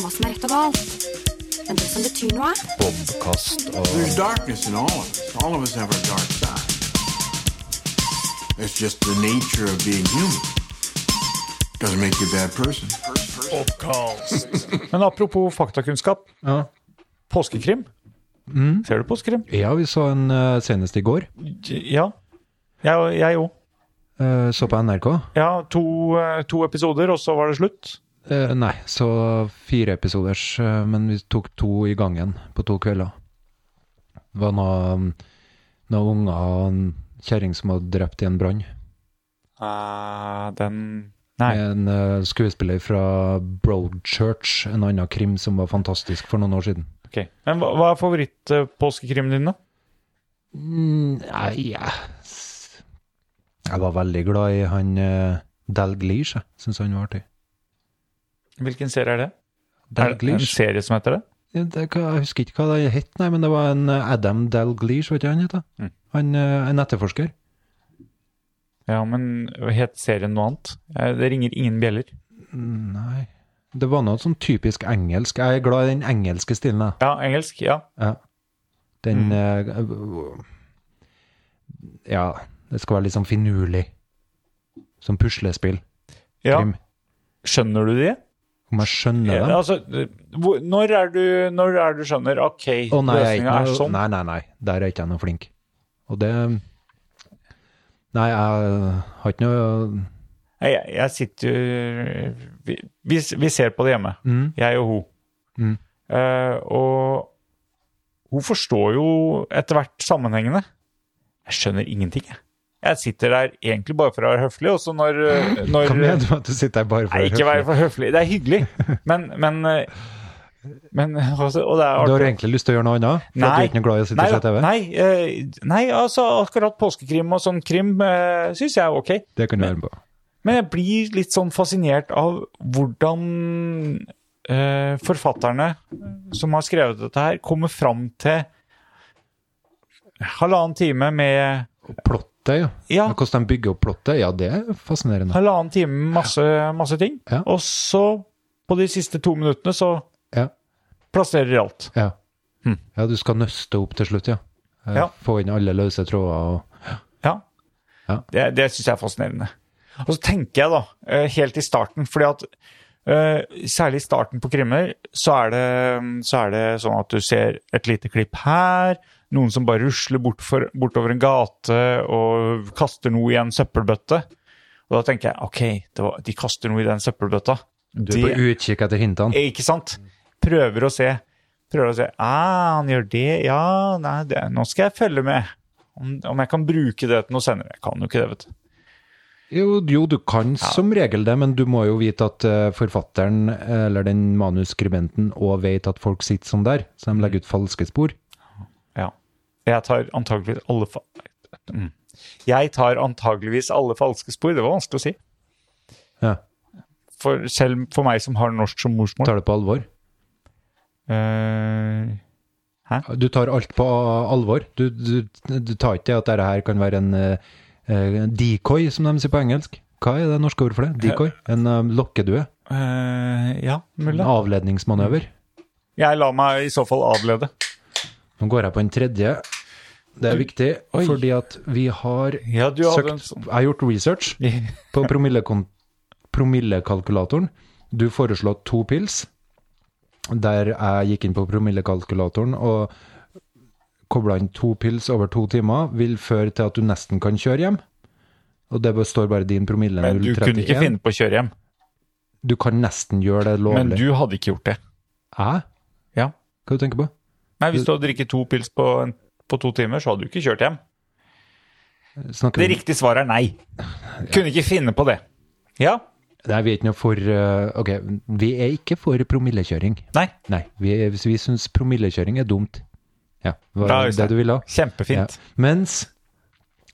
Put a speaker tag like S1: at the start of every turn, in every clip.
S1: festival. Men det som betyr noe,
S2: Bobkast og
S3: There's darkness in all of us. All of us have our dark side. It's just the nature of being human. Doesn't make you a bad person.
S4: Men apropos faktakunnskap.
S5: Ja. Mm.
S4: Påskekrim. Ser du påskekrim?
S5: Ja, vi så en eh, senest i går.
S4: Ja. Jeg- Jeg òg.
S5: Eh, Så på NRK.
S4: Ja, to, eh, to episoder, og så var det slutt.
S5: Eh, Nei, så fire episoders, eh, men vi tok to i gangen på to kvelder. Det var noen, noen unger og en kjerring som hadde drept i en brann.
S4: den Nei.
S5: En eh, skuespiller fra Broadchurch, en annen krim som var fantastisk for noen år siden.
S4: Ok. Men hva, hva er favorittpåskekrimmen din, da?
S5: Mm, Nei, ja. S- Jeg var veldig glad i han eh, Dalglish, jeg syns han var artig.
S4: Hvilken serie er det? Er det en
S5: Dalglish?
S4: serie som heter det?
S5: Ja, det, er hva- jeg husker ikke hva det het, nei, men det var en eh, Adam Dalglish, vet du hva han heter?
S4: Mm.
S5: Han, eh, en etterforsker.
S4: Ja, men het serien noe annet? Eh, Det ringer ingen bjeller.
S5: Nei. Det var noe sånn typisk engelsk. Jeg er glad i den engelske stilen, jeg.
S4: Ja, engelsk. Ja.
S5: Ja. Den
S4: Mm.
S5: eh, Ja, det skal være litt sånn finurlig. Som puslespill.
S4: ja.
S5: Krim.
S4: Skjønner du det?
S5: Om jeg skjønner
S4: Ja,
S5: det?
S4: altså, hvor, når, er du, når er du skjønner OK,
S5: Å nei, jeg er ikke
S4: løsninga er
S5: noe-
S4: sånn?
S5: nei, nei, nei. Der er ikke jeg noe flink. Og det Nei, jeg har ikke noe
S4: Nei, Jeg, jeg sitter jo vi, vi, vi ser på det hjemme,
S5: mm,
S4: jeg og hun.
S5: Mm.
S4: Eh, og hun forstår jo etter hvert sammenhengene. Jeg skjønner ingenting, jeg. Jeg sitter der egentlig bare for å være høflig, og så når, når
S5: Hva mener du med at du sitter her bare for
S4: Nei,
S5: å
S4: ikke
S5: høre?
S4: være for høflig. Det er hyggelig, men, men, eh, men altså, Og det er artig.
S5: Du har egentlig lyst til å gjøre noe annet? For at du er ikke noe glad i å sitte
S4: nei,
S5: og se
S4: da,
S5: TV?
S4: Nei, eh, nei, altså akkurat påskekrim og sånn krim uh, syns jeg er ok.
S5: Det kan du være med på.
S4: Men jeg blir litt sånn fascinert av hvordan eh, forfatterne som har skrevet dette her, kommer fram til halvannen time med
S5: Plottet, ja.
S4: Ja,
S5: Men Hvordan de bygger opp plottet, ja, det er fascinerende.
S4: halvannen time med masse, masse ting.
S5: Ja.
S4: Og så, på de siste to minuttene, så
S5: Ja.
S4: plasserer de alt.
S5: Ja.
S4: Hm.
S5: ja, du skal nøste opp til slutt, ja. Eh,
S4: Ja.
S5: Få inn alle løse tråder og
S4: Ja.
S5: Ja.
S4: Det, det syns jeg er fascinerende. Og så tenker jeg, da, eh, helt i starten fordi at eh, Særlig i starten på krimmer så er, det, så er det sånn at du ser et lite klipp her. Noen som bare rusler bortfor, bortover en gate og kaster noe i en søppelbøtte. Og da tenker jeg OK, det var, de kaster noe i den søppelbøtta.
S5: Du er på utkikk etter hintene.
S4: Eh, Ikke sant? Prøver å se. Prøver å se. Ah, han gjør det. Ja, nei, det. nå skal jeg følge med. Om, om jeg kan bruke det til noe senere. Jeg kan jo ikke det, vet du.
S5: Jo, jo, du kan som regel det, men du må jo vite at eh, forfatteren eh, eller den manuskribenten òg vet at folk sitter sånn der, så de legger ut falske spor.
S4: Ja. Jeg tar antageligvis alle fa mm. Jeg tar antageligvis alle falske spor. Det var vanskelig å si.
S5: Ja,
S4: For, selv for meg som har norsk som morsmål.
S5: Tar det på alvor.
S4: Eh,
S5: Du tar alt på alvor. Du, du, du tar ikke det at dette her kan være en eh, eh, decoy, som de sier på engelsk. Hva er det norske ordet for det? Decoy? En eh, lokkedue?
S4: eh, ja,
S5: En
S4: mulla.
S5: avledningsmanøver?
S4: Jeg lar meg i så fall avlede.
S5: Nå går jeg på en tredje. Det er viktig, fordi at vi har
S4: Ja, du hadde en
S5: søkt
S4: sånn
S5: Jeg har gjort research på promillekon- promillekalkulatoren. Du foreslår to pils, der jeg gikk inn på promillekalkulatoren og kobla inn to pils over to timer, vil føre til at du nesten kan kjøre hjem. Og det består bare din promille
S4: Men du kunne ikke
S5: 031.
S4: finne på å kjøre hjem.
S5: Du kan nesten gjøre det
S4: Men
S5: lovlig.
S4: du hadde ikke gjort det.
S5: Hæ?
S4: Ja.
S5: Hva du tenker du på?
S4: Nei, hvis du hadde drikket to pils på, en, på to timer, så hadde du ikke kjørt hjem.
S5: Snakker
S4: Det
S5: vi-
S4: riktige svaret er nei. Kunne ikke finne på det. Ja?
S5: Nei, vi er ikke noe for eh, Ok, vi er ikke for promillekjøring.
S4: Nei?
S5: Nei, vi, er- vi syns promillekjøring er dumt. Ja,
S4: Bra,
S5: var det
S4: Øystein.
S5: du ville ha?
S4: Kjempefint.
S5: Ja. Mens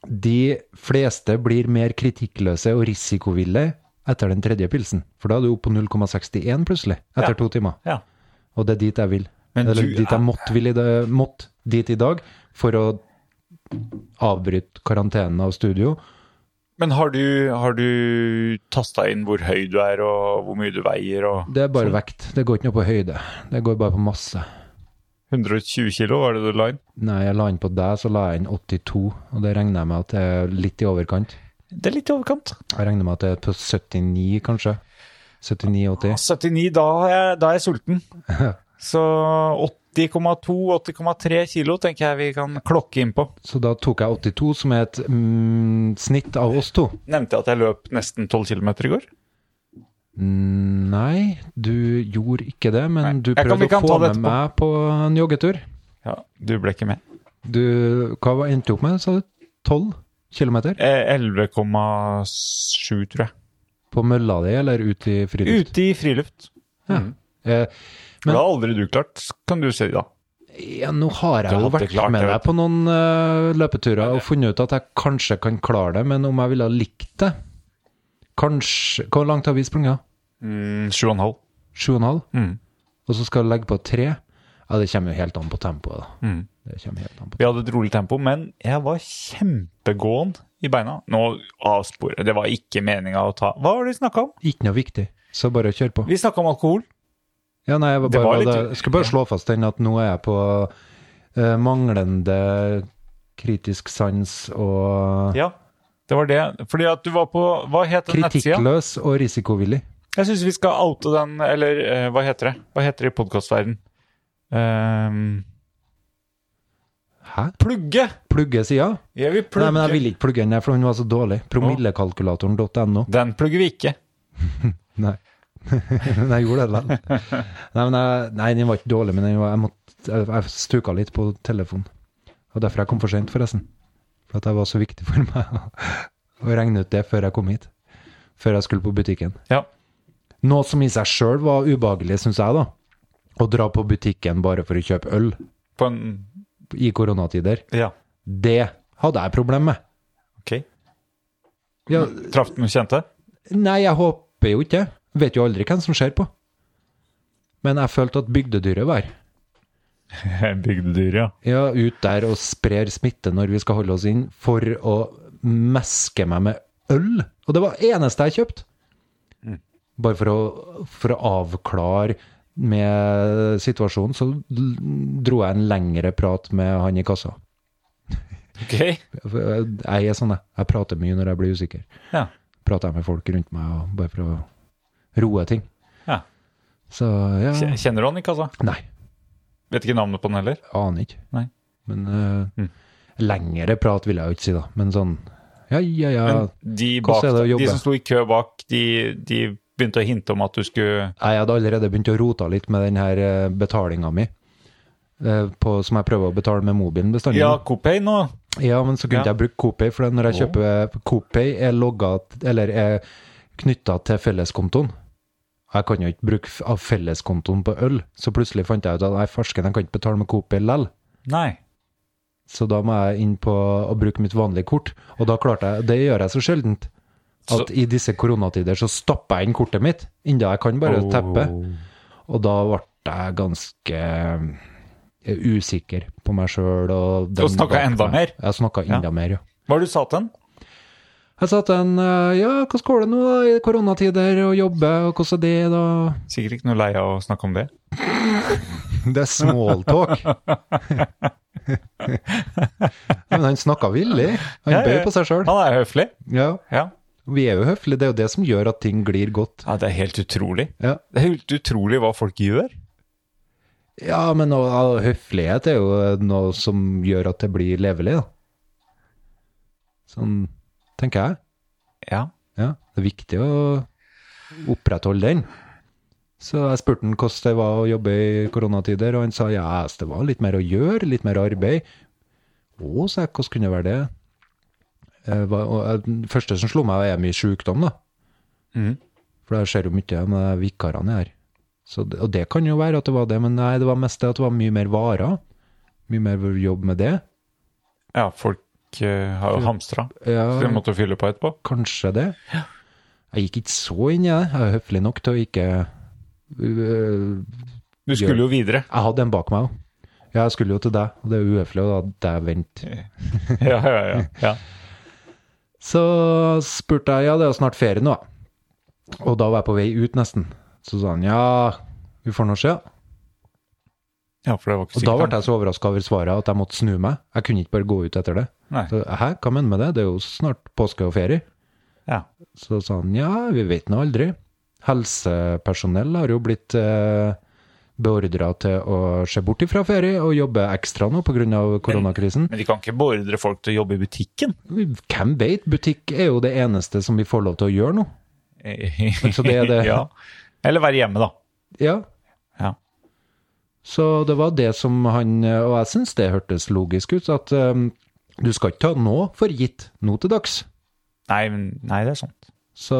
S5: de fleste blir mer kritikkløse og risikoville etter den tredje pilsen. For da er du oppe på 0,61 plutselig, etter
S4: Ja.
S5: to timer.
S4: Ja.
S5: Og det er dit jeg vil.
S4: Men
S5: Eller
S4: du
S5: dit
S4: er-
S5: jeg måtte, vil i det, måtte dit i dag for å avbryte karantenen av studio
S4: Men har du, har du tasta inn hvor høy du er, og hvor mye du veier? og
S5: Det er bare vekt. Det går ikke noe på høyde. Det går bare på masse.
S4: 120 kilo, var det du la inn?
S5: Nei, jeg la inn på deg, så la jeg inn 82, og det regner jeg med at det er litt i overkant.
S4: Det er litt i overkant.
S5: Jeg regner med at det er på 79, kanskje. 79-80.
S4: 79, da er jeg, da er jeg sulten. Så 80,2-80,3 kilo tenker jeg vi kan klokke inn på.
S5: Så da tok jeg 82, som er et mm, snitt av oss to.
S4: Nevnte jeg at jeg løp nesten 12 km i går?
S5: Mm, Nei, du gjorde ikke det, men
S4: Nei.
S5: du
S4: Jeg kan-
S5: prøvde
S4: vi kan
S5: å
S4: ta
S5: få
S4: det
S5: med
S4: etterpå.
S5: meg på en joggetur.
S4: Ja, du ble ikke med.
S5: Du, hva var- endte du opp med, sa du? 12 km?
S4: Eh, 11,7, tror jeg.
S5: På mølla di, eller ut i friluft?
S4: Ute i friluft. Mm.
S5: Eh, Men-
S4: det har aldri du klart, kan du si da.
S5: ja, nå har jeg
S4: Du
S5: jo
S4: hadde
S5: vært
S4: klart
S5: med
S4: det,
S5: deg
S4: vet
S5: på noen eh, løpeturer og funnet ut at jeg kanskje kan klare det, men om jeg ville ha likt det Kanskje Hvor langt har vi sprunget?
S4: Mm, 7,5.
S5: Sju og en halv?
S4: Mm.
S5: Og så skal jeg legge på tre? Ja, det kommer jo helt an på tempoet, da.
S4: Mm.
S5: Det kommer helt an på
S4: Vi hadde et rolig tempo, men jeg var kjempegåen i beina. Nå avsporer Det var ikke meninga å ta Hva var det vi snakka om?
S5: Ikke noe viktig, så bare kjør på.
S4: Vi snakka om alkohol.
S5: Ja, nei, jeg, var
S4: Det
S5: bare,
S4: var litt-
S5: det- jeg skal bare slå fast den at nå er jeg på eh, manglende kritisk sans og
S4: Ja, det var det. Fordi at du var på Hva het den nettsida?
S5: Kritikkløs og risikovillig.
S4: Jeg syns vi skal oute den, eller eh, hva heter det? Hva heter det i podkastverden? Um,
S5: Hæ?
S4: plugge!
S5: Plugge sida?
S4: Jeg vil
S5: Nei,
S4: plugge.
S5: men jeg ville ikke plugge den der, for den var så dårlig. Promillekalkulatoren.no.
S4: Den plugger vi ikke.
S5: Nei. men jeg gjorde det likevel. Nei, men jeg, nei, den var ikke dårlig, men den var, jeg, måtte, jeg, jeg stuka litt på telefonen. Og derfor jeg kom for sent, forresten. For at det var så viktig for meg å, å regne ut det før jeg kom hit. Før jeg skulle på butikken.
S4: Ja.
S5: Noe som i seg sjøl var ubehagelig, syns jeg, da. Å dra på butikken bare for å kjøpe øl
S4: På en
S5: i koronatider.
S4: Ja,
S5: Det hadde jeg problem med.
S4: OK.
S5: Ja,
S4: Traff du noen kjente?
S5: nei, jeg håper jo ikke. Vet jo aldri hvem som ser på. Men jeg følte at bygdedyret var her.
S4: Bygdedyr, ja.
S5: Ja, ut der og sprer smitte når vi skal holde oss inn, for å meske meg med øl. Og det var eneste jeg kjøpte.
S4: Mm.
S5: Bare for å, for å avklare med situasjonen, så l- dro jeg en lengre prat med han i kassa.
S4: OK.
S5: For Jeg jeg er sånn, jeg. Jeg prater mye når jeg blir usikker.
S4: Ja.
S5: Prater jeg med folk rundt meg, og bare for å roe ting.
S4: Ja.
S5: Så ja
S4: Kje- Kjenner du han ikke, altså?
S5: Nei,
S4: Vet ikke navnet på den heller?
S5: aner ikke.
S4: Nei.
S5: Men eh,
S4: Mm.
S5: lengre prat vil jeg jo ikke si, da. Men sånn Ja, ja, ja.
S4: Men de, bak,
S5: Hvordan er det å
S4: de
S5: jobbe?
S4: som sto i kø bak, de, de begynte å hinte om at du skulle
S5: Nei, Jeg hadde allerede begynt å rote litt med den her eh, betalinga mi. eh, På, som jeg prøver å betale med mobilen bestandig.
S4: Ja, Copay nå!
S5: Ja, men så kunne
S4: Ja.
S5: jeg bruke Coopay, for når jeg kjøper Coopay, er logga t- Eller er knytta til felleskontoen. Jeg kan jo ikke bruke f- av felleskontoen på øl, så plutselig fant jeg ut at nei, farsken, jeg kan ikke betale med Coopay lell.
S4: Nei.
S5: Så da må jeg inn på å bruke mitt vanlige kort, og da klarte jeg Det gjør jeg så sjeldent. At
S4: Så-
S5: i disse koronatider så stapper jeg inn kortet mitt, enda jeg kan bare teppe.
S4: Oh.
S5: Og da ble jeg ganske eh, usikker på meg sjøl. Og, den
S4: Og snakket
S5: bak
S4: enda
S5: meg.
S4: mer?
S5: Jeg snakka enda
S4: Ja.
S5: mer, ja.
S4: Hva har du sa til den?
S5: Jeg sa til han eh, ja, hvordan går det nå da, i koronatider og jobbe, og hvordan er det da?
S4: Sikkert ikke noe lei av å snakke om det.
S5: Det er smalltalk. Men han snakka villig. Han
S4: Ja, ja, ja.
S5: bøyer på seg sjøl.
S4: Han er høflig.
S5: Ja.
S4: Ja.
S5: Vi er jo høflige, det er jo det som gjør at ting glir godt.
S4: ja, det er helt utrolig.
S5: Ja,
S4: Det er helt utrolig hva folk gjør.
S5: ja men å- å, høflighet er jo noe som gjør at det blir levelig, da. Sånn tenker jeg.
S4: Ja.
S5: Ja, det er viktig å opprettholde den. Så jeg spurte han hvordan det var å jobbe i koronatider, og han sa ja, ass, det var litt mer å gjøre, litt mer arbeid. Å, sa jeg, hvordan kunne det være det? Eh, hva- og, eh, Den første som slo meg, er mye sykdom, da.
S4: Mhm.
S5: For det skjer jo mye med de vikarene her. Så, det- og det kan jo være at det var det, men nei, det var mest det at det var mye mer varer. Mye mer jobb med det.
S4: Ja, folk eh, har jo hamstra.
S5: Ja.
S4: Så de måtte fylle på etterpå.
S5: Kanskje det. Jeg gikk ikke så inn i det. Jeg er høflig nok til å ikke Øh,
S4: Du skulle jo videre.
S5: Jeg hadde en bak meg òg. Ja, jeg skulle jo til deg, og det er uhøflig å la deg vente.
S4: Ja, ja, ja. ja.
S5: Så spurte jeg, ja det er jo snart ferie nå. Og da var jeg på vei ut nesten. Så sa han, ja, vi får nå se.
S4: Ja, for det var ikke
S5: Og da ble jeg så overraska over svaret at jeg måtte snu meg. Jeg kunne ikke bare gå ut etter det.
S4: Nei.
S5: Så, Hæ, hva mener du med det? Det er jo snart påske og ferie.
S4: Ja.
S5: Så sa han ja, vi vet nå aldri. Helsepersonell har jo blitt eh, beordra til å se bort ifra ferie og jobbe ekstra nå pga. koronakrisen.
S4: Men de kan ikke beordre folk til å jobbe i butikken.
S5: Hvem vet? Butikk er jo det eneste som vi får lov til å gjøre nå.
S4: Så
S5: det er det.
S4: ja. Eller være hjemme, da.
S5: Ja.
S4: Ja.
S5: Så det var det som han Og jeg syns det hørtes logisk ut, at eh, du skal ikke ta nå for gitt nå til dags.
S4: Nei, men, nei, det er sant.
S5: Så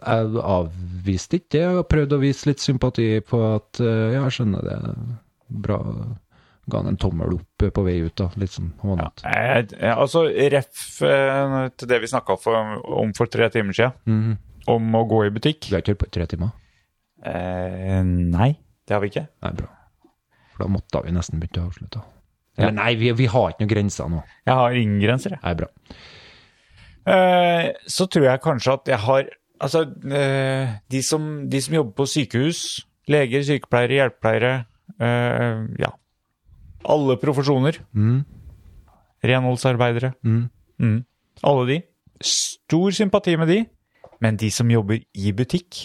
S5: jeg avviste ikke det, og prøvde å vise litt sympati på at eh, ja, jeg skjønner det. Bra. Ga han en tommel opp eh, på vei ut, da. Litt sånn hånete.
S4: Eh, eh, altså, ref eh, til det vi snakka om for tre timer siden,
S5: Mhm.
S4: om å gå i butikk.
S5: Vi har ikke holdt på i tre timer.
S4: Eh, nei, det har vi ikke.
S5: Nei, bra. For da måtte vi nesten begynt å avslutte.
S4: Ja.
S5: Men nei, vi, vi har ikke noen grenser nå.
S4: Jeg har ingen grenser, jeg.
S5: Nei, bra.
S4: Eh, så tror jeg kanskje at jeg har Altså, eh, de, som, de som jobber på sykehus, leger, sykepleiere, hjelpepleiere eh, Ja. Alle profesjoner.
S5: Mm.
S4: Renholdsarbeidere.
S5: Mm.
S4: Mm. Alle de. Stor sympati med de, men de som jobber i butikk,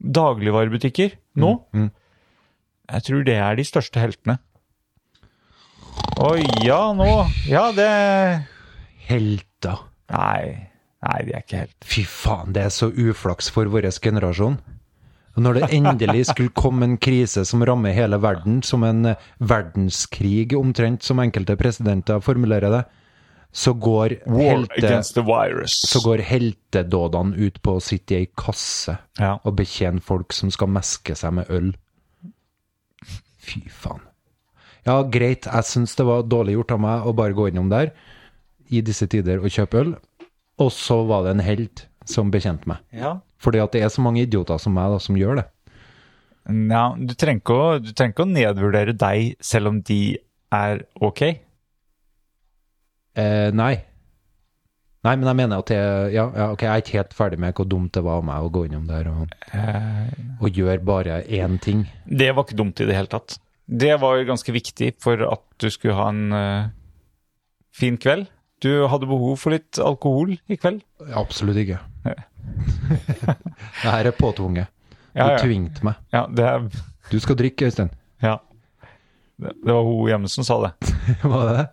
S4: dagligvarebutikker, nå
S5: Mm.
S4: Jeg tror det er de største heltene. Oi, ja, nå Ja, det
S5: Helter.
S4: Nei. Nei, de er ikke helt
S5: Fy faen, det er så uflaks for vår generasjon. Og Når det endelig skulle komme en krise som rammer hele verden, som en eh, verdenskrig omtrent, som enkelte presidenter formulerer det, så går, helte,
S4: the virus.
S5: så går heltedådene ut på å sitte i ei kasse
S4: Ja.
S5: og betjene folk som skal meske seg med øl. Fy faen. Ja, greit, jeg syns det var dårlig gjort av meg å bare gå innom der i disse tider og kjøpe øl, og så var det en helt som bekjente meg.
S4: Ja.
S5: Fordi at det er så mange idioter som meg da, som gjør det.
S4: du, trenger ikke å, du trenger ikke å nedvurdere deg selv om de er ok.
S5: Eh, nei. Nei, men jeg mener at jeg, ja, ja, ok, jeg er ikke helt ferdig med hvor dumt det var av meg å gå innom der og, og gjøre bare én ting.
S4: Det var ikke dumt i det hele tatt. Det var jo ganske viktig for at du skulle ha en eh, fin kveld. Du hadde behov for litt alkohol i kveld.
S5: Absolutt ikke. det her er påtvunget. Du
S4: Ja, ja.
S5: tvingte meg.
S4: Ja, det, er-
S5: Du skal drikke, Øystein.
S4: ja. det, det var hun hjemme som sa det.
S5: Var det det?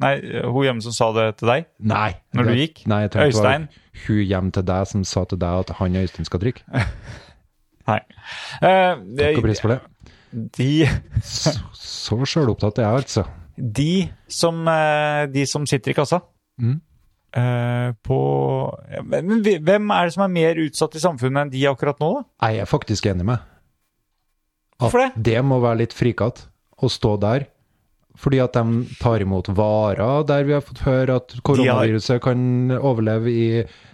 S4: Nei, hun hjemme som sa det til deg.
S5: Nei.
S4: Når du
S5: Det-
S4: gikk?
S5: Nei, jeg tenkte det var
S4: Øystein?
S5: Hun hjem til deg som sa til deg at han og Øystein skal drikke.
S4: Nei. Eh, det,
S5: Takk og pris for det.
S4: de
S5: Så, så sjølopptatt er jeg, altså.
S4: de som, eh, de som sitter i kassa
S5: Mm.
S4: eh, på ja, men, men vi- hvem er det som er mer utsatt i samfunnet enn de akkurat nå, da?
S5: Jeg er faktisk enig med. At
S4: Hvorfor det?
S5: Det må være litt frikatt å stå der. Fordi at de tar imot varer der vi har fått høre at koronaviruset kan overleve i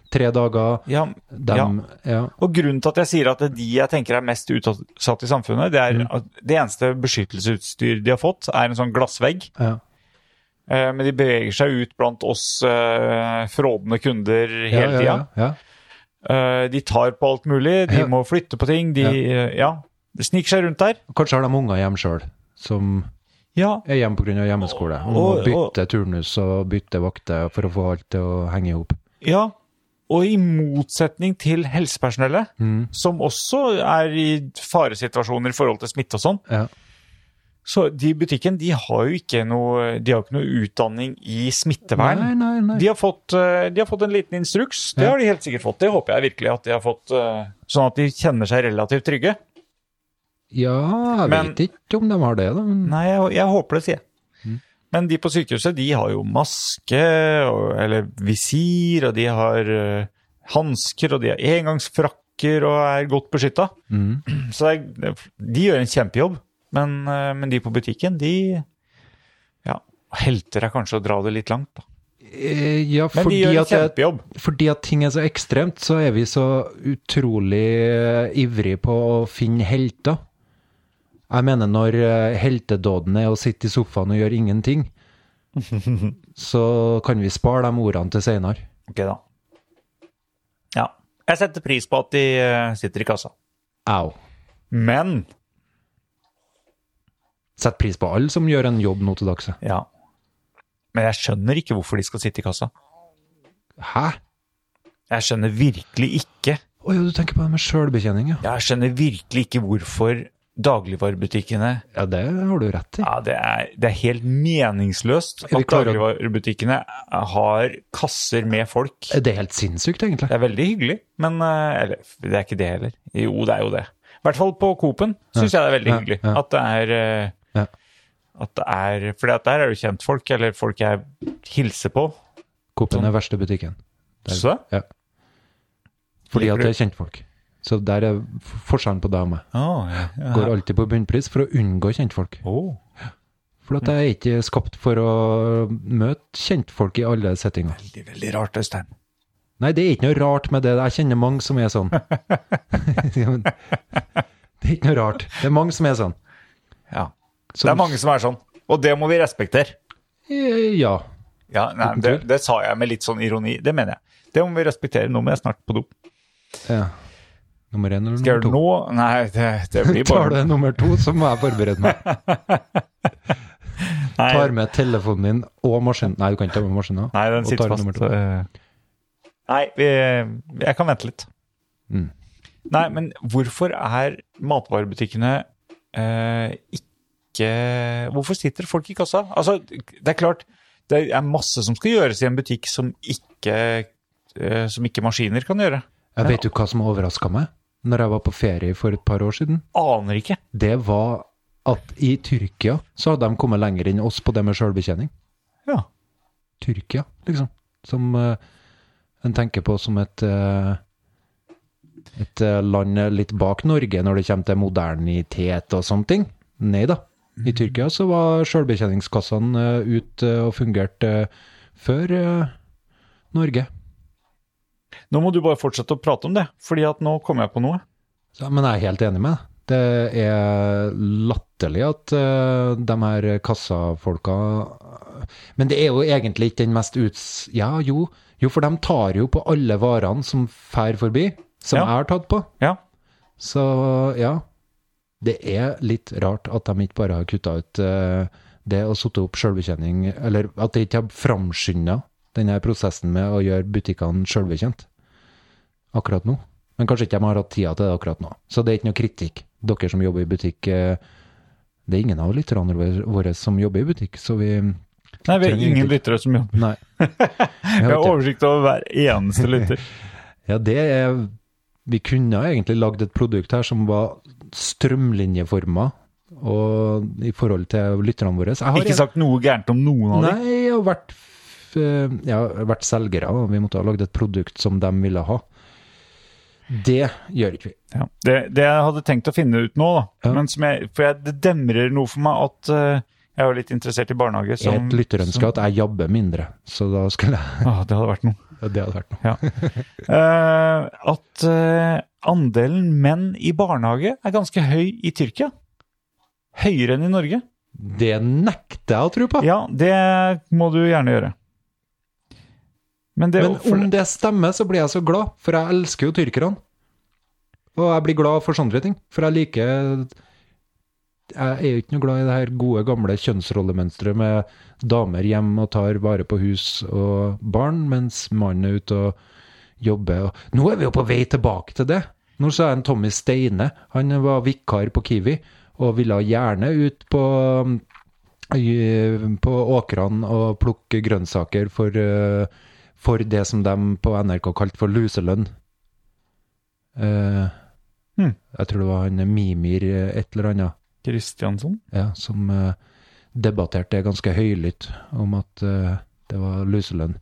S5: tre dager.
S4: Ja,
S5: De, ja.
S4: Ja. og grunnen til at jeg sier at det er de jeg tenker er mest utsatt i samfunnet, det
S5: Mm.
S4: er at det eneste beskyttelsesutstyr de har fått, er en sånn glassvegg.
S5: ja.
S4: eh, Men de beveger seg ut blant oss eh, frådende kunder hele
S5: Ja,
S4: tida.
S5: ja, ja, ja.
S4: Eh, de tar på alt mulig, de
S5: Ja.
S4: må flytte på ting, de eh, ja, sniker seg rundt der.
S5: Kanskje har de unger hjemme sjøl, som
S4: Ja,
S5: er hjemme pga. hjemmeskole. Og må
S4: Og- og-
S5: bytte turnus og bytte vakter for å få alt til å henge i hop.
S4: Ja, og i motsetning til helsepersonellet,
S5: Mm.
S4: som også er i faresituasjoner i forhold til smitte og sånn,
S5: Ja.
S4: så de i butikken de har jo ikke noe, de har jo ikke noe utdanning i smittevern.
S5: Nei, nei, nei.
S4: De har, fått, eh, de har fått en liten instruks, det
S5: Ja.
S4: har de helt sikkert fått. Det håper jeg virkelig at de har fått, eh, sånn at de kjenner seg relativt trygge.
S5: Ja, jeg
S4: Men-
S5: vet ikke om de har det, da. Men
S4: Nei, jeg, jeg håper det, sier jeg.
S5: Mm.
S4: Men de på sykehuset, de har jo maske, og, eller visir, og de har uh, hansker, og de har engangsfrakker og er godt beskytta.
S5: Mm.
S4: Så det er, de gjør en kjempejobb, men, eh, men de på butikken, de ja, helter er kanskje å dra det litt langt, da.
S5: eh, ja,
S4: Men
S5: fordi
S4: de gjør en
S5: at jeg,
S4: kjempejobb.
S5: fordi at ting er så ekstremt, så er vi så utrolig ivrig på å finne helter. Jeg mener når eh, heltedåden er å sitte i sofaen og gjøre ingenting, så kan vi spare de ordene til seinere.
S4: Ok, da. Ja. Jeg setter pris på at de eh, sitter i kassa.
S5: Au.
S4: Men
S5: Sett pris på alle som gjør en jobb nå til dags.
S4: Ja. Men jeg skjønner ikke hvorfor de skal sitte i kassa.
S5: Hæ?
S4: Jeg skjønner virkelig ikke.
S5: Å ja, du tenker på det med sjølbetjening, ja.
S4: Jeg skjønner virkelig ikke hvorfor dagligvarebutikkene
S5: Ja, det har du rett i.
S4: Ja, det er, det er helt meningsløst
S5: Er vi
S4: at
S5: klare-
S4: dagligvarebutikkene har kasser med folk.
S5: Det er helt sinnssykt, egentlig.
S4: Det er veldig hyggelig, men eh, Eller, det er ikke det heller. Jo, det er jo det. I hvert fall på Coop-en syns jeg det er veldig
S5: Ja,
S4: hyggelig.
S5: ja.
S4: At det er eh,
S5: Ja.
S4: at det er, fordi at der er jo kjentfolk, eller folk jeg hilser på.
S5: Coop-en er verste butikken. Der-
S4: Så,
S5: Ja. Fordi
S4: Liker
S5: at
S4: du-
S5: det er kjentfolk. Så der er f- forskjellen på deg og meg.
S4: Å, ja, ja.
S5: Går alltid på bunnpris for å unngå kjentfolk.
S4: Å.
S5: For at jeg er ikke skapt for å møte kjentfolk i alle settinger.
S4: Veldig, veldig rart, Øystein.
S5: Nei, det er ikke noe rart med det. Jeg kjenner mange som er sånn. Ja, men det er ikke noe rart. Det er mange som er sånn.
S4: Ja.
S5: Som-
S4: Det er mange som er sånn, og det må vi respektere.
S5: Eh, Ja.
S4: Ja, nei,
S5: Uten
S4: det,
S5: tvil.
S4: det sa jeg med litt sånn ironi, det mener jeg. Det må vi respektere, nå må jeg snart på do.
S5: ja. Nummer én eller
S4: Skal jeg gjøre
S5: nummer
S4: det
S5: to?
S4: nå? Nei, det, det blir
S5: Tar
S4: bare
S5: du nummer to, så må jeg forberede meg.
S4: Nei,
S5: Tar med telefonen din og maskinen. Nei, du kan ikke ta med maskinen.
S4: nei den
S5: Og tar
S4: sitter
S5: nummer
S4: fast.
S5: to.
S4: eh. Nei, vi, jeg kan vente litt.
S5: Mm.
S4: Nei, men hvorfor er matvarebutikkene eh, ikke Hvorfor sitter folk i kassa? Altså, det er klart, det er masse som skal gjøres i en butikk som ikke, eh, som ikke maskiner kan gjøre.
S5: Jeg vet jo hva som overraska meg når jeg var på ferie for et par år siden.
S4: Aner ikke.
S5: Det var at i Tyrkia så hadde de kommet lenger enn oss på det med sjølbetjening.
S4: Ja.
S5: Tyrkia, liksom. Som eh, en tenker på som et eh, et eh, land litt bak Norge når det kommer til modernitet og sånne ting. Nei da. I Tyrkia så var sjølbetjeningskassene eh, ut eh, og fungerte eh, før eh, Norge.
S4: Nå må du bare fortsette å prate om det, fordi at nå kom jeg på noe.
S5: Så, men jeg er helt enig med deg. Det er latterlig at eh, de her kassafolka eh, Men det er jo egentlig ikke den mest uts... Ja, jo. Jo, for de tar jo på alle varene som fær forbi, som
S4: Ja.
S5: jeg har tatt på.
S4: Ja.
S5: Så ja. Det er litt rart at de ikke bare har kutta ut eh, det og satt opp sjølbetjening, eller at de ikke har framskynda denne prosessen med å gjøre butikkene sjølbetjent akkurat nå. Men kanskje ikke de har hatt tida til det akkurat nå. Så det er ikke noe kritikk. Dere som jobber i butikk eh, Det er ingen av lytterne våre- våre som jobber i butikk, så vi
S4: Nei, vi har
S5: Trenger
S4: ingen
S5: ingenting.
S4: lyttere som jobber.
S5: Nei. Vi
S4: Jeg
S5: har
S4: har
S5: ikke-
S4: oversikt over hver eneste lytter.
S5: Ja, det er Vi kunne ha egentlig lagd et produkt her som var strømlinjeforma og i forhold til lytterne våre. Jeg har
S4: Ikke sagt noe gærent om noen av dem.
S5: Nei, jeg har vært, f- eh, jeg har vært selgere, og vi måtte ha lagd et produkt som de ville ha. Det gjør ikke vi.
S4: Ja. Det, det jeg hadde tenkt å finne ut nå, da,
S5: Ja.
S4: men som jeg, for jeg, det demrer noe for meg at eh, jeg er jo litt interessert i barnehage.
S5: Jeg
S4: Som,
S5: Et lytterønske at jeg jabber mindre, så da skulle jeg
S4: Åh, det hadde vært noe.
S5: ja, Det hadde vært noe.
S4: Eh, at eh, andelen menn i barnehage er ganske høy i Tyrkia. Høyere enn i Norge.
S5: Det nekter jeg å tro på!
S4: Ja, det må du gjerne gjøre. Men det,
S5: Men
S4: for-
S5: om det stemmer, så blir jeg så glad, for jeg elsker jo tyrkerne. Og jeg blir glad for sånne ting, for jeg liker Jeg er jo ikke noe glad i det her gode, gamle kjønnsrollemønsteret med damer hjemme og tar vare på hus og barn, mens mannen er ute og jobber. Og nå er vi jo på vei tilbake til det! Nå sa en Tommy Steine, han var vikar på Kiwi, og ville gjerne ut på i- på åkrene og plukke grønnsaker for, eh, for det som de på NRK kalte for luselønn. Eh,
S4: Hmm.
S5: Jeg tror det var han Mimir eh, et eller annet
S4: Kristiansson?
S5: ja, som eh, debatterte det ganske høylytt om at eh, det var luselønn.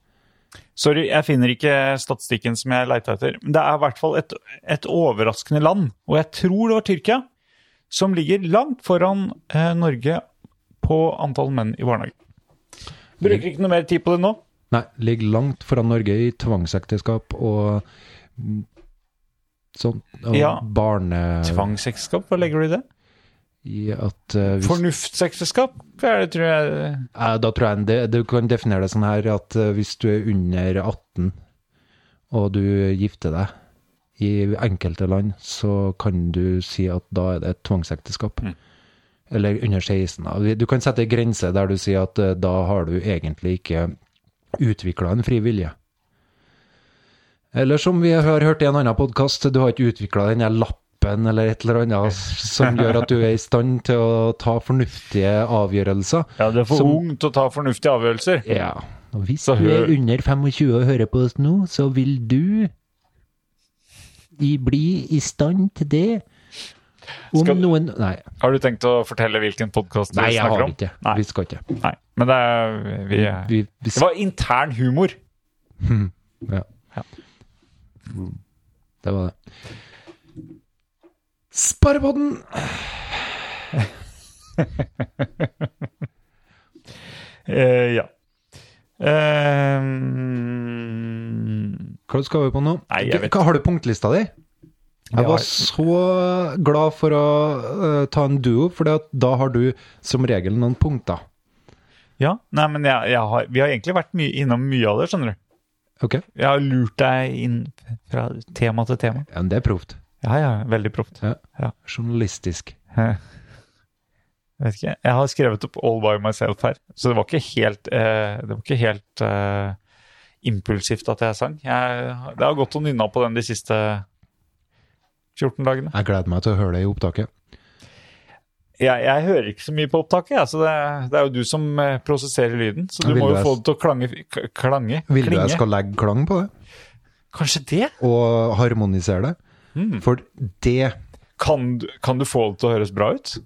S4: Sorry, jeg finner ikke statistikken som jeg leita etter. Men det er i hvert fall et, et overraskende land, og jeg tror det var Tyrkia, som ligger langt foran eh, Norge på antall menn i barnehage. Bruker ikke noe mer tid på det nå.
S5: Nei, ligger langt foran Norge i tvangsekteskap og mm, sånn. Og
S4: Ja.
S5: barne...
S4: Tvangsekteskap, hva legger du i det?
S5: I at, eh, hvis-
S4: Fornuftsekteskap? Hva er det, tror jeg
S5: Eh, Da tror jeg en de- du kan definere det sånn her at eh, hvis du er under 18 og du gifter deg i enkelte land, så kan du si at da er det et tvangsekteskap. Eller under 16. da. Vi- Du kan sette en grense der du sier at eh, da har du egentlig ikke utvikla en fri vilje. Eller som vi har hørt i en annen podkast, du har ikke utvikla den der lappen eller et eller annet som gjør at du er i stand til å ta fornuftige avgjørelser.
S4: Ja, du er for
S5: Som-
S4: ung til å ta fornuftige avgjørelser.
S5: Ja. Og hvis
S4: Så
S5: du er
S4: hø-
S5: under 25 og hører på oss nå, så vil du i, bli i stand til det. Om
S4: Skal-
S5: noen Nei,
S4: Har du tenkt å fortelle hvilken podkast du
S5: nei jeg
S4: snakker
S5: har
S4: om?
S5: ikke.
S4: Nei.
S5: Vi skal ikke.
S4: Nei, men det er vi, er-
S5: Vi, vi
S4: Det var intern humor.
S5: Ja.
S4: Ja.
S5: Det var det. Sparepodden!
S4: Eh, ja. Eh,
S5: Hva skal vi på nå?
S4: Nei, jeg vet
S5: Hva Har du punktlista di? Jeg
S4: Jeg
S5: var
S4: har-
S5: så glad for å eh, ta en duo, for da har du som regel noen punkter.
S4: ja. Nei, men jeg, jeg har, vi har egentlig vært mye, innom mye av det, skjønner du.
S5: Ok?
S4: Jeg har lurt deg inn fra tema til tema.
S5: Ja, men det er proft.
S4: Ja, ja, veldig proft.
S5: Journalistisk.
S4: Jeg vet ikke. Jeg har skrevet opp All by myself her, så det var ikke helt, eh, det var ikke helt eh, impulsivt at jeg sang. Jeg, det har gått og nynna på den de siste 14 dagene.
S5: Jeg gleder meg til å høre det i opptaket.
S4: Jeg, jeg hører ikke så mye på opptaket, jeg, så det, det er jo du som eh, prosesserer lyden. Så du
S5: Vil
S4: må
S5: du
S4: jo
S5: jeg-
S4: få det til å klange, k- klange
S5: Vil du
S4: klinge.
S5: jeg skal legge klang på det?
S4: Kanskje det?
S5: Og harmonisere det?
S4: Hmm.
S5: For det
S4: Kan, du- kan du få det til å høres bra ut?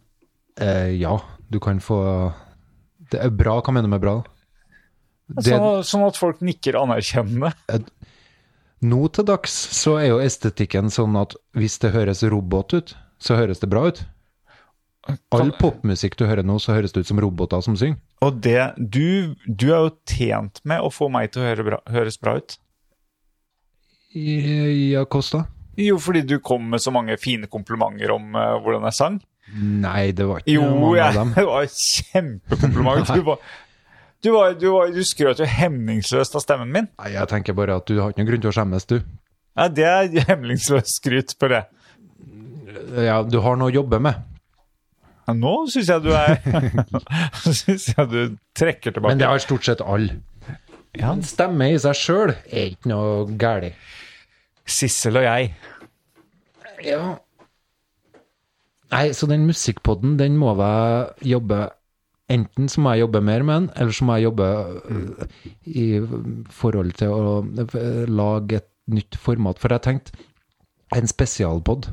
S5: eh, Ja, du kan få Det er bra. Hva mener du med bra? Det,
S4: Sånn, sånn at folk nikker anerkjennende.
S5: nå til dags så er jo estetikken sånn at hvis det høres robot ut, så høres det bra ut. All popmusikk du hører nå, så høres det ut som roboter som synger.
S4: Og det, du, du er jo tjent med å få meg til å høre bra, høres bra ut.
S5: I- Ja, Kosta?
S4: Jo, fordi du kom med så mange fine komplimenter om eh, hvordan jeg sang.
S5: Nei, det var ikke
S4: Jo,
S5: mange
S4: jeg,
S5: av dem.
S4: det var kjempekompliment. Du, var, du, var, du, var, du skrøt jo hemningsløst av stemmen min.
S5: Nei, jeg tenker bare at du har ikke noen grunn til å skjemmes, du.
S4: Ja, det er hemningsløst skryt på det.
S5: Ja, du har noe å jobbe med.
S4: Ja, Nå syns jeg du er Syns jeg du trekker tilbake.
S5: Men det har stort sett alle.
S4: Ja.
S5: En stemme i seg sjøl er ikke noe galt.
S4: Sissel og jeg.
S5: Ja. Nei, så den musikkpodden, den må jeg jobbe Enten så må jeg jobbe mer med den, eller så må jeg jobbe øh, i forhold til å øh, lage et nytt format. For jeg tenkte en spesialpod.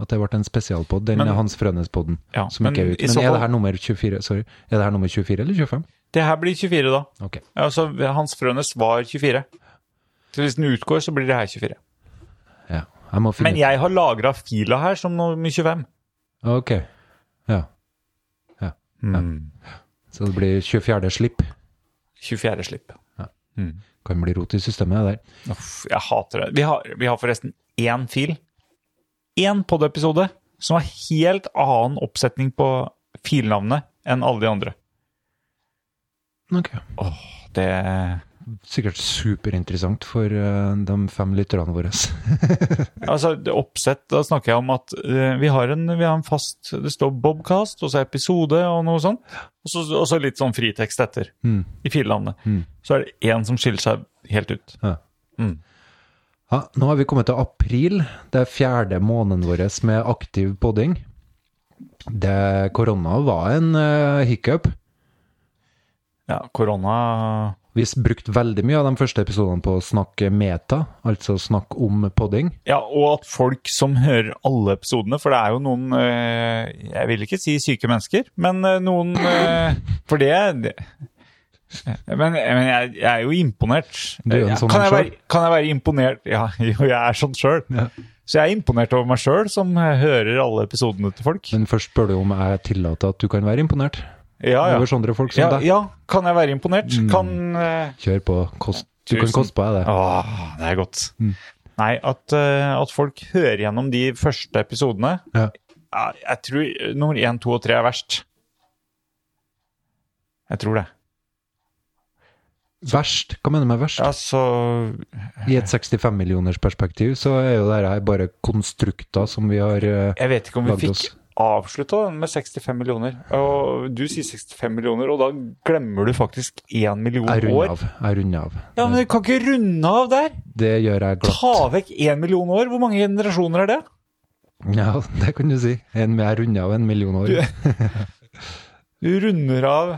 S5: At det ble en spesialpod. Den
S4: Mm. Men-
S5: er Hans Frønnes-podden
S4: Ja,
S5: som ikke er
S4: men i
S5: ute.
S4: så
S5: Men er
S4: fall-
S5: det her nummer 24? Sorry. Er det her nummer 24 eller 25?
S4: Det her blir 24, da.
S5: Ok.
S4: Altså, Hans Frønes var 24. Så hvis den utgår, så blir det her 24.
S5: Ja. Jeg må finne
S4: Men jeg har lagra fila her som nummer 25.
S5: Ah, Ok. Ja. Så det blir 24. slipp.
S4: 24. slipp.
S5: Kan bli rot i systemet det der.
S4: Uff, jeg hater det. Vi har, vi har forresten én fil. Én podiepisode som har helt annen oppsetning på filnavnet enn alle de andre.
S5: Ok.
S4: Det
S5: Sikkert superinteressant for eh, de fem lytterne våre.
S4: Altså, det oppsett Da snakker jeg om at eh, vi, har en, vi har en fast Det står Bobcast, og så episode og noe sånt. Og så, og så litt sånn fritekst etter.
S5: Mm.
S4: I filnavnet.
S5: Mm.
S4: Så er det én som skiller seg helt ut.
S5: Ja, nå har vi kommet til april. Det er fjerde måneden vår med aktiv podding. Det, korona var en eh, hiccup.
S4: Ja, korona
S5: Vi brukte veldig mye av de første episodene på å snakke meta, altså snakke om podding.
S4: Ja, og at folk som hører alle episodene, for det er jo noen eh, Jeg vil ikke si syke mennesker, men eh, noen eh, For det, det eh, men, men jeg, jeg er jo imponert.
S5: Du er jo en sånn
S4: kan, jeg
S5: selv.
S4: være, kan jeg være imponert Ja, jo, jeg er sånn sjøl.
S5: Ja.
S4: Så jeg er imponert over meg sjøl, som eh, hører alle episodene til folk.
S5: Men først spør du om jeg tillater at du kan være imponert
S4: Ja, Ah, ja.
S5: over sånne folk som
S4: ja,
S5: deg.
S4: ja kan jeg være imponert?
S5: Mm.
S4: Kan eh,
S5: Kjør på. Kost. Du
S4: Tusen.
S5: kan koste på deg det.
S4: Åh, det er godt.
S5: Mm.
S4: Nei, at, eh, at folk hører gjennom de første episodene
S5: Ja.
S4: ja, Jeg tror eh, nummer én, to og tre er verst. Jeg tror det.
S5: Verst? Hva mener du med verst?
S4: Altså
S5: I et 65 millioners perspektiv så er jo dette her bare konstrukter som vi har eh,
S4: Jeg vet ikke om
S5: Lagde
S4: vi fikk
S5: oss.
S4: avslutta den med 65 millioner. Og du sier 65 millioner, og da glemmer du faktisk 1 million
S5: Jeg runder
S4: år.
S5: av. Jeg runder av. Eh,
S4: Ja, men du kan ikke runde av der!
S5: Det gjør jeg
S4: Ta
S5: glatt.
S4: vekk 1 million år! Hvor mange generasjoner er det?
S5: Ja, det kan du si. En, jeg runder av en million år.
S4: Du- Du runder av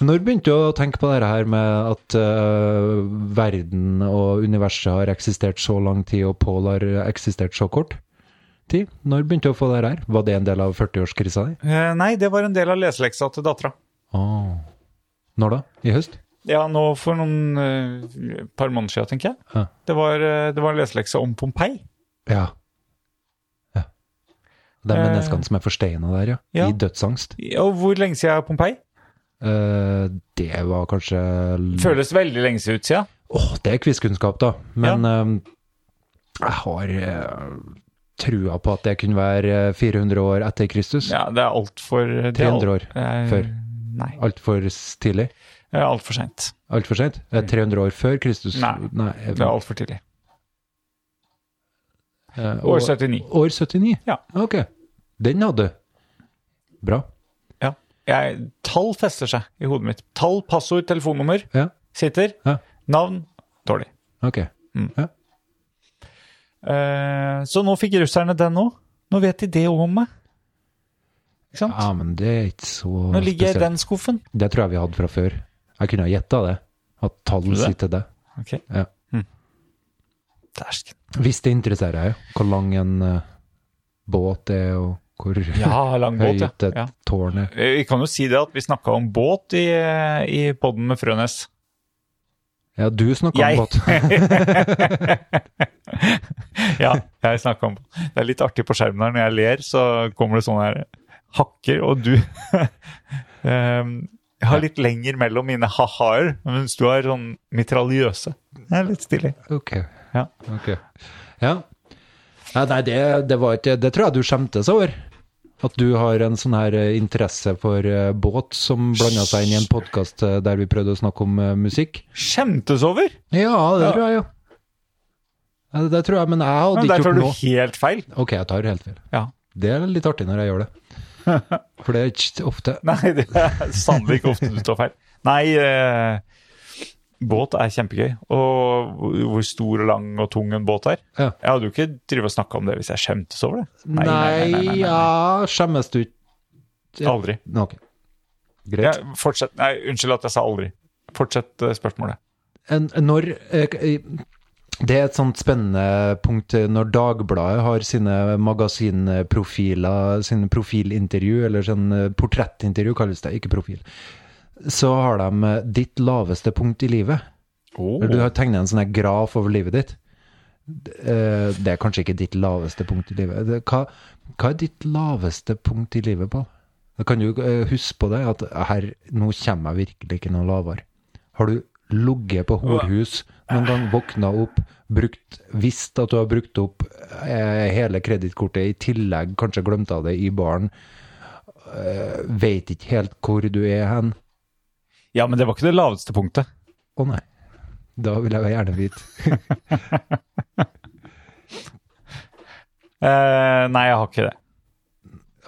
S5: Når begynte du å tenke på dette her med at eh, verden og universet har eksistert så lang tid, og Pål har eksistert så kort tid? Når begynte du å få dette her? Var det en del av 40-årskrisa di?
S4: Eh, Nei, det var en del av leseleksa til dattera.
S5: Åh. Når da? I høst?
S4: Ja, nå for noen eh, par måneder siden, tenker jeg.
S5: Ja.
S4: Det var, eh, det var en leselekse om Pompeii.
S5: Ja. ja. Det er
S4: Eh.
S5: menneskene som er forsteina der, ja.
S4: Ja.
S5: I dødsangst.
S4: Og hvor lenge siden er Pompeii?
S5: Eh, det var kanskje Åh,
S4: Føles veldig lenge siden ut siden.
S5: det er quizkunnskap, da. Men eh, jeg har eh, trua på at det kunne være eh, 400 år etter Kristus.
S4: Ja, det er altfor
S5: 300 år før.
S4: Nei,
S5: Altfor s- tidlig?
S4: det er altfor seint.
S5: Altfor seint? Eh, 300 år før Kristus?
S4: Mm. Nei.
S5: eh,
S4: Det er altfor tidlig.
S5: eh,
S4: År
S5: og-
S4: 79.
S5: År 79?
S4: Ja.
S5: Ok. Den hadde Bra.
S4: Ja. Jeg, tall fester seg i hodet mitt. Tall, passord, telefonnummer
S5: Ja,
S4: sitter.
S5: Ja.
S4: Navn dårlig.
S5: ok.
S4: Eh, så nå fikk russerne den nå. Nå vet de det òg om meg. Ikke sant?
S5: Ja, men det er ikke så
S4: nå ligger jeg i
S5: Ah, spesielt.
S4: den skuffen.
S5: Det tror jeg vi hadde fra før. Jeg kunne ha gjetta det. At tall
S4: du det?
S5: sitter det.
S4: Ok.
S5: Ja.
S4: Mm. Dæsken.
S5: Hvis det interesserer deg, jo. hvor lang en eh, båt er, og hvor
S4: Ja, lang båt,
S5: høyt
S4: ja.
S5: et
S4: ja.
S5: tårn er.
S4: Vi kan jo si det at vi snakka om båt i, i podden med Frønes.
S5: Ja, du snakker
S4: Jeg.
S5: om båt.
S4: Ja, jeg snakket om båt. Det er litt artig på skjermen her når jeg ler, så kommer det sånne her hakker, og du Ehm, Jeg har litt lenger mellom mine ha-ha-er, mens du har sånn mitraljøse. Det er litt stilig.
S5: Ok.
S4: Ja.
S5: Ok. Ja. Ja, nei, det, det var ikke Det tror jeg du skjemtes over. At du har en sånn her eh, interesse for eh, båt som blanda seg inn i en podkast der vi prøvde å snakke om eh, musikk.
S4: Skjemtes over!
S5: Ja, det
S4: Ja.
S5: tror jeg jo. Ja, det, det tror jeg, men jeg hadde
S4: Men der
S5: ikke
S4: tar
S5: gjort
S4: du
S5: noe.
S4: helt feil.
S5: Ok, jeg tar helt feil.
S4: Ja.
S5: Det er litt artig når jeg gjør det. For det er ikke ofte.
S4: Nei, det er sannelig ikke ofte du tar feil. Nei, eh, båt er kjempegøy. Og hvor- hvor stor og lang og tung en båt er.
S5: Ja.
S4: Jeg hadde jo ikke drivet og snakka om det hvis jeg skjemtes over det.
S5: Nei, ja Skjemmes du ikke? ja.
S4: Aldri.
S5: Ok.
S4: Ja,
S5: Greit.
S4: fortsett. Nei, unnskyld at jeg sa aldri. Fortsett eh, spørsmålet.
S5: en, når eh, eh, Det er et sånt spennende punkt eh, når Dagbladet har sine magasinprofiler, sine profilintervju, eller sånn eh, portrettintervju kalles det, ikke profil. Så har de eh, 'ditt laveste punkt i livet'.
S4: Oh.
S5: Eller Du har tegnet en sånn her graf over livet ditt. D- eh, Det er kanskje ikke ditt laveste punkt i livet. Det- Hva, hva er ditt laveste punkt i livet, Pål? Da kan du eh, huske på det, at her, nå kommer jeg virkelig ikke noe lavere. Har du ligget på horhus noen gang, våkna opp, brukt, visst at du har brukt opp eh, hele kredittkortet, i tillegg kanskje glemt av det i baren, eh, vet ikke helt hvor du er hen?
S4: Ja, men det var ikke det laveste punktet.
S5: Å nei. Da vil jeg gjerne vite.
S4: Eh, nei, jeg har ikke det.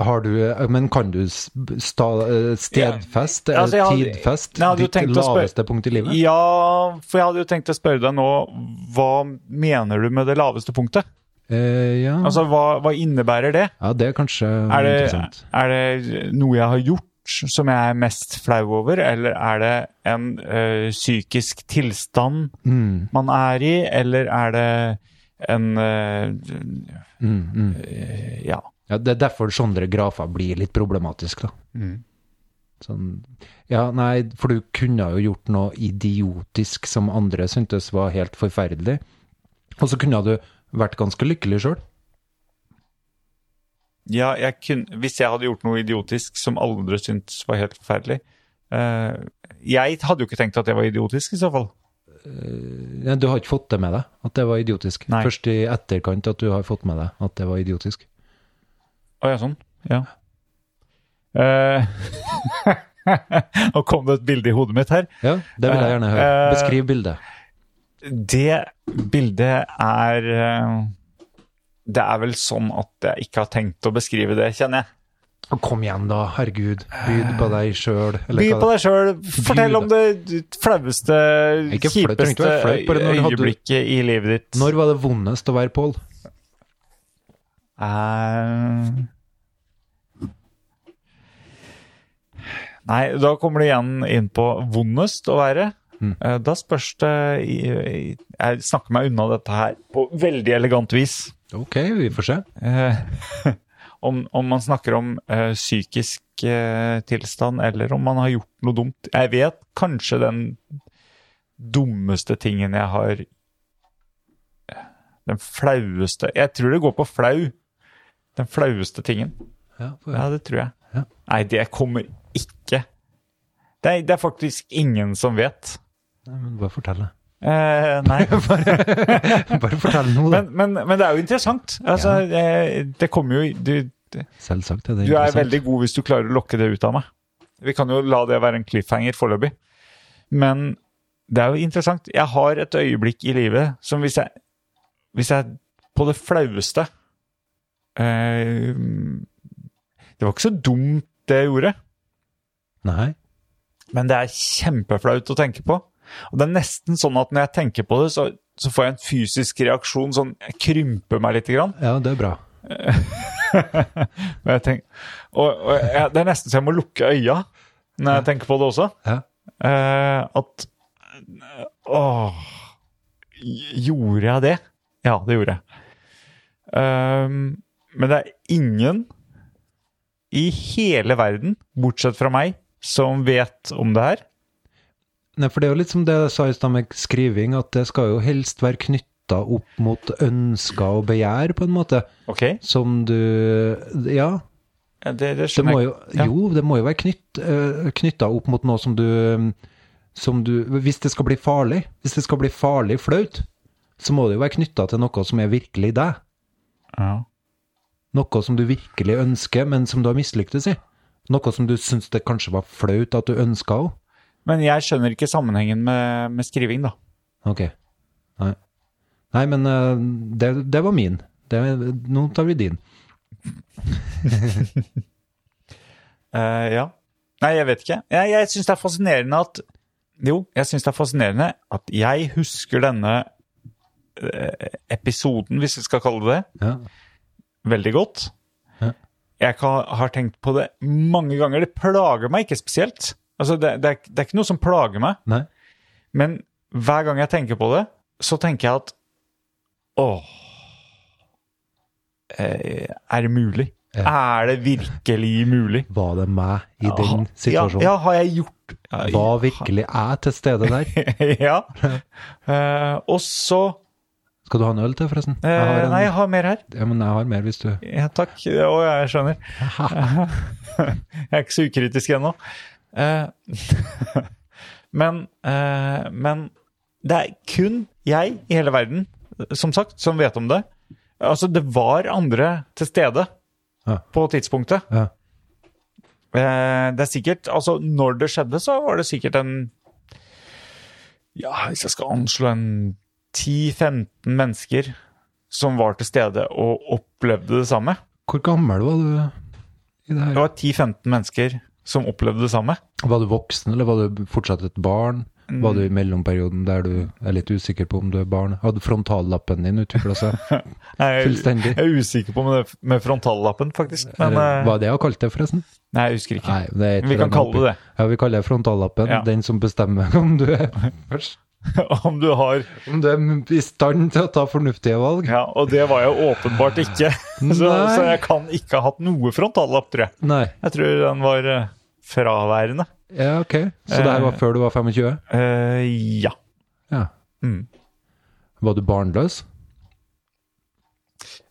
S5: Har du, men kan du s- sta, eh, stedfest,
S4: Ja, altså, jeg hadde-
S5: eller tidfest,
S4: Nei, jeg hadde jo tenkt
S5: ditt
S4: å spørre-
S5: laveste punkt i livet?
S4: Ja, for jeg hadde jo tenkt å spørre deg nå Hva mener du med det laveste punktet?
S5: Eh, ja.
S4: Altså, hva, hva innebærer det?
S5: ja, det er kanskje
S4: Er det,
S5: interessant.
S4: er det noe jeg har gjort som jeg er mest flau over, eller er det en ø, psykisk tilstand
S5: Mm,
S4: man er i, eller er det en ø,
S5: mm, mm.
S4: Ja.
S5: ja, det er derfor sånne grafer blir litt problematisk, da.
S4: Mm.
S5: Sånn, ja, nei, for du kunne jo gjort noe idiotisk som andre syntes var helt forferdelig, og så kunne du vært ganske lykkelig sjøl.
S4: ja jeg kunne, hvis jeg hadde gjort noe idiotisk som alle andre syntes var helt forferdelig ø, Jeg hadde jo ikke tenkt at jeg var idiotisk, i så fall.
S5: Ja, Du har ikke fått det med deg, at det var idiotisk.
S4: Nei.
S5: Først i etterkant at du har fått med deg at det var idiotisk.
S4: Å ja, sånn. Ja. Eh, Nå kom det et bilde i hodet mitt her.
S5: Ja, det vil jeg gjerne høre.
S4: Eh,
S5: Beskriv bildet.
S4: Det bildet er eh, Det er vel sånn at jeg ikke har tenkt å beskrive det, kjenner jeg.
S5: Kom igjen, da. Herregud. Byd på deg sjøl.
S4: By på deg sjøl. Fortell om det flaueste,
S5: Ikke flaut, det trenger ikke
S4: kjipeste
S5: være flaut, bare når hadde du-
S4: øyeblikket i livet ditt.
S5: Når var det vondest å være Pål?
S4: Eh, Nei, da kommer det igjen inn på vondest å være.
S5: Mm.
S4: Eh, Da spørs det i- i- Jeg snakker meg unna dette her på veldig elegant vis.
S5: Ok, vi får se.
S4: Eh, Om, om man snakker om eh, psykisk eh, tilstand, eller om man har gjort noe dumt. Jeg vet kanskje den dummeste tingen jeg har Den flaueste Jeg tror det går på flau. Den flaueste tingen.
S5: Ja, får-
S4: Ja, det tror jeg.
S5: Ja.
S4: Nei, det kommer ikke. Det er, det er faktisk ingen som vet.
S5: Nei, men bare fortell det.
S4: Eh, nei.
S5: Bare fortell noe, da.
S4: Men, men, men det er jo interessant. Altså, eh, det kommer jo du,
S5: Selvsagt er det
S4: du er
S5: interessant.
S4: veldig god hvis du klarer å lokke det ut av meg. Vi kan jo la det være en cliffhanger foreløpig. Men det er jo interessant. Jeg har et øyeblikk i livet som hvis jeg, hvis jeg på det flaueste eh, Det var ikke så dumt, det jeg gjorde.
S5: Nei.
S4: Men det er kjempeflaut å tenke på. Og det er nesten sånn at når jeg tenker på det, så, så får jeg en fysisk reaksjon. Sånn, jeg krymper meg litt. Grann.
S5: Ja, det er bra.
S4: Og, jeg tenk- og, og jeg, det er nesten så jeg må lukke øya når jeg tenker på det også.
S5: Ja.
S4: Eh, at Åh Gjorde jeg det? Ja, det gjorde jeg. Ehm, men det er ingen i hele verden, bortsett fra meg, som vet om det her.
S5: Nei, for det er jo litt som det jeg sa i stad med skriving, at det skal jo helst være knytta opp mot ønsker og begjær, på en måte,
S4: Ok?
S5: som du Ja,
S4: Ja, Det, det
S5: det
S4: skjønner
S5: må
S4: jeg.
S5: jo
S4: Ja.
S5: Jo, det må jo være knytt, knytta opp mot noe som du Som du Hvis det skal bli farlig, hvis det skal bli farlig flaut, så må det jo være knytta til noe som er virkelig deg.
S4: Ja.
S5: Noe som du virkelig ønsker, men som du har mislyktes i. Noe som du syns det kanskje var flaut at du ønska òg.
S4: Men jeg skjønner ikke sammenhengen med, med skriving, da.
S5: Ok. Nei. Nei, men eh, det, det var min. Det, nå tar vi din.
S4: Eh, ja. Nei, jeg vet ikke. Jeg, jeg syns det er fascinerende at Jo, jeg syns det er fascinerende at jeg husker denne eh, episoden, hvis vi skal kalle det det,
S5: Ja.
S4: veldig godt.
S5: Ja.
S4: Jeg kan, har tenkt på det mange ganger. Det plager meg ikke spesielt. Altså, det, det, er, det er ikke noe som plager meg.
S5: Nei.
S4: Men hver gang jeg tenker på det, så tenker jeg at åh eh, Er det mulig? Er det virkelig mulig?
S5: Var det meg i den
S4: Ja,
S5: situasjonen?
S4: ja, har jeg gjort ja,
S5: Var virkelig jeg til stede der?
S4: ja. Eh, og så
S5: Skal du ha en øl til, forresten?
S4: eh,
S5: Jeg har en,
S4: Nei, jeg har mer her.
S5: Ja, men jeg har mer hvis du
S4: Ja, takk. Å, jeg skjønner. jeg er ikke så ukritisk ennå. Eh, men, eh, men det er kun jeg i hele verden, som sagt, som vet om det. Altså, det var andre til stede
S5: Ja.
S4: på tidspunktet.
S5: Ja.
S4: Eh, det er sikkert Altså, når det skjedde, så var det sikkert en Ja, hvis jeg skal anslå en 10-15 mennesker som var til stede og opplevde det samme.
S5: Hvor gammel var du i det
S4: Det
S5: her?
S4: var 10-15 mennesker som opplevde det samme.
S5: Var du voksen, eller var du fortsatt et barn? Var du i mellomperioden der du er litt usikker på om du er barn? Hadde frontallappen din utvikla seg?
S4: Jeg,
S5: Fullstendig.
S4: Jeg er usikker på med, med frontallappen, faktisk. Men
S5: Eller
S4: eh,
S5: Var det jeg har kalt det, forresten?
S4: Nei, jeg husker ikke.
S5: Nei, det er et
S4: Vi kan
S5: eller annet
S4: kalle det det.
S5: Ja, vi kaller det frontallappen.
S4: Ja.
S5: Den som bestemmer om du, er,
S4: Om du har
S5: om du er i stand til å ta fornuftige valg.
S4: Ja, og det var jeg åpenbart ikke. Så,
S5: Nei.
S4: så jeg kan ikke ha hatt noe frontallapp, tror jeg.
S5: Nei.
S4: Jeg tror den var eh, fraværende.
S5: Ja, ok. Så det her var før du var 25?
S4: Eh, ja.
S5: Ja.
S4: Mm.
S5: Var du barnløs?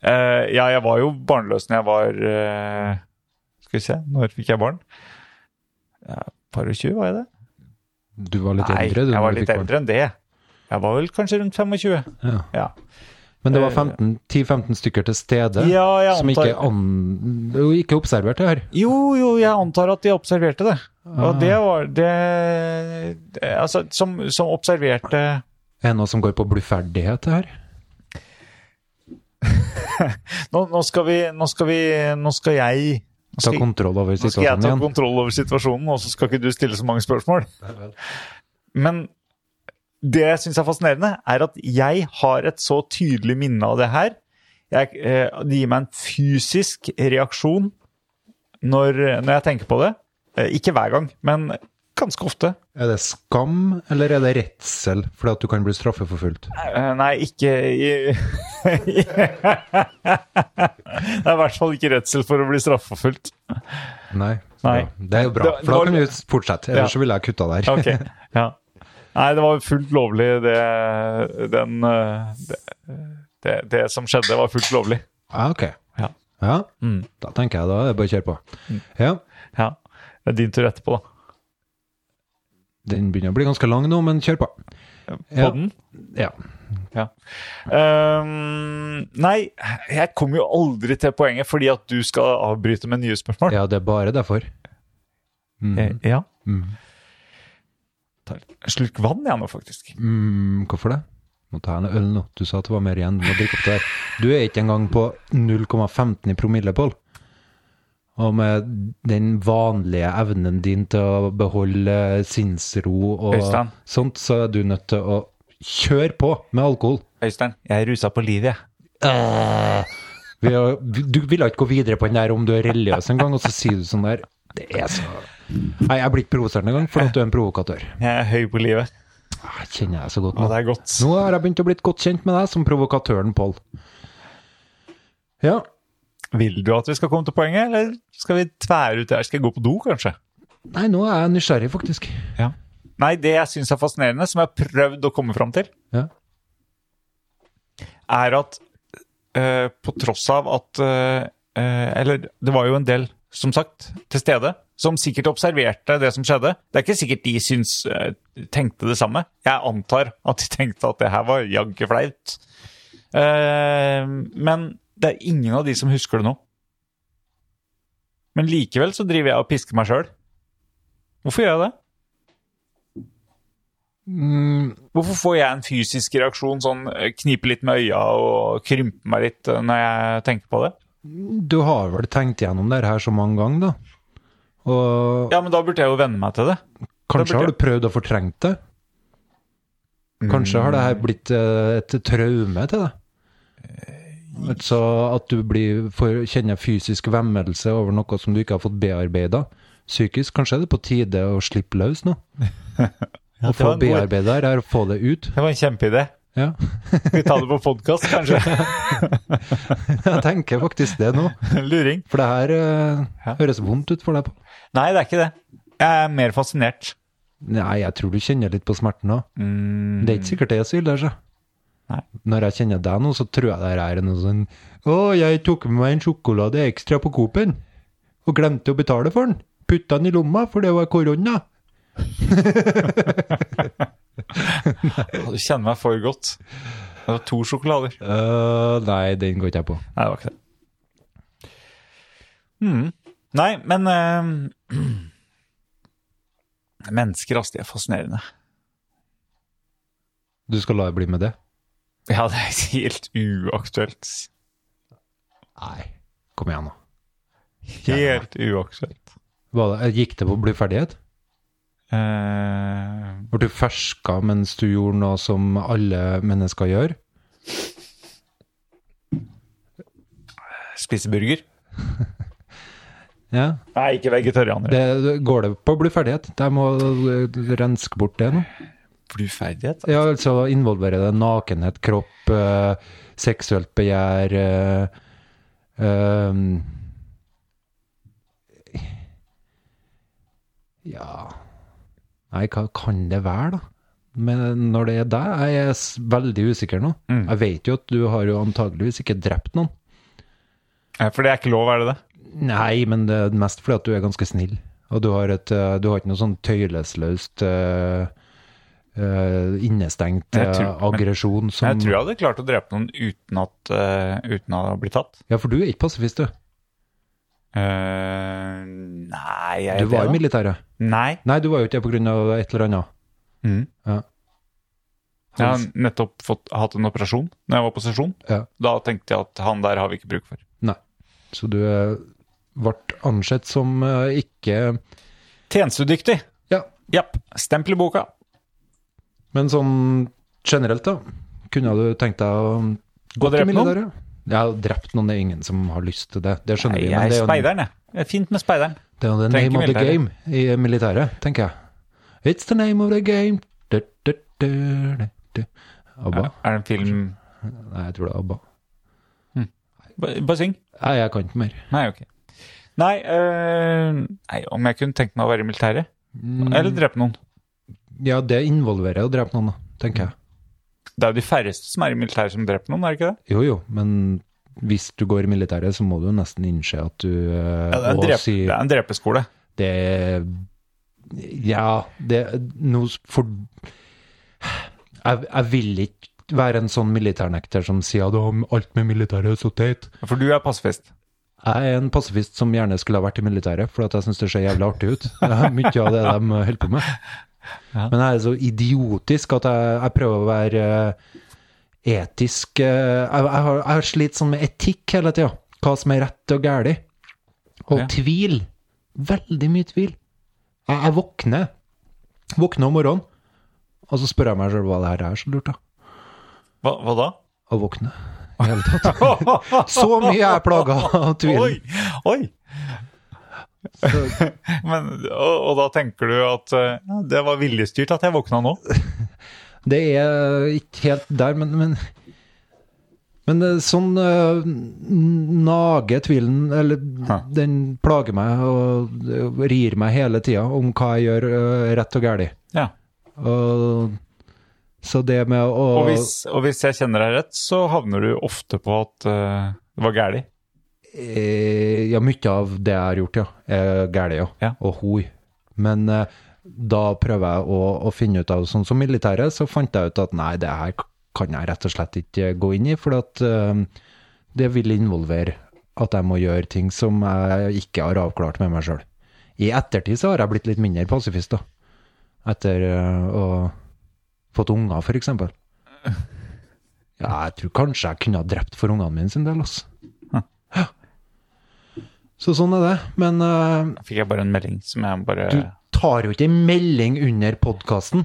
S4: Eh, ja, jeg var jo barnløs når jeg var eh, Skal vi se, når fikk jeg barn? Ja, Par og tjue, var jeg det?
S5: Du var litt
S4: Nei,
S5: eldre? du,
S4: jeg
S5: når
S4: var
S5: du
S4: litt
S5: fikk barn.
S4: eldre enn det. Jeg var vel kanskje rundt 25.
S5: Ja.
S4: Ja.
S5: Men det var 15 10-15 stykker til stede
S4: Eh. Ja, jeg
S5: som
S4: antar-
S5: ikke, an, det er jo ikke observerte her.
S4: Jo, jo, jeg antar at de observerte det. Og
S5: Ah.
S4: det var det, det Altså, som, som observerte
S5: Er det noe som går på bluferdighet det her?
S4: nå, nå skal vi Nå skal vi Nå skal jeg nå
S5: Ta
S4: skal,
S5: kontroll over
S4: nå skal jeg
S5: situasjonen
S4: ta
S5: igjen?
S4: kontroll over situasjonen, og så skal ikke du stille så mange spørsmål. Men det jeg syns er fascinerende, er at jeg har et så tydelig minne av det her. Jeg, eh, det gir meg en fysisk reaksjon når, når jeg tenker på det. Eh, Ikke hver gang, men ganske ofte.
S5: Er det skam, eller er det redsel fordi at du kan bli straffeforfulgt?
S4: Eh, Nei, ikke i Det er i hvert fall ikke redsel for å bli straffeforfulgt.
S5: Nei.
S4: Nei.
S5: Ja, det er jo bra,
S4: Det-
S5: for da
S4: det var-
S5: kan vi fortsette.
S4: Ja.
S5: Ellers så ville jeg kutta der.
S4: Ok, ja. Nei, det var fullt lovlig, det, den, eh, det, det, det som skjedde, var fullt lovlig.
S5: Ja, ok.
S4: Ja.
S5: Ja,
S4: Mm.
S5: Da tenker jeg da er det bare å kjøre på. Ja,
S4: ja. Det er din tur etterpå, da.
S5: Den begynner å bli ganske lang nå, men kjør på. Ja.
S4: Podden?
S5: Ja.
S4: Ja. Ehm, nei, jeg kom jo aldri til poenget fordi at du skal avbryte med nye spørsmål.
S5: ja, det er bare derfor.
S4: Eh, ja.
S5: Mm.
S4: Tar en slurk vann jeg nå, faktisk.
S5: Mm, hvorfor det? Må ta en øl nå. Du sa at det var mer igjen. Du må drikke opp det her. Du er ikke engang på 0,15 i promille, Pål. Og med den vanlige evnen din til å beholde sinnsro og
S4: Øystein.
S5: sånt, så er du nødt til å kjøre på med alkohol.
S4: Øystein, jeg er rusa på livet, jeg.
S5: Vi har, du vil ikke gå videre på den der om du er religiøs engang, og så sier du sånn der Det er så Nei, jeg blir ikke provosert engang, for at du er en provokatør.
S4: Jeg er høy på livet.
S5: Ah, Kjenner jeg så godt nå.
S4: Og det er godt.
S5: Nå har jeg begynt å bli godt kjent med deg som provokatøren Pål. Ja.
S4: Vil du at vi skal komme til poenget, eller skal vi tvære ut det her? Skal jeg gå på do, kanskje?
S5: Nei, nå er jeg nysgjerrig, faktisk.
S4: Ja. Nei, det jeg syns er fascinerende, som jeg har prøvd å komme fram til,
S5: Ja.
S4: er at eh, på tross av at eh, eh, Eller det var jo en del, som sagt, til stede, som sikkert observerte det som skjedde. Det er ikke sikkert de syns eh, tenkte det samme. Jeg antar at de tenkte at det her var jaggu flaut. Eh, men det er ingen av de som husker det nå. Men likevel så driver jeg og pisker meg sjøl. Hvorfor gjør jeg det?
S5: Mm,
S4: Hvorfor får jeg en fysisk reaksjon, sånn eh, knipe litt med øya og krympe meg litt eh, når jeg tenker på det?
S5: du har vel tenkt gjennom det her så mange ganger, da? Og
S4: Ja, men da burde jeg jo venne meg til det.
S5: kanskje
S4: burde
S5: har du prøvd å fortrenge det? Kanskje har det her
S4: Mm.
S5: blitt eh, et traume til deg?
S4: Eh,
S5: Altså at du blir, får, kjenner fysisk vemmelse over noe som du ikke har fått bearbeida. Psykisk kanskje er det på tide å slippe løs nå? Å
S4: det var en
S5: få
S4: god-
S5: bearbeida det her og få det ut.
S4: Det var en kjempeidé.
S5: Ja,
S4: Skal vi ta det på podkast, kanskje?
S5: jeg tenker faktisk det nå.
S4: Luring.
S5: For det her eh,
S4: Ja.
S5: høres vondt ut for deg. Pål.
S4: Nei, det er ikke det. Jeg er mer fascinert.
S5: Nei, jeg tror du kjenner litt på smerten òg.
S4: Mm,
S5: Det er ikke sikkert det er så ille. Altså.
S4: Nei.
S5: Når jeg kjenner deg nå, så tror jeg det her er noe sånn Å, jeg tok med meg en sjokolade ekstra på Coop-en, og glemte å betale for den. Putta den i lomma, for det var korona.
S4: Du kjenner meg for godt. Det var to sjokolader. Nei,
S5: Øh, nei, den går ikke jeg på.
S4: det var ikke det. Mm. Nei, men eh, Mennesker, altså. De er fascinerende.
S5: Du skal la det bli med det?
S4: Ja, det er helt uaktuelt.
S5: Nei. Kom igjen, nå.
S4: Helt uaktuelt.
S5: Var det, gikk det på å bli ferdighet?
S4: Eh,
S5: Ble du ferska mens du gjorde noe som alle mennesker gjør?
S4: spise burger?
S5: Ja.
S4: Nei, ikke vegetarianer.
S5: Det, går det på å bli ferdighet? Jeg må eh, renske bort det nå.
S4: Bluferdighet?
S5: Ja, altså involverer det nakenhet, kropp, eh, seksuelt begjær eh, ehm. Ja Nei, hva kan det være, da? Men når det er deg, jeg er s- veldig usikker nå. Jeg vet jo at du har jo antageligvis ikke drept noen.
S4: Ja, For det er ikke lov, er det det?
S5: Nei, men det er mest fordi at du er ganske snill. Og du har, et, eh, du har ikke noe sånn tøylesløst eh, eh, innestengt
S4: Jeg
S5: eh,
S4: tror- men-
S5: aggresjon som
S4: Men jeg tror jeg hadde klart å drepe noen uten, at, eh, uten å bli tatt.
S5: Ja, for du er ikke pasifist, du.
S4: Eh, nei, jeg er
S5: Du var i
S4: det, da.
S5: militæret.
S4: Nei.
S5: Nei, du var jo ikke det pga. et eller annet.
S4: Mm.
S5: Ja.
S4: Jeg har nettopp fått, hatt en operasjon når jeg var på sesjon.
S5: Ja.
S4: Da tenkte jeg at han der har vi ikke bruk for.
S5: Nei. Så du eh, ble ansett som eh, ikke
S4: Tjenestedyktig!
S5: Ja.
S4: Japp. Stempel i boka.
S5: Men sånn generelt, da. Kunne du tenkt deg å
S4: Gå og
S5: til
S4: drepe noen?
S5: militæret? Ja, drept noen det er ingen som har lyst til det. Det skjønner
S4: Nei,
S5: vi.
S4: jeg er
S5: det er jo en-
S4: speideren, jeg. Det er fint med speideren.
S5: Det er jo the
S4: Trenger
S5: name of the
S4: ikke
S5: game i militæret, tenker jeg. It's the name of the game. Du, du, du, du, du. Abba?
S4: Er det en film
S5: Nei, jeg tror det er Abba.
S4: Ba- Bare syng.
S5: Nei, jeg kan ikke mer.
S4: Nei, ok. Nei, eh, nei, om jeg kunne tenkt meg å være i militæret?
S5: Mm.
S4: Eller drepe noen?
S5: Ja, det involverer å drepe noen, da, tenker jeg.
S4: Mm. Det er jo de færreste som er i militæret som dreper noen, er det ikke det?
S5: Jo jo, men hvis du går i militæret, så må du jo nesten innse at du eh,
S4: Ja, det, er en
S5: og
S4: drep,
S5: si-
S4: det er en drepeskole.
S5: det Ja, det Noe s- for jeg, jeg vil ikke være en sånn militærnekter som sier at «Å, alt med militæret er så teit.
S4: For du er pasifist.
S5: Jeg er en pasifist som gjerne skulle ha vært i militæret, for at jeg syns det ser jævlig artig ut. Det er mye av det de holder på med. Men jeg er så idiotisk at jeg, jeg prøver å være eh, etisk eh, Jeg, jeg, har, jeg har slitt sånn med etikk hele tida. Hva som er rett og galt. Og
S4: Ja.
S5: tvil. Veldig mye tvil. Jeg, jeg våkner Våkner om morgenen, og så spør jeg meg sjøl hva det her er så lurt, da.
S4: Hva, hva da?
S5: Å våkne. I hele tatt. Så mye jeg er plaga av tvilen.
S4: Oi! Oi! Men, og, og da tenker du at eh, ja, det var viljestyrt at jeg våkna nå?
S5: Det er ikke helt der, men Men, men eh, sånn eh, n- nager tvilen, eller
S4: Ja.
S5: den plager meg og eh, rir meg hele tida om hva jeg gjør eh, rett og galt.
S4: Ja.
S5: Og- Så det med å
S4: Og hvis, og hvis jeg kjenner deg rett, så havner du ofte på at eh, det var gæli.
S5: Eh, Ja, mye av det jeg har gjort, ja, er galt, ja.
S4: Ja.
S5: Og hoi. Men eh, da prøver jeg å, å finne ut av Sånn som militæret, så fant jeg ut at nei, det her kan jeg rett og slett ikke gå inn i, for at eh, det vil involvere at jeg må gjøre ting som jeg ikke har avklart med meg sjøl. I ettertid så har jeg blitt litt mindre pasifist, da. Etter eh, å fått unger, for eksempel. Ja, jeg tror kanskje jeg kunne ha drept for ungene mine sin del, altså. Så sånn er det. Men eh,
S4: Da fikk jeg bare en melding som jeg bare
S5: du tar jo ikke en melding under podkasten.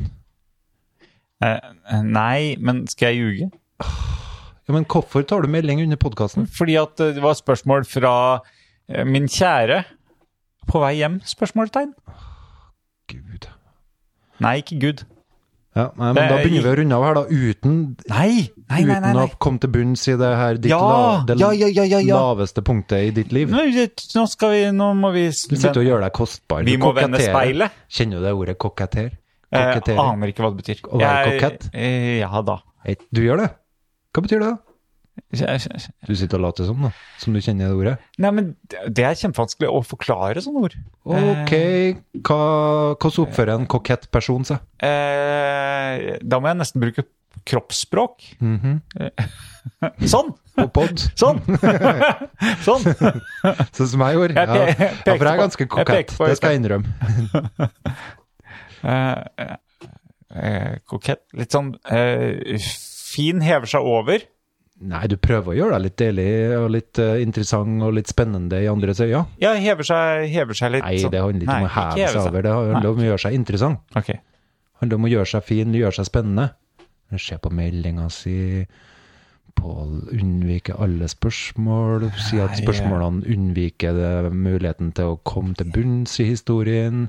S4: Eh, Nei, men skal jeg ljuge?
S5: Ja, men hvorfor tar du melding under podkasten?
S4: Fordi at eh, det var spørsmål fra eh, min kjære på vei hjem? Spørsmålstegn?
S5: Gud.
S4: Nei, ikke Gud.
S5: Ja, nei, men
S4: Det
S5: da
S4: er-
S5: begynner vi å runde av her, da. Uten,
S4: Nei! Nei, nei, nei.
S5: uten
S4: nei.
S5: å komme til bunns i det her ditt
S4: Ja,
S5: la, det
S4: ja, ja, ja, ja, ja.
S5: laveste punktet i ditt liv.
S4: Nå, nå skal vi Nå må vi
S5: Du sitter og gjør deg kostbar.
S4: Vi
S5: Du
S4: må vende
S5: koketterer.
S4: speilet.
S5: Kjenner du det ordet kokettere?
S4: Eh,
S5: Kokettere.
S4: aner ikke hva det betyr.
S5: Å være
S4: Jeg-
S5: kokett?
S4: eh, ja da.
S5: Du gjør det? Hva betyr det?
S4: Jeg- jeg- jeg-
S5: Du sitter og later som, da. Som du kjenner det ordet.
S4: Nei, men det det er kjempevanskelig å forklare sånne ord. Eh.
S5: Ok, hva, hvordan oppfører en kokett person seg?
S4: Eh, da må jeg nesten bruke kroppsspråk.
S5: Mhm.
S4: Sånn!
S5: På pod?
S4: Sånn! sånn!
S5: Sånn som jeg gjorde?
S4: Jeg
S5: Ja.
S4: pe-
S5: ja,
S4: jeg
S5: for jeg er
S4: pekte
S5: ganske
S4: på- jeg
S5: kokett,
S4: pekte på-
S5: det skal jeg innrømme.
S4: Eh, eh, eh, kokett Litt sånn eh, Fin hever seg over.
S5: Nei, du prøver å gjøre deg litt deilig og litt eh, interessant og litt spennende i andres øyne.
S4: Ja, hever seg, hever seg litt.
S5: Nei,
S4: sånn.
S5: det handler ikke
S4: Nei,
S5: om å heve
S4: heve
S5: seg over, det handler om å gjøre seg interessant.
S4: Ok.
S5: Det handler om å gjøre seg fin, gjøre seg spennende. Se på meldinga si, Pål unnviker alle spørsmål, si at spørsmålene unnviker det, muligheten til å komme til bunns i historien.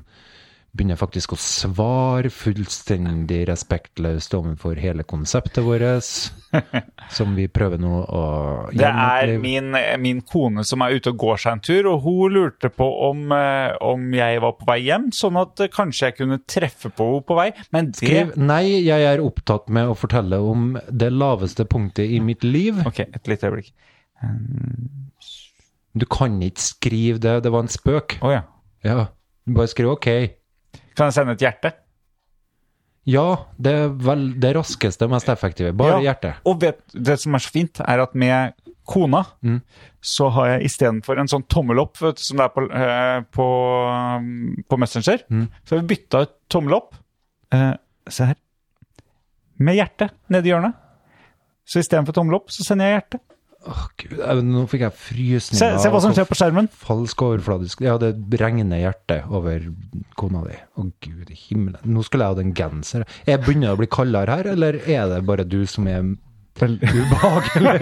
S5: Begynner faktisk å svare fullstendig respektløst overfor hele konseptet vårt, som vi prøver nå å
S4: Det er
S5: gjenopplive.
S4: min, eh, min kone som er ute og går seg en tur, og hun lurte på om, eh, om jeg var på vei hjem, sånn at eh, kanskje jeg kunne treffe på henne på vei. Men det
S5: Skriv 'Nei, jeg er opptatt med å fortelle om det laveste punktet i mitt liv'.
S4: Ok, et lite øyeblikk.
S5: Du kan ikke skrive det, det var en spøk.
S4: Å ja.
S5: Ja, bare skriv ok.
S4: Kan jeg sende et hjerte?
S5: Ja, det er vel det raskeste, mest effektive. Bare
S4: Ja,
S5: hjertet.
S4: Og vet, det som er så fint, er at med kona så har jeg istedenfor en sånn tommel opp vet, du, som det er på, eh, på, um, på Messenger, så har vi bytta ut tommel opp eh, Se her. Med hjertet nedi hjørnet. Så istedenfor tommel opp, så sender jeg hjerte.
S5: Åh, Gud, eh, nå fikk jeg frysninger.
S4: Se, se hva som skjer på skjermen.
S5: Falsk overfladisk Ja, det regner hjertet over kona di. Å, gud i himmelen. Nå skulle jeg hatt en genser. Er jeg begynner å bli kaldere her, eller er det bare du som er ubehagelig?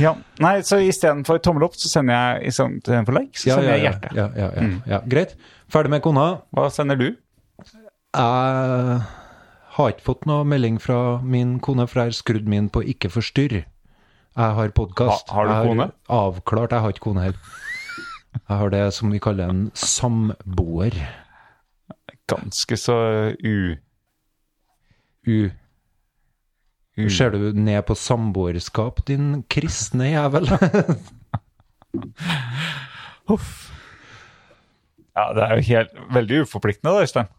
S4: Ja. Nei, så istedenfor tommel opp, så sender jeg istedenfor like, så
S5: Ja,
S4: sender
S5: ja,
S4: jeg
S5: ja,
S4: hjerte. Mm.
S5: ja, ja, ja, ja. Greit. Ferdig med kona.
S4: Hva sender du?
S5: Jeg har ikke fått noe melding fra min kone, for jeg har skrudd min på ikke forstyrr. Jeg har podkast.
S4: Ha- har du kone?
S5: Avklart, jeg har ikke kone helt. Jeg har det som vi kaller en samboer.
S4: Ganske så u...
S5: U.
S4: u
S5: Ser du ned på samboerskap, din kristne jævel?
S4: Huff. Ja, det er jo helt, veldig uforpliktende, da, Øystein.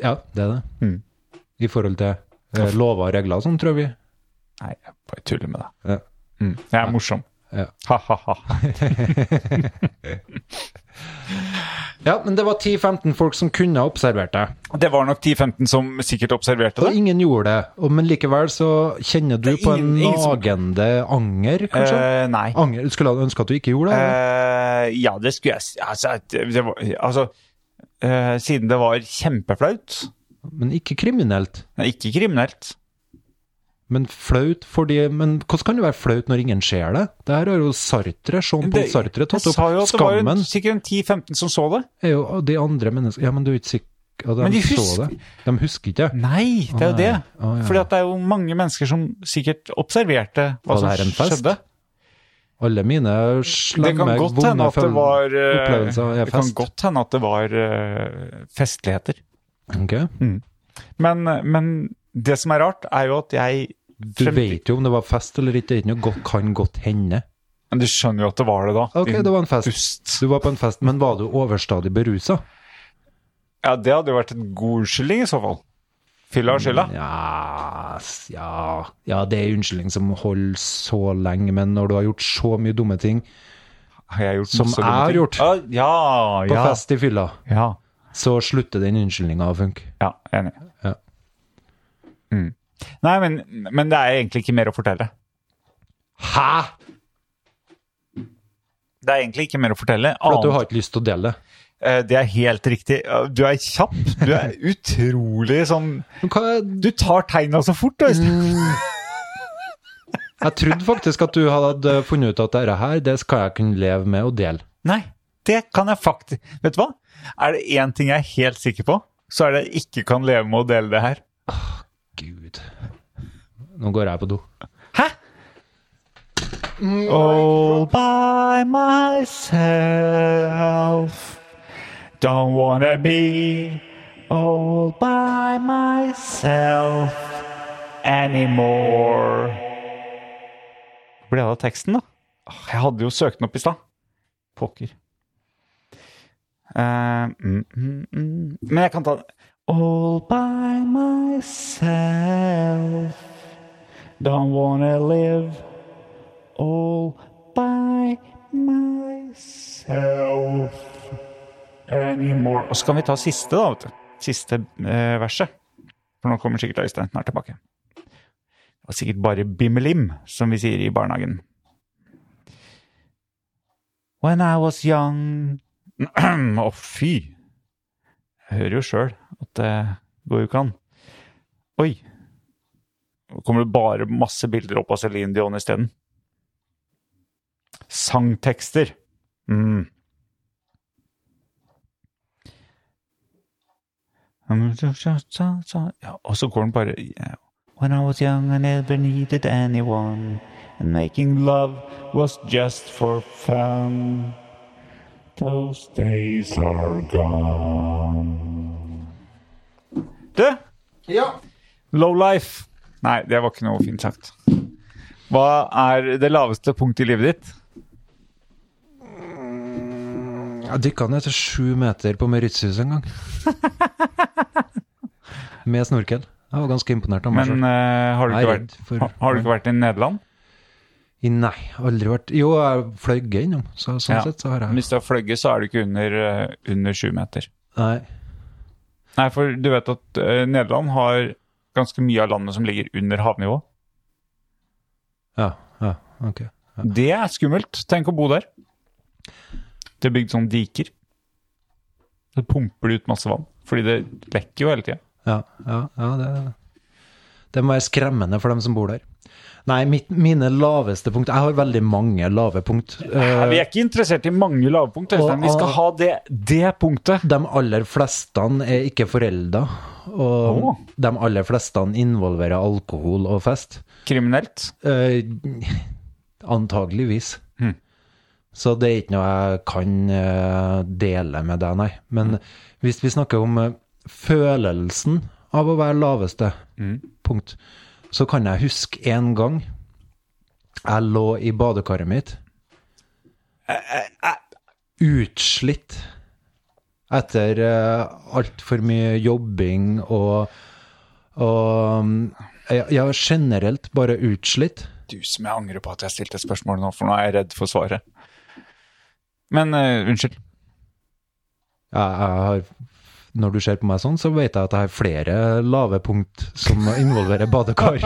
S5: ja, det er det.
S4: Mm.
S5: I forhold til eh, lover og regler og sånn, tror vi.
S4: Nei, jeg bare tuller med deg.
S5: Ja.
S4: Mm. Jeg er morsom.
S5: Ja.
S4: Ha-ha-ha.
S5: Ja, men det var 10-15 folk som kunne ha observert deg.
S4: Det var nok 10-15 som sikkert observerte
S5: Og
S4: det.
S5: ingen gjorde det. Og, men likevel så kjenner du
S4: Det er
S5: på en
S4: ingen- ingen som-
S5: nagende anger, kanskje? Ah,
S4: Eh, nei.
S5: anger? Skulle du ønske at du ikke gjorde det? eller?
S4: Eh, ja, det skulle jeg si. Altså, det det var, altså eh, siden det var kjempeflaut
S5: men ikke kriminelt.
S4: Nei, Ikke kriminelt.
S5: Men flaut fordi Men hvordan kan det være flaut når ingen ser det? Det her har jo Sartre, Jean-Paul
S4: Det-
S5: Sartre tatt
S4: jeg
S5: opp.
S4: sa jo at det var jo
S5: Skammen
S4: sikkert en 10-15 som så det.
S5: er jo de andre menneskene Ja, men du er ikke sikker ja, de,
S4: Men de
S5: så
S4: husker-
S5: det. De husker ikke.
S4: Nei, det er jo
S5: Å, nei.
S4: det.
S5: Å, Ah, ja.
S4: Fordi at det er jo mange mennesker som sikkert observerte hva
S5: Var
S4: som
S5: det her en fest?
S4: skjedde.
S5: Alle mine
S4: Det
S5: slemme,
S4: kan godt hende
S5: vonde
S4: at det
S5: føl-
S4: var eh,
S5: opplevelser er
S4: Det kan
S5: fest.
S4: godt hende at det var eh, festligheter.
S5: Ok.
S4: Men, men det som er rart, er jo at jeg
S5: Du
S4: fremtid-
S5: vet jo om det var fest eller ikke. Det er ikke noe godt, kan godt hende.
S4: Men du skjønner jo at det var det, da.
S5: Ok,
S4: din
S5: det var en fest.
S4: Dust.
S5: Du var på en fest, men var du overstadig berusa?
S4: Ja, det hadde jo vært en god unnskyldning i så fall. Fylla og
S5: Mm,
S4: skylda.
S5: Ja, s- ja Ja, det er en unnskyldning som holder så lenge, men når du har gjort så mye dumme ting
S4: Har jeg gjort
S5: Som
S4: masse
S5: jeg
S4: dumme
S5: har
S4: ting?
S5: gjort.
S4: Ja,
S5: på
S4: ja.
S5: fest i fylla,
S4: Ja,
S5: så slutter den unnskyldninga å funke.
S4: ja, enig.
S5: Ja.
S4: Mm. Nei, men, men det er egentlig ikke mer å fortelle.
S5: Hæ?!
S4: Det er egentlig ikke mer å fortelle.
S5: For at du
S4: annet-
S5: har ikke lyst til å dele det.
S4: Eh, Det er helt riktig. Eh, Du er kjapp. Du er utrolig sånn
S5: Men hva er-
S4: Du tar tegna så fort, Øystein.
S5: Jeg trodde faktisk at du hadde funnet ut at dette her, det skal jeg kunne leve med å dele.
S4: Nei, det kan jeg faktisk Vet du hva? Er det én ting jeg er helt sikker på, så er det jeg ikke kan leve med å dele det her.
S5: Gud. Nå går jeg på do.
S4: All by myself. Don't wanna be all by myself anymore. Ble det av teksten, da? Åh, Jeg hadde jo søkt den opp i stad. Pokker. Eh, mm, mm, mm. Men jeg kan ta den. All by myself. Don't wanna live all by myself anymore. Og så kan vi ta siste, da. vet du. Siste eh, verset. For nå kommer sikkert Øystein snart tilbake. Det var sikkert bare bimmelim, som vi sier i barnehagen. When I was young Å, fy! Jeg hører jo sjøl at det går jo ikke an. Oi! Nå kommer det bare masse bilder opp av Celine Dion isteden. Sangtekster. Mm. Ja, og så går den bare ja. When I was young I never needed anyone And making love was just for fun Those days are gone Du? Ja? Low life Nei, det var ikke noe fint sagt Hva er det laveste punktet i livet ditt?
S5: Jeg dykka ned til sju meter på Mauritius en gang. Med snorkel. Jeg var ganske imponert av meg
S4: Men
S5: selv.
S4: eh, har, du
S5: Jeg
S4: ikke
S5: er
S4: vært,
S5: redd for-
S4: har, har du ikke vært i Nederland?
S5: I- Nei, aldri vært Jo, jeg fløy innom, så sånn
S4: Ja.
S5: sett så har jeg
S4: Hvis du har fløyet, så er du ikke under, eh, under sju meter.
S5: Nei.
S4: Nei, for du vet at eh, Nederland har ganske mye av landet som ligger under havnivå.
S5: Ja, ja, ok.
S4: Det er skummelt. Tenk å bo der. Det er bygd sånne diker. Så pumper det ut masse vann. Fordi det lekker jo hele tida.
S5: Ja, ja, ja det, det må være skremmende for dem som bor der. Nei, mitt, mine laveste punkt Jeg har veldig mange lave punkt. Eh,
S4: Vi er ikke interessert i mange lavpunkt. Øystein. Vi skal ha det, det punktet.
S5: Eh, De aller fleste er ikke forelda, og
S4: Å.
S5: de aller fleste involverer alkohol og fest.
S4: Kriminelt.
S5: Eh, antageligvis.
S4: Mm.
S5: Så det er ikke noe jeg kan eh, dele med deg, nei. Men hvis vi snakker om eh, følelsen av å være laveste punkt, så kan jeg huske en gang jeg lå i badekaret mitt utslitt etter uh, altfor mye jobbing og, og mm, ja, ja, generelt bare utslitt.
S4: Du som jeg angrer på at jeg stilte spørsmål nå, for nå er jeg redd for svaret. Men eh, unnskyld.
S5: jeg, jeg har, når du ser på meg sånn, så vet jeg at jeg har flere lave punkt som involverer badekar,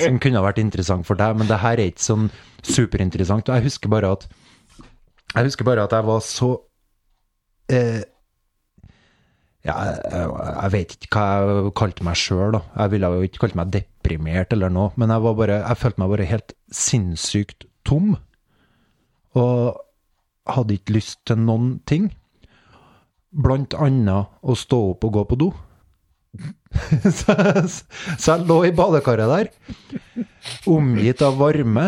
S5: som kunne ha vært interessant for deg, men det her er ikke sånn superinteressant. Og jeg husker bare at jeg husker bare at jeg var så eh, ja, jeg, jeg vet ikke hva jeg kalte meg sjøl, da. Jeg ville jo ikke kalt meg deprimert eller noe, men jeg, var bare, jeg følte meg bare helt sinnssykt tom. Og hadde ikke lyst til noen ting blant annet å stå opp og gå på do. så, så jeg lå i badekaret der, omgitt av varme,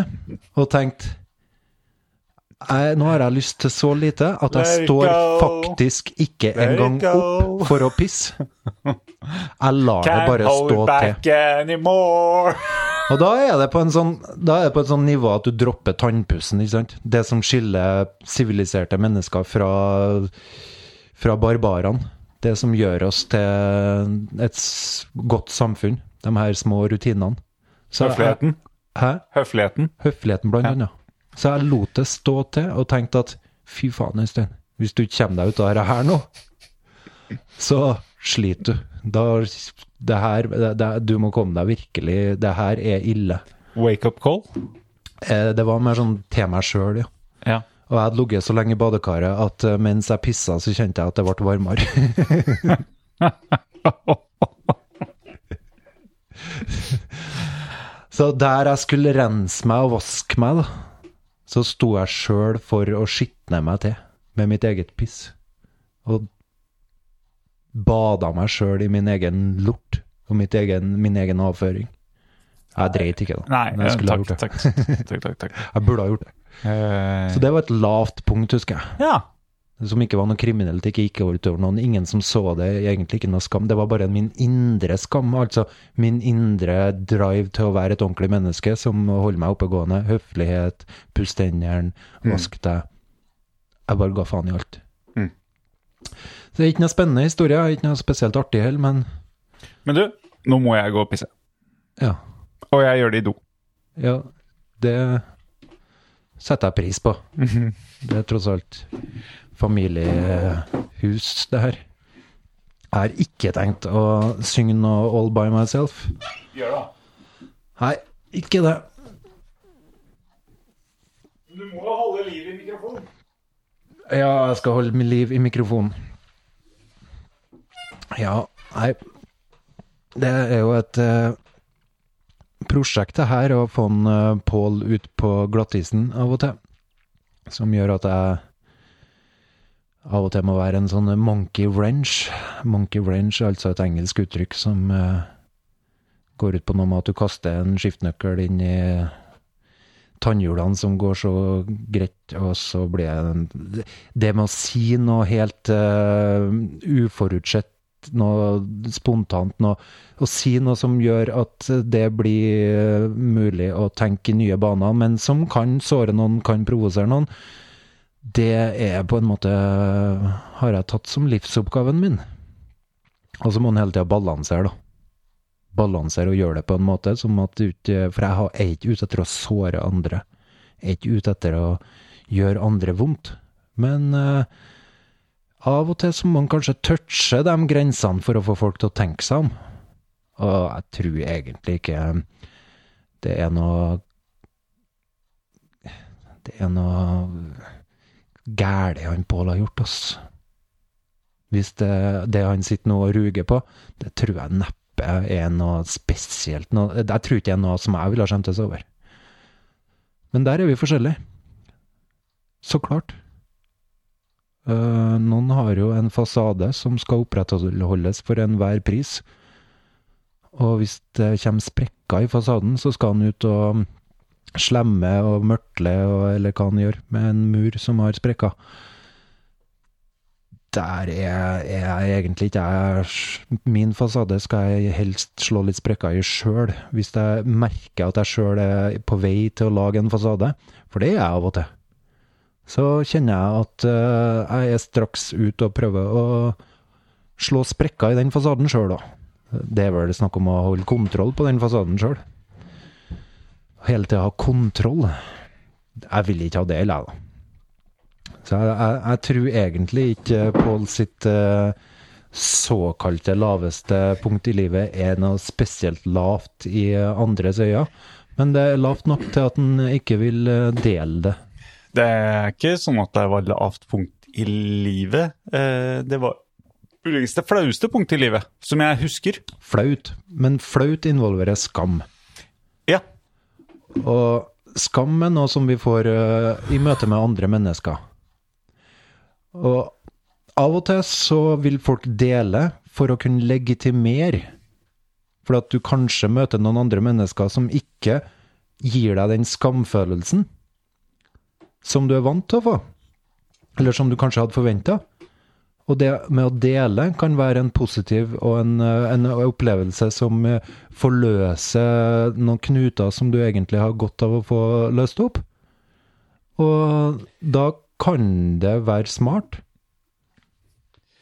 S5: og tenkte «Nei, nå har jeg lyst til så lite at
S4: Let
S5: jeg
S4: it
S5: står
S4: go.
S5: faktisk ikke
S4: Let it
S5: engang
S4: go.
S5: opp for å pisse. Jeg lar det bare stå til.
S4: anymore.
S5: Og da er det på en sånn, da er det på et sånn nivå at du dropper tannpussen, ikke sant? Det som skiller siviliserte mennesker fra, fra barbarene. Det som gjør oss til et s- godt samfunn. De her små rutinene. Så jeg-
S4: Høfligheten.
S5: Hæ?
S4: Høfligheten.
S5: Høfligheten blant annet. Så jeg lot det stå til og tenkte at fy faen, Øystein, hvis du ikke kommer deg ut av dette her nå, så sliter du. Da, det her, det, det, du må komme deg virkelig Det her er ille.
S4: Wake up call.
S5: Eh, Det var mer sånn til meg sjøl, ja.
S4: Ja.
S5: Og jeg hadde ligget så lenge i badekaret at eh, mens jeg pissa, så kjente jeg at det ble varmere. så der jeg skulle rense meg og vaske meg, da, så sto jeg sjøl for å skitne meg til med mitt eget piss. Og bada meg sjøl i min egen lort og mitt egen, min egen avføring. Jeg dreit ikke, da.
S4: Nei,
S5: men jeg
S4: eh,
S5: skulle ha
S4: takk,
S5: gjort det.
S4: takk, takk, takk, takk.
S5: Jeg burde ha gjort det.
S4: Eh,
S5: Så det var et lavt punkt, husker jeg.
S4: ja.
S5: Som ikke var noe kriminelt, ikke gikk utover noen. Ingen som så det, egentlig ikke noe skam. Det var bare min indre skam, altså min indre drive til å være et ordentlig menneske som holder meg oppegående. Høflighet, puss tennene, vask deg. Jeg bare ga faen i alt.
S4: Mm.
S5: Så det er ikke noe spennende historie, ikke noe spesielt artig heller, men
S4: Men du, nå må jeg gå og pisse.
S5: ja.
S4: Og jeg gjør det i do.
S5: ja det setter jeg pris på. Det er tross alt familiehus, det her. Jeg har ikke tenkt å synge noe All by myself.
S4: Gjør det.
S5: Nei, ikke det.
S4: Du må holde liv i mikrofonen.
S5: Ja, jeg skal holde mitt liv i mikrofonen. Ja, nei Det er jo et eh, prosjekt, det her, å få en, eh, Pål ut på glattisen av og til. Som gjør at jeg av og til må være en sånn monkey wrench. Monkey wrench er altså et engelsk uttrykk som eh, går ut på noe med at du kaster en skiftenøkkel inn i tannhjulene som går så greit, og så blir jeg en- Det med å si noe helt eh, uforutsett, noe spontant, noe Å si noe som gjør at det blir eh, mulig å tenke i nye baner, men som kan såre noen, kan provosere noen. det er på en måte Har jeg tatt som livsoppgaven min. Og så må en hele tida balansere, da. Balansere og gjøre det på en måte som at du ikke For jeg har- jeg er ikke ute etter å såre andre. Jeg er ikke ute etter å gjøre andre vondt. Men eh, av og til så må man kanskje touche de grensene for å få folk til å tenke seg om. Og jeg tror egentlig ikke det er noe Det er noe gæli han Pål har gjort, ass. Hvis det, det han sitter nå og ruger på, det tror jeg neppe er noe spesielt. Noe, jeg tror ikke det er noe som jeg ville ha skjemtes over. Men der er vi forskjellige. Så klart. Eh, noen har jo en fasade som skal opprettholdes for enhver pris. Og hvis det kommer sprekker i fasaden, så skal han ut og slemme og mørtle og, eller hva han gjør med en mur som har sprekker. Der er, er jeg egentlig ikke jeg, s- Min fasade skal jeg helst slå litt sprekker i sjøl, hvis jeg merker at jeg sjøl er på vei til å lage en fasade, for det er jeg av og til. Så kjenner jeg at eh, jeg er straks ute og prøver å slå sprekker i den fasaden sjøl, da. Det er vel snakk om å holde kontroll på den fasaden sjøl hele tida ha kontroll. Jeg vil ikke ha det heller, jeg, da. Så jeg, jeg, jeg tror egentlig ikke Pål sitt eh, såkalte laveste punkt i livet er noe spesielt lavt i andres øyne. Men det er lavt nok til at han ikke vil eh, dele det.
S4: Det er ikke sånn at det var lavt punkt i livet. Eh, Det var muligens det flaueste punktet i livet, som jeg husker.
S5: Flaut. Men flaut involverer skam.
S4: Ja.
S5: Og skam er noe som vi får eh, i møte med andre mennesker. Og av og til så vil folk dele for å kunne legitimere. For at du kanskje møter noen andre mennesker som ikke gir deg den skamfølelsen som du er vant til å få. Eller som du kanskje hadde forventa. Og det med å dele kan være en positiv og en, eh, en opplevelse som eh, forløser noen knuter som du egentlig har godt av å få løst opp. Og da kan det være smart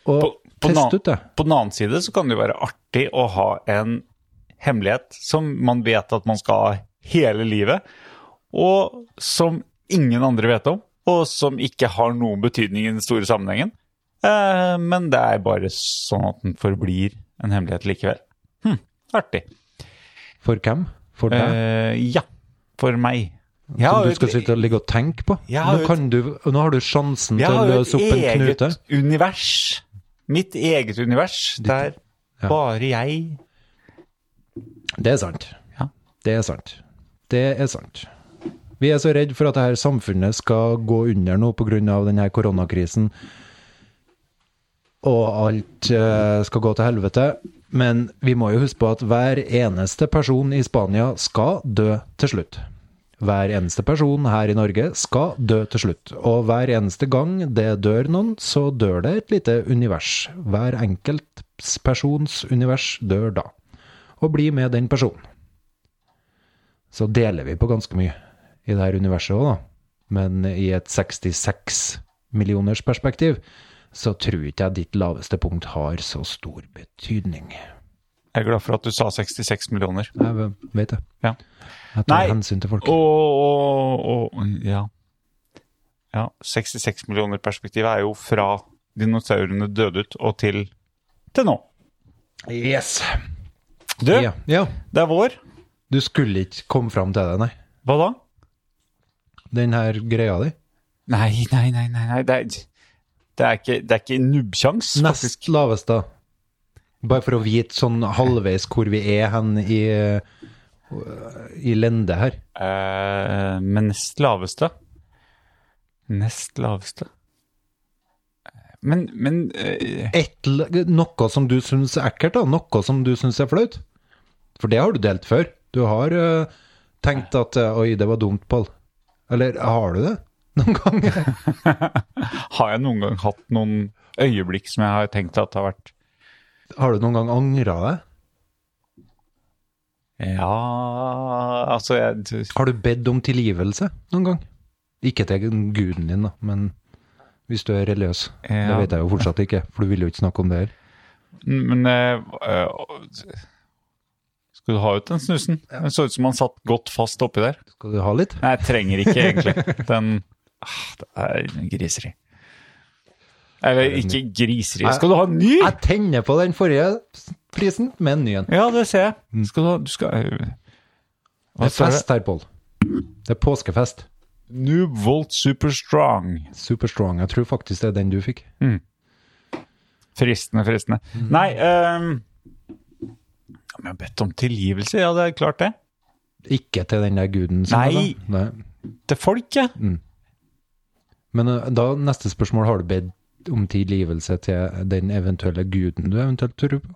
S5: å
S4: På- på den an-
S5: teste ut det.
S4: På den annen side så kan det jo være artig å ha en hemmelighet som man vet at man skal ha hele livet, og som ingen andre vet om, og som ikke har noen betydning i den store sammenhengen. Eh, Men det er bare sånn at den forblir en hemmelighet likevel. Hm, artig.
S5: For hvem? For deg?
S4: Eh, ja, for meg. Jeg har
S5: som
S4: jo
S5: du skal
S4: et-
S5: sitte og ligge og tenke på.
S4: Jeg har
S5: Nå,
S4: jo
S5: kan du, nå har du sjansen
S4: e- jeg
S5: til å
S4: har jo
S5: løse opp en
S4: et
S5: knute.
S4: eget univers. Mitt eget univers, der
S5: ja.
S4: bare jeg
S5: Det er sant.
S4: Ja.
S5: Det er sant. Det er sant. Vi er så redd for at dette samfunnet skal gå under nå pga. denne koronakrisen, og alt eh, skal gå til helvete. Men vi må jo huske på at hver eneste person i Spania skal dø til slutt. Hver eneste person her i Norge skal dø til slutt. Og hver eneste gang det dør noen, så dør det et lite univers. Hver enkelt persons univers dør da og bli med den personen. Så deler vi på ganske mye i det her universet òg, da. Men i et 66 millioners perspektiv, så tror ikke jeg ditt laveste punkt har så stor betydning.
S4: Jeg er glad for at du sa 66 millioner.
S5: Jeg v- vet det.
S4: Ja.
S5: Jeg tar
S4: Nei,
S5: hensyn til folk.
S4: Og, og, og ja. ja. 66 millioner perspektivet er jo fra dinosaurene døde ut og til, til nå.
S5: Yes!
S4: Du,
S5: Ja. ja.
S4: det er vår.
S5: Du skulle ikke komme fram til det, nei.
S4: Hva da?
S5: Den her greia di.
S4: Nei, nei, nei, nei, nei. Det, er, det er ikke, det er ikke nubbkjangs,
S5: Nest
S4: faktisk.
S5: laveste. Bare for å vite sånn halvveis hvor vi er hen i, i lende her.
S4: Eh, men nest laveste. Nest laveste. Men, men eh,
S5: et, l- noe som du syns er ekkelt, da. noe som du syns er flaut. For det har du delt før. Du har eh, tenkt at eh, 'oi, det var dumt, Pål'. Eller har du det? Noen ganger?
S4: har jeg noen gang hatt noen øyeblikk som jeg har tenkt at har vært
S5: Har du noen gang angra deg?
S4: Ja Altså, jeg
S5: Har du bedt om tilgivelse noen gang? Ikke til guden din, da, men hvis du er religiøs. Det
S4: Ja.
S5: vet jeg jo fortsatt ikke, for du vil jo ikke snakke om det her.
S4: Men eh, eh, Skal du ha ut den snusen? Den så ut som han satt godt fast oppi der.
S5: Skal du ha litt?
S4: Nei, jeg trenger ikke egentlig. Den ah, Det er griseri. Eller ikke griseri. Skal du ha en ny?
S5: Jeg tenner på den forrige prisen med en ny en.
S4: Ja, det ser jeg. Skal du ha Du skal
S5: Mm.
S4: eh,
S5: Det
S4: Hva
S5: er
S4: står det?
S5: fest her, Pål. Det er påskefest.
S4: Noob Volt Super Strong.
S5: Superstrong. Jeg tror faktisk det er den du fikk.
S4: Fristende, fristende.
S5: Mm.
S4: Nei ehm, Om jeg har bedt om tilgivelse? Ja, det er klart det.
S5: Ikke til den der guden. som
S4: Nei.
S5: er da. Nei.
S4: Til folk, ja.
S5: Men eh, da, neste spørsmål, har du bedt om tilgivelse til den eventuelle guden du eventuelt tror på?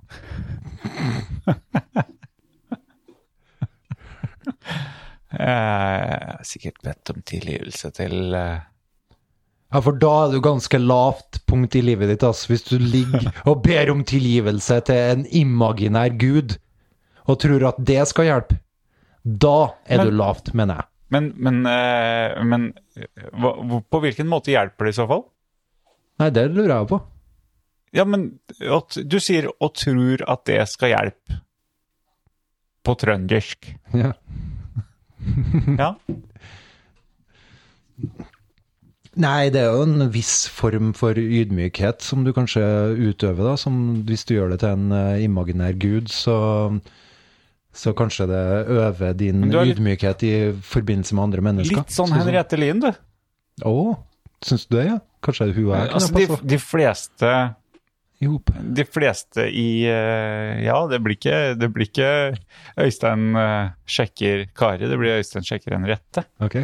S4: Eh, jeg har sikkert bedt om tilgivelse til eh,
S5: Ja, for da er du ganske lavt punkt i livet ditt, ass. Hvis du ligger og ber om tilgivelse til en imaginær gud, og tror at det skal hjelpe, da er du lavt, mener jeg.
S4: Men, men, eh, men hva, hvor- på hvilken måte hjelper det i så fall?
S5: Nei, det lurer jeg på.
S4: Ja, men at du sier og tror at det skal hjelpe på trøndersk.
S5: Ja.
S4: Ja,
S5: Nei, det er jo en viss form for ydmykhet som du kanskje utøver, da. Som hvis du gjør det til en eh, imaginær gud, så, så kanskje det øver din
S4: Men du er litt-
S5: ydmykhet i forbindelse med andre mennesker.
S4: Litt sånn Henriette Lien, du.
S5: Å, syns du det, ja? Kanskje hun og jeg kunne
S4: Altså, de,
S5: passa
S4: de fleste
S5: ihop.
S4: De fleste i eh, Ja, det blir ikke, det blir ikke Øystein eh, sjekker Kari, det blir Øystein sjekker Henriette.
S5: Ok.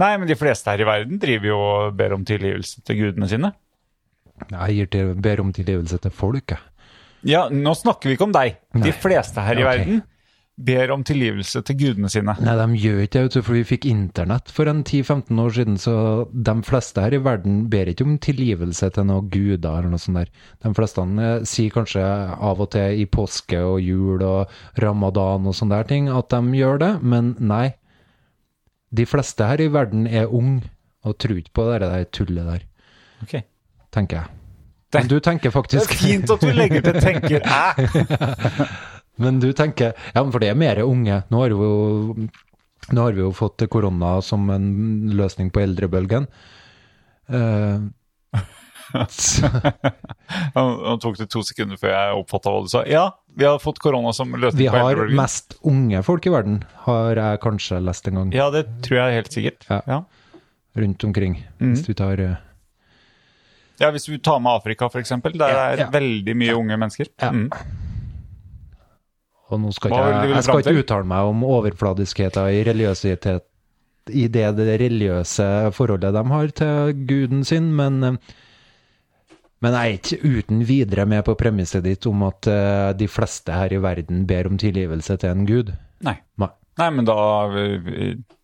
S4: Nei, men de fleste her i verden driver jo og ber om tilgivelse til gudene sine.
S5: Jeg gir til, ber om tilgivelse til folk, jeg.
S4: Ja, nå snakker vi ikke om deg.
S5: Nei.
S4: De fleste her i
S5: Ja, ok.
S4: verden ber om tilgivelse til gudene sine.
S5: Nei, de gjør ikke det, vet du, for vi fikk internett for en 10-15 år siden, så de fleste her i verden ber ikke om tilgivelse til noen guder eller noe sånt der. De fleste eh, sier kanskje av og til i påske og jul og ramadan og sånne der ting at de gjør det, men nei. De fleste her i verden er ung og tror ikke på det der tullet der,
S4: Ok.
S5: tenker jeg. Men du tenker
S4: Det
S5: faktisk
S4: er fint at du legger til 'tenker æ'.
S5: Men du tenker Ja, men for det er mer unge. Nå har vi jo, nå har vi jo fått korona som en løsning på eldrebølgen. Eh, så,
S4: Nå nå tok det to sekunder før jeg oppfatta hva du sa. Ja, vi har fått korona som løsning
S5: vi
S4: på
S5: har
S4: eldrebølgen.
S5: mest unge folk i verden, har jeg kanskje lest en gang
S4: Ja, det tror jeg helt sikkert.
S5: Ja.
S4: Ja.
S5: rundt omkring.
S4: Mm.
S5: Hvis du tar eh,
S4: Ja, Hvis du tar med Afrika, f.eks., der
S5: Ja,
S4: er
S5: ja.
S4: veldig mye unge mennesker.
S5: Ja.
S4: Mm.
S5: Og nå skal
S4: Hva
S5: ikke
S4: vil du
S5: jeg, jeg
S4: fram
S5: skal
S4: til?
S5: ikke uttale meg om overfladiskheter i religiøsitet i det, det religiøse forholdet de har til guden sin, men eh, men jeg er ikke uten videre med på premisset ditt om at eh, de fleste her i verden ber om tilgivelse til en gud.
S4: Nei.
S5: Nei.
S4: Nei, men da,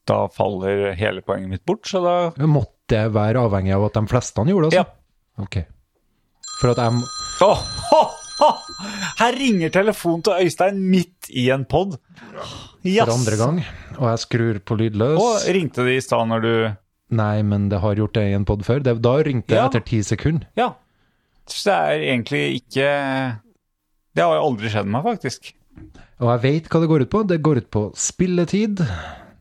S4: da faller hele poenget mitt bort, så da
S5: Det Måtte være avhengig av at de fleste han gjorde, altså?
S4: Ja.
S5: Ok. For at jeg
S4: Åh, ho, ho! Her ringer telefonen til Øystein midt i en pod.
S5: for andre gang, og jeg skrur på lydløs
S4: Og ringte de i stad når du
S5: Nei, men det har gjort det i en pod før. Det, da ringte jeg
S4: Ja.
S5: etter ti sekunder.
S4: Ja. Så det er egentlig ikke Det har jo aldri skjedd meg, faktisk.
S5: Og jeg veit hva det går ut på. Det går ut på spilletid.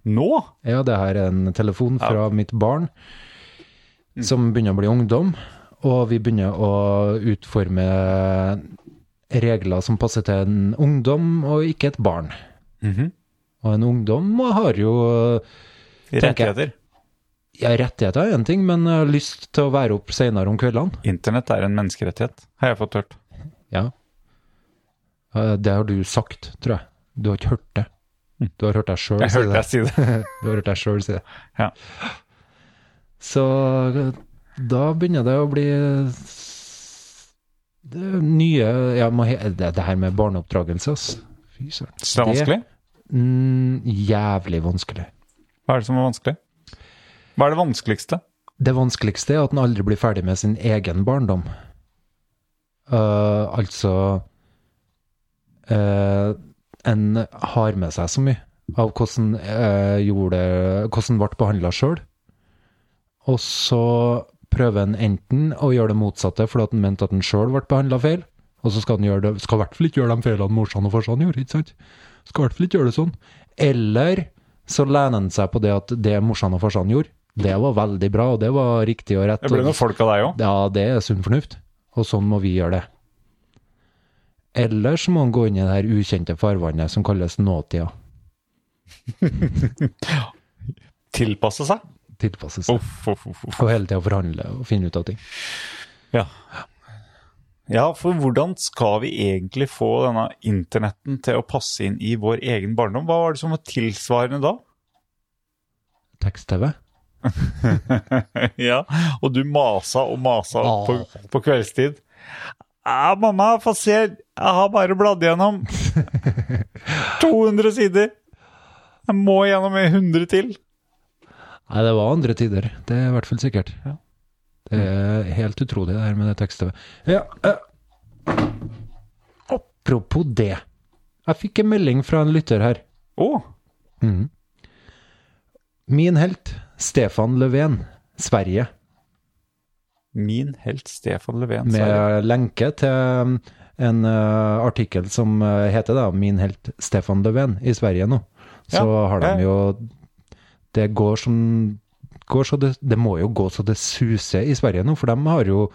S4: Nå?
S5: Ja, det her er en telefon fra mitt barn som begynner å bli ungdom. Og vi begynner å utforme regler som passer til en ungdom og ikke et barn.
S4: Mhm.
S5: Og en ungdom har jo Tenker jeg.
S4: Rettigheter.
S5: ja, rettigheter, er én ting, men eh, lyst til å være opp seinere om kveldene.
S4: Internett er en menneskerettighet, har jeg fått hørt.
S5: Ja. Eh, Det har du sagt, tror jeg. Du har ikke hørt det. Du har hørt deg sjøl
S4: Hm. Jeg
S5: si
S4: hørte
S5: det.
S4: deg si det.
S5: Du har hørt deg sjøl si det.
S4: Ja.
S5: Så da begynner det å bli s- det er nye jeg må he, det, det her med barneoppdragelse, ass. Fy søren.
S4: Så det er vanskelig?
S5: Mm, jævlig vanskelig.
S4: Hva er det som er vanskelig? Hva er det vanskeligste?
S5: Det vanskeligste er at en aldri blir ferdig med sin egen barndom. Eh, altså eh, En har med seg så mye av hvordan eh, gjorde Hvordan ble behandla sjøl. Og så prøver han enten å gjøre det motsatte fordi at han mente at han sjøl ble behandla feil, og så skal han gjøre det, skal i hvert fall ikke gjøre de feilene morsan og farsan gjorde, ikke sant? Skal i hvert fall ikke gjøre det sånn. Eller så lener han seg på det at det morsan og farsan gjorde, det var veldig bra, og det var riktig og rett.
S4: Det ble
S5: og-
S4: noen folk av deg òg.
S5: ja, det er sunn fornuft, og sånn må vi gjøre det. Ellers må han gå inn i det her ukjente farvannet som kalles nåtida.
S4: Tilpasse seg.
S5: Tilpasse seg.
S4: Uff, uff, uff, uff.
S5: Og hele tida forhandle og finne ut av ting.
S4: Ja. ja, for hvordan skal vi egentlig få denne internetten til å passe inn i vår egen barndom? Hva var det som var tilsvarende da?
S5: Tekst-TV.
S4: ja, og du masa og masa
S5: Ah.
S4: på, på kveldstid. Ja, mamma, få se, jeg har bare bladd gjennom 200 sider. Jeg må gjennom 100 til.
S5: Nei, det var andre tider. Det er i hvert fall sikkert. Det er helt utrolig, det her med det tekst-TV. Ja, eh, apropos det. Jeg fikk en melding fra en lytter her.
S4: Å,
S5: Min helt, Stefan Löfven, Sverige.
S4: min helt Stefan Löfven. sa jeg.
S5: med lenke til um, en eh, artikkel som eh, heter da 'Min helt Stefan Löfven' i Sverige nå. Så
S4: Ja,
S5: har de
S4: ja.
S5: jo Det går som går så det, det må jo gå så det suser i Sverige nå, for de har jo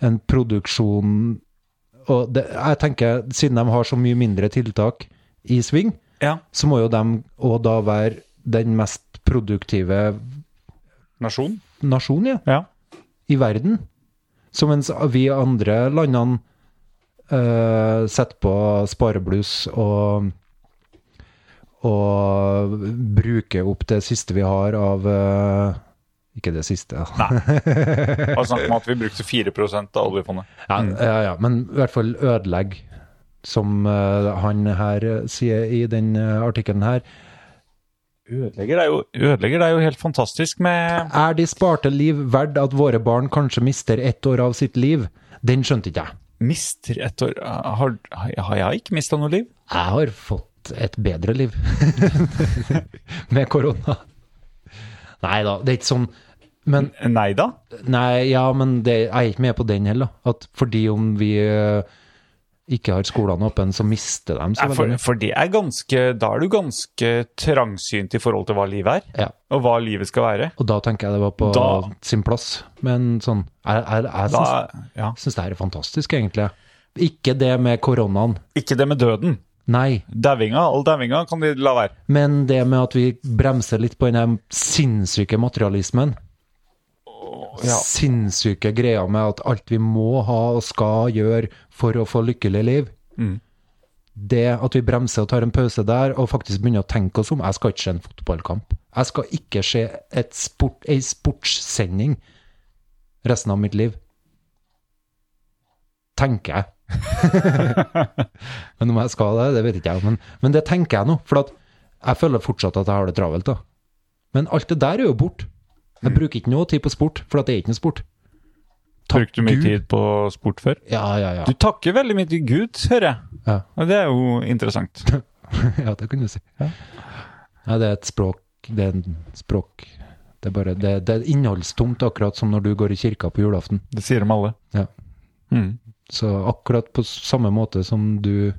S5: en produksjon Og det, jeg tenker, siden de har så mye mindre tiltak i sving,
S4: Ja,
S5: så må jo de òg da være den mest produktive
S4: nasjon.
S5: nasjonen, ja
S4: Ja.
S5: i verden. Så mens vi andre landene eh, setter på sparebluss og, og bruker opp det siste vi har av eh, Ikke det siste, ja.
S4: Bare snakk om at vi brukte 4 av oljefondet.
S5: Ja, ja, ja, men i hvert fall ødelegge, som eh, han her eh, sier i den eh, artikkelen her.
S4: Ødelegger er, jo, ødelegger er jo helt fantastisk med
S5: Er de sparte liv verdt at våre barn kanskje mister ett år av sitt liv? Den skjønte ikke jeg.
S4: Mister et år Har, har jeg ikke mista noe liv?
S5: Jeg har fått et bedre liv med korona. Nei da, det er ikke sånn. Men
S4: Nei da.
S5: nei, ja, men det, jeg er ikke med på den heller. At fordi om vi eh, ikke har skolene åpne, så mister de så
S4: Nei, for,
S5: veldig mye.
S4: for det er ganske Da er du ganske trangsynt i forhold til hva livet er,
S5: Ja,
S4: og hva livet skal være.
S5: og da tenker jeg det var på
S4: Da-
S5: sin plass. Men sånn, jeg, jeg, jeg
S4: Da,
S5: syns,
S4: ja.
S5: syns det her er fantastisk, egentlig. Ikke det med koronaen,
S4: Ikke det med døden.
S5: nei.
S4: Dauinga, all dauinga kan de la være.
S5: Men det med at vi bremser litt på den her sinnssyke materialismen.
S4: ja.
S5: Sinnssyke greia med at alt vi må ha og skal gjøre for å få lykkelig liv. Det at vi bremser og tar en pause der, og faktisk begynner å tenke oss om Jeg skal ikke se en fotballkamp. Jeg skal ikke se et sport, ei sportssending resten av mitt liv. Tenker jeg. Men om jeg skal det, det vet ikke jeg. Men, men det tenker jeg nå. For at jeg føler fortsatt at jeg har det travelt. da. Men alt det der er jo bort. Jeg bruker ikke noe tid på sport, for at det er ikke noe sport.
S4: Brukte du mye
S5: Gud.
S4: tid på sport før?
S5: Ja, ja, ja.
S4: Du takker veldig mye til Gud, hører jeg.
S5: Ja,
S4: Og det er jo interessant.
S5: ja det kan du si. Ja. det er et språk. Det er en språk. Det er, bare, det, det er innholdstomt, akkurat som når du går i kirka på julaften.
S4: Det sier de alle.
S5: Ja.
S4: Mm.
S5: Så akkurat på samme måte som du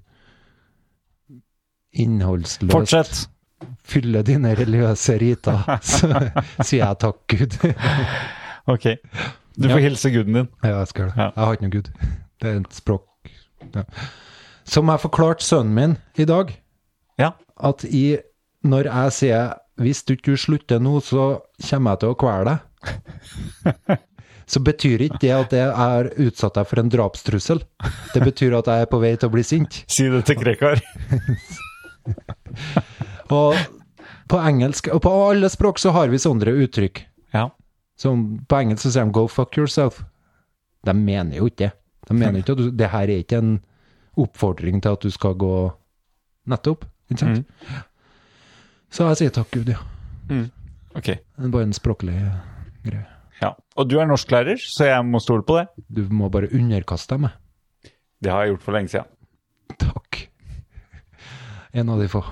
S5: innholdsløst
S4: Fortsett.
S5: fyller dine religiøse riter, så sier jeg takk, Gud.
S4: Ok. Du får hilse guden din.
S5: Ja, jeg skal det.
S4: Ja.
S5: Jeg har ikke noe Gud. Det er et språk. Ja. Som jeg forklarte sønnen min i dag,
S4: Ja.
S5: at i, når jeg sier 'hvis du ikke slutter nå, så kommer jeg til å kvele deg', så betyr ikke det at jeg har utsatt deg for en drapstrussel. Det betyr at jeg er på vei til å bli sint.
S4: Si det til Krekar.
S5: Og på engelsk, og på alle språk, så har vi sånne uttrykk.
S4: Ja.
S5: Som på engelsk så sier de 'go fuck yourself'. De mener jo ikke det. De mener jo ikke at du, det her er ikke en oppfordring til at du skal gå nettopp. Ikke sant?
S4: Mm.
S5: Så jeg sier takk, Gud, ja.
S4: Ok.
S5: Det er bare en språklig greie.
S4: Ja. Og du er norsklærer, så jeg må stole på det.
S5: Du må bare underkaste deg meg.
S4: Det har jeg gjort for lenge siden.
S5: Takk. En av de få.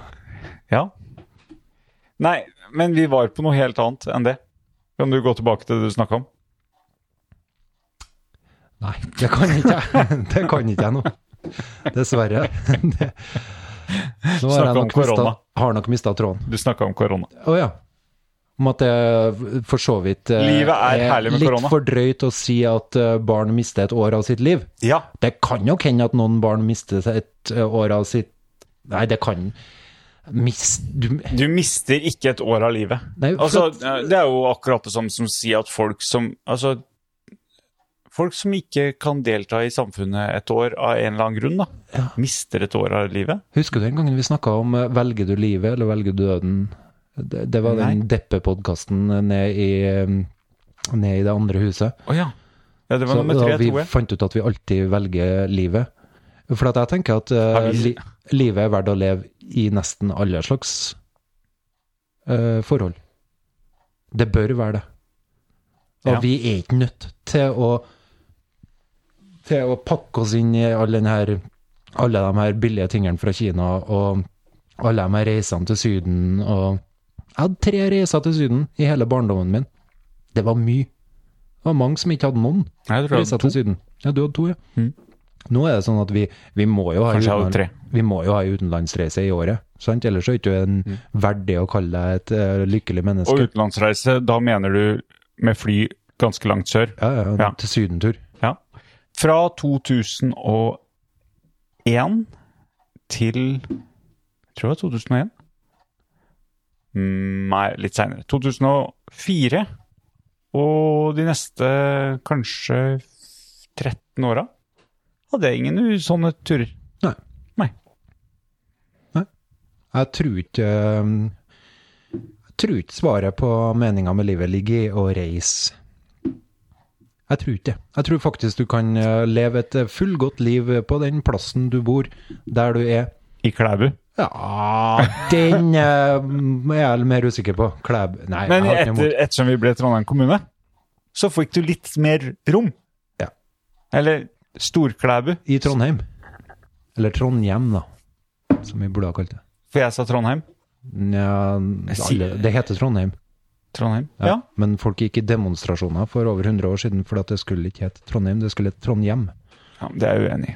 S4: Ja. Nei, men vi var på noe helt annet enn det. Kan du gå tilbake til det du snakka om?
S5: Nei, det kan ikke jeg. Det kan ikke jeg nå. Dessverre. Det. Nå har
S4: Snakk
S5: jeg
S4: om
S5: nok mistet-
S4: korona.
S5: har nok mista tråden.
S4: Du snakka om korona.
S5: Å ja. Om at det for så vidt eh,
S4: Livet er herlig med
S5: litt
S4: korona.
S5: for drøyt å si at eh, barn mister et år av sitt liv.
S4: Ja.
S5: Det kan nok hende at noen barn mister et eh, år av sitt Nei, det kan Mist... Du,
S4: Du mister ikke et år av livet.
S5: Nei, for
S4: altså,
S5: at-
S4: eh, det er jo akkurat det samme som å si at folk som Altså, folk som ikke kan delta i samfunnet et år av en eller annen grunn, da, mister et år av livet.
S5: Husker du den gangen vi snakka om eh, 'velger du livet eller velger du døden'? Det, det var den deppe-podkasten ned, i, eh, ned i det andre huset.
S4: Å ja. ja. Det var
S5: Så
S4: nummer
S5: da
S4: tre,
S5: vi
S4: tror jeg.
S5: fant ut at vi alltid velger livet. For at jeg tenker at eh,
S4: Ja, vi-
S5: li, livet er verdt å leve i nesten alle slags eh, forhold. Det bør være det. Og
S4: Ja.
S5: vi er ikke nødt til å til å pakke oss inn i all den her, alle de her billige tingene fra Kina og alle de her reisene til Syden. Og jeg hadde tre reiser til Syden i hele barndommen min. Det var mye. Det var mange som ikke hadde noen
S4: Nei, jeg tror jeg
S5: reiser
S4: hadde
S5: til
S4: to.
S5: Syden. Ja, du hadde to, ja. Nå er det sånn at vi, vi, må jo ha
S4: Mm. Kanskje jeg hadde
S5: utenland-
S4: tre.
S5: vi må jo ha en utenlandsreise i året. Sant? Ellers er du ikke en verdig å kalle deg et eh, lykkelig menneske.
S4: Og utenlandsreise, da mener du med fly ganske langt sør.
S5: ja, ja,
S4: Ja.
S5: Til sydentur.
S4: Ja. Fra 2001 til Jeg tror det var 2001. Mm, Nei, litt seinere. 2004. Og de neste kanskje 13 åra hadde jeg ingen u- sånne turer.
S5: Nei.
S4: Nei.
S5: Jeg tror ikke eh, Jeg tror ikke svaret på meninga med livet ligger i å reise. Jeg tror ikke det. Jeg tror faktisk du kan eh, leve et eh, fullgodt liv på den plassen du bor, der du er.
S4: I Klæbu.
S5: Ja, den eh, er jeg mer usikker på. Klæb... Nei,
S4: Men
S5: jeg har ikke noe
S4: etter,
S5: imot.
S4: ettersom vi ble Trondheim kommune, så fikk du litt mer rom.
S5: Ja.
S4: Eller Storklæbu,
S5: I Trondheim. Eller Trondhjem, da. Som vi burde ha kalt det.
S4: for jeg sa Trondheim.
S5: Nja, alle, det heter Trondheim.
S4: Trondheim.
S5: Ja.
S4: Ja.
S5: Men folk gikk i demonstrasjoner for over 100 år siden fordi at det skulle ikke hete Trondheim, det skulle hete Trondhjem.
S4: ja, men Det er jeg uenig i.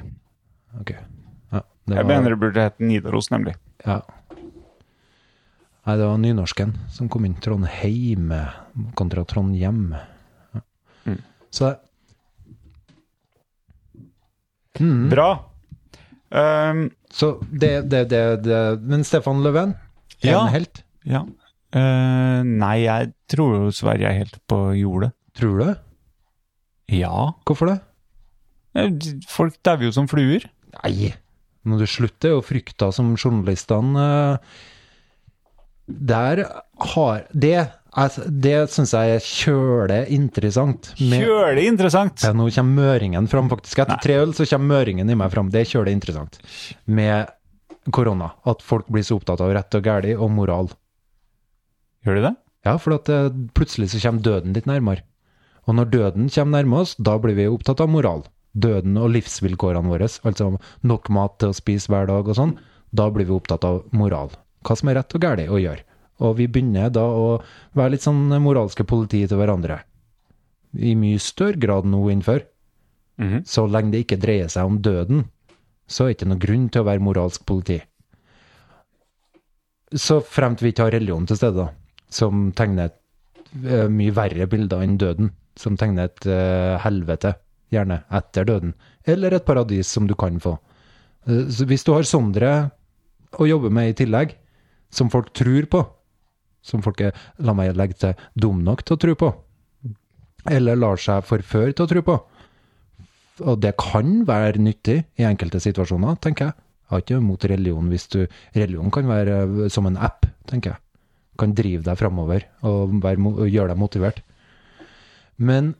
S5: Ok. Ja, det
S4: Jeg
S5: var-
S4: mener det burde hett Nidaros, nemlig.
S5: Ja. Nei, det var nynorsken som kom inn. Trondheim kontra Trondhjem. Ja.
S4: Mm.
S5: Så Mm.
S4: Bra! Ehm,
S5: Så det, det, det, det Men Stefan Löfven, er
S4: Ja.
S5: en helt?
S4: ja. Eh, nei, jeg tror jo Sverige er helt på jordet.
S5: Tror du det?
S4: Ja.
S5: Hvorfor det?
S4: Eh, d- Folk dauer jo som fluer.
S5: Nei, må du slutte å frykte som journalistene eh, Der har Det, er- det syns jeg er kjøle interessant. med-
S4: Kjølig interessant!
S5: Ja, nå kommer møringen fram, faktisk. Etter tre øl så kommer møringen i meg fram. Det er kjøle interessant med korona. At folk blir så opptatt av rett og galt og moral.
S4: Gjør de det?
S5: Ja, for at eh, plutselig så kommer døden litt nærmere. Og når døden kommer nærme oss, da blir vi opptatt av moral. Døden og livsvilkårene våre, altså nok mat til å spise hver dag og sånn, da blir vi opptatt av moral. Hva som er rett og galt å gjøre. Og vi begynner da å være litt sånn moralske politi til hverandre. I mye større grad nå enn før.
S4: Mhm.
S5: Så lenge det ikke dreier seg om døden, så er det ikke noen grunn til å være moralsk politi. Så fremt vi ikke har religion til stede, da, som tegner et eh, mye verre bilder enn døden, som tegner et eh, helvete, gjerne etter døden, eller et paradis som du kan få. Eh, så hvis du har sondre å jobbe med i tillegg, som folk tror på, som folk er, la meg legge til, dum nok til å tro på, eller lar seg forføre til å tro på, og det kan være nyttig i enkelte situasjoner, tenker jeg. Jeg har ikke noe imot religion hvis du Religion kan være eh, som en app, tenker jeg. Kan drive deg framover og, være mo- og gjøre deg motivert. Men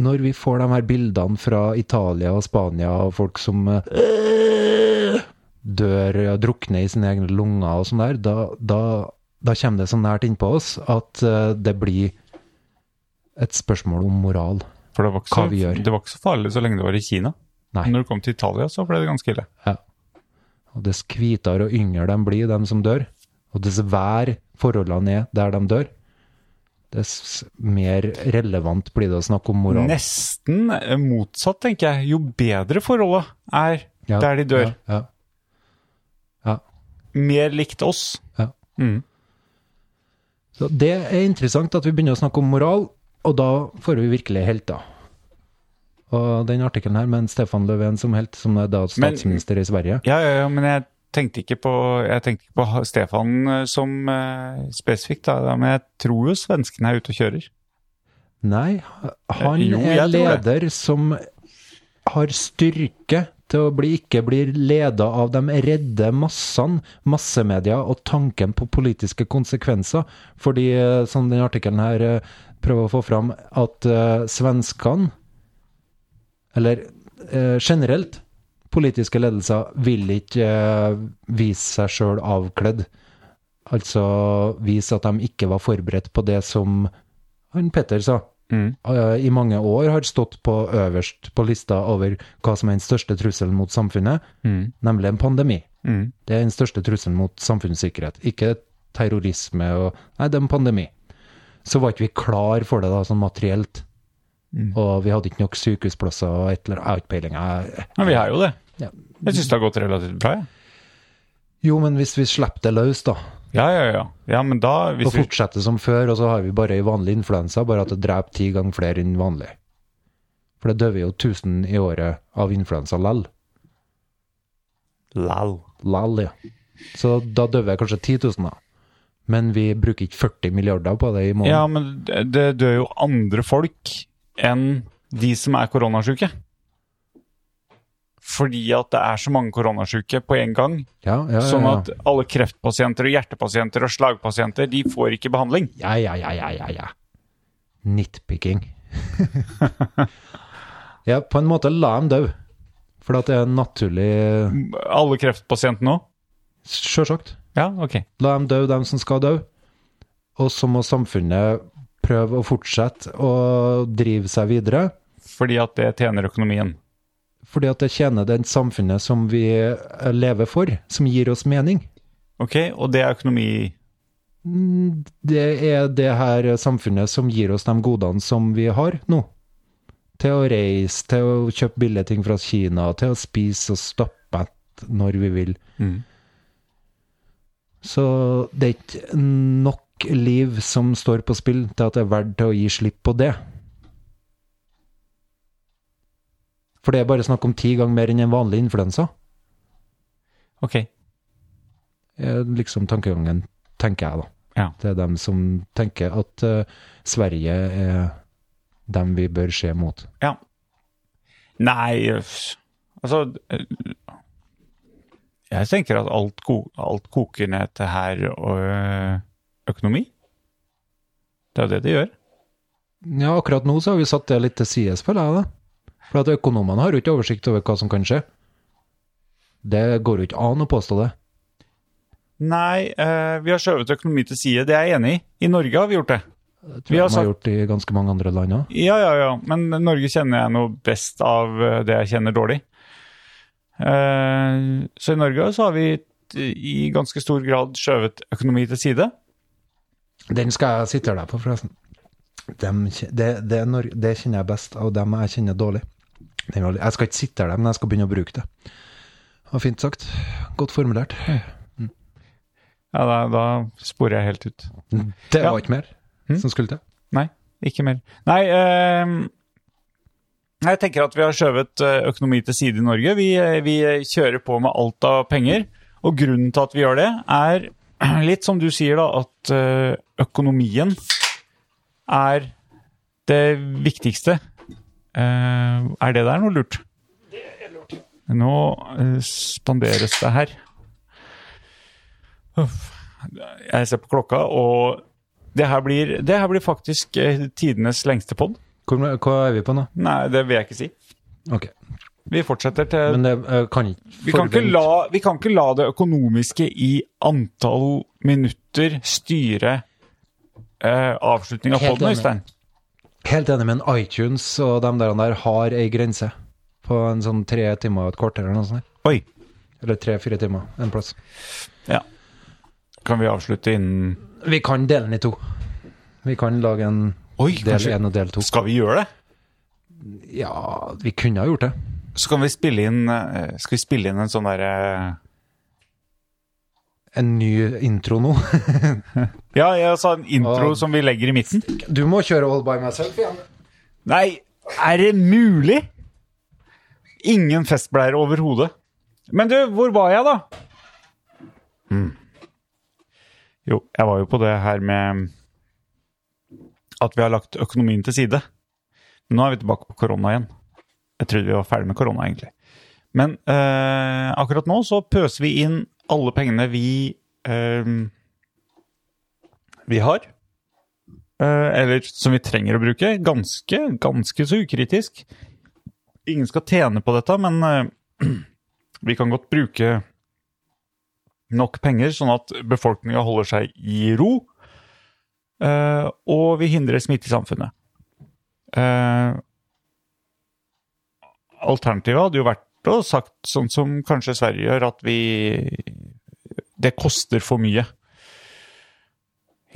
S5: når vi får de her bildene fra Italia og Spania og folk som eh, dør og drukner i sine egne lunger og sånn der, da, da, da kommer det så nært innpå oss at eh, det blir et spørsmål om moral.
S4: For det var, ikke
S5: Hva vi
S4: så,
S5: gjør.
S4: det var ikke så farlig så lenge det var i Kina.
S5: Nei.
S4: Når du kom til Italia, så ble det ganske ille.
S5: Og dess hvitere og yngre de blir, de som dør, og dess vær forholdene er der de dør, dess mer relevant blir det å snakke om moral.
S4: Nesten eh, motsatt, tenker jeg. Jo bedre forholdet er
S5: Ja,
S4: der de dør,
S5: Ja, ja.
S4: mer likt oss.
S5: Ja.
S4: Mm.
S5: Så det er interessant at vi begynner å snakke om moral, og da får vi virkelig helter. Og den artikkelen her med en Stefan Löfven som helt, som er da statsminister i Sverige
S4: Ja, ja, ja, men jeg tenkte ikke på, jeg tenkte ikke på Stefan eh, som eh, spesifikt, da, da, men jeg tror jo svenskene er ute og kjører.
S5: Nei, han
S4: Eh, jo,
S5: er
S4: jeg tror det.
S5: leder som har styrke til å bli, ikke bli leda av de redde massene, massemedia og tanken på politiske konsekvenser. Fordi, eh, som den artikkelen her eh, prøver å få fram, at eh, svenskene, eller eh, generelt, politiske ledelser vil ikke eh, vise seg sjøl avkledd. Altså vise at de ikke var forberedt på det som han Petter sa eh, i mange år har stått på øverst på lista over hva som er den største trusselen mot samfunnet, nemlig en pandemi. Det er den største trusselen mot samfunnssikkerhet, ikke terrorisme og Nei, det er en pandemi. Så var ikke vi klar for det da, sånn materielt. Og vi hadde ikke nok sykehusplasser og et eller annet. Jeg har ikke peiling. jeg-
S4: Men vi er jo det.
S5: Ja.
S4: Jeg syns det har gått relativt bra, jeg.
S5: Jo, men hvis vi slipper det løs, da,
S4: Ja, ja, ja. ja men da,
S5: og
S4: hvis vi,
S5: fortsetter som før, og så har vi bare en vanlig influensa, bare at det dreper ti ganger flere enn vanlig. For det døver jo 1000 i året av influensa lell.
S4: Lal.
S5: Lall, ja. Så da døver jeg kanskje 10 000, da. Men vi bruker ikke 40 milliarder på det i måneden.
S4: Ja, men det det dør jo andre folk enn de som er koronasyke. Fordi at det er så mange koronasyke på en gang.
S5: Ja, ja, ja, ja.
S4: Sånn at alle kreftpasienter og hjertepasienter og slagpasienter, de får ikke behandling.
S5: Ja, ja, ja, ja, ja, ja. Nitpicking. ja, på en måte la dem dø. For at det er en naturlig
S4: Alle kreftpasientene òg?
S5: Sjølsagt.
S4: Ja, ok.
S5: La dem dø, dem som skal dø. Og så må samfunnet prøve å fortsette å drive seg videre.
S4: Fordi at det tjener økonomien.
S5: Fordi at det tjener det samfunnet som vi eh, lever for, som gir oss mening.
S4: Ok, og det er økonomi
S5: det er det her samfunnet som gir oss de godene som vi har nå. Til å reise, til å kjøpe billige ting fra Kina, til å spise og stappe mett når vi vil. Så det er ikke nok liv som står på spill til at det er verdt til å gi slipp på det. For det er bare snakk om ti ganger mer enn en vanlig influensa.
S4: Ok.
S5: er liksom tankegangen, tenker jeg da.
S4: Ja.
S5: Det er dem som tenker at eh, Sverige er dem vi bør se mot.
S4: Ja. Nei øff. Altså eh, Jeg tenker at alt, ko alt koker ned til her og eh, økonomi. Det er jo det det gjør.
S5: Ja, akkurat nå så har vi satt det litt til side, føler jeg da. For at økonomene har jo ikke oversikt over hva som kan skje. Det går jo ikke an å påstå det.
S4: Nei, eh, vi har skjøvet økonomi til side. Det er jeg enig i. I Norge har vi gjort det.
S5: Det tror
S4: Vi
S5: jeg
S4: har
S5: de har gjort i ganske mange andre land også.
S4: Ja, ja, ja. Men Norge kjenner jeg noe best av eh, det jeg kjenner dårlig. Eh, Så i Norge så har vi t- i ganske stor grad skjøvet økonomi til side.
S5: Den skal jeg sitte deg på, forresten. Dem, kje- det, det, er Nor- det kjenner jeg best av dem jeg kjenner dårlig. Den var- Jeg skal ikke sitte der, men jeg skal begynne å bruke det. Det var fint sagt. Godt formulert.
S4: Ja, da, da sporer jeg helt ut.
S5: Det
S4: Ja.
S5: var ikke mer som skulle til.
S4: Nei, ikke mer. Nei, eh, jeg tenker at vi har skjøvet eh, økonomi til side i Norge. Vi, eh, vi kjører på med alt av penger. Og grunnen til at vi gjør det, er litt som du sier, da, at eh, økonomien er det viktigste. Eh, er det der noe lurt? Det er lurt. Nå eh, spanderes det her. Uff. Jeg ser på klokka, og det her blir, det her blir faktisk eh, tidenes lengste pod.
S5: Hvor, hva er vi på nå?
S4: Nei, det vil jeg ikke si.
S5: Ok,
S4: Vi fortsetter til
S5: Men det eh, kan ikke
S4: vi kan, ikke
S5: forvente-
S4: la, vi kan ikke la det økonomiske i antall minutter styre eh, avslutningen av
S5: Helt
S4: poden,
S5: enig.
S4: Øystein.
S5: Helt enig, men iTunes og de der, der har ei grense på en sånn tre timer og et kvarter eller noe sånt. der.
S4: Oi.
S5: Eller tre-fire timer en plass.
S4: Ja. Kan vi avslutte innen
S5: Vi kan dele den i to. Vi kan lage en
S4: Oi,
S5: del
S4: kanskje-
S5: én og del to.
S4: Skal vi gjøre det?
S5: Ja, vi kunne ha gjort det.
S4: Så kan vi spille inn eh, Skal vi spille inn en sånn derre
S5: En ny intro nå.
S4: Ja, jeg sa en intro
S5: Å.
S4: som vi legger i midten.
S5: Du må kjøre All by myself igjen.
S4: Nei, er det mulig? Ingen festbleier overhodet. Men du, hvor var jeg, da? Hmm. Jo, jeg var jo på det her med at vi har lagt økonomien til side. Men nå er vi tilbake på korona igjen. Jeg trodde vi var ferdig med korona, egentlig. Men eh, akkurat nå så pøser vi inn alle pengene vi eh, vi har. Eh, eller som vi trenger å bruke, ganske, ganske så ukritisk. Ingen skal tjene på dette, men eh, vi kan godt bruke nok penger, sånn at befolkninga holder seg i ro, eh, og vi hindrer smitte i samfunnet. Eh, alternativet hadde jo vært å sagt, sånn som kanskje Sverige gjør, at vi Det koster for mye.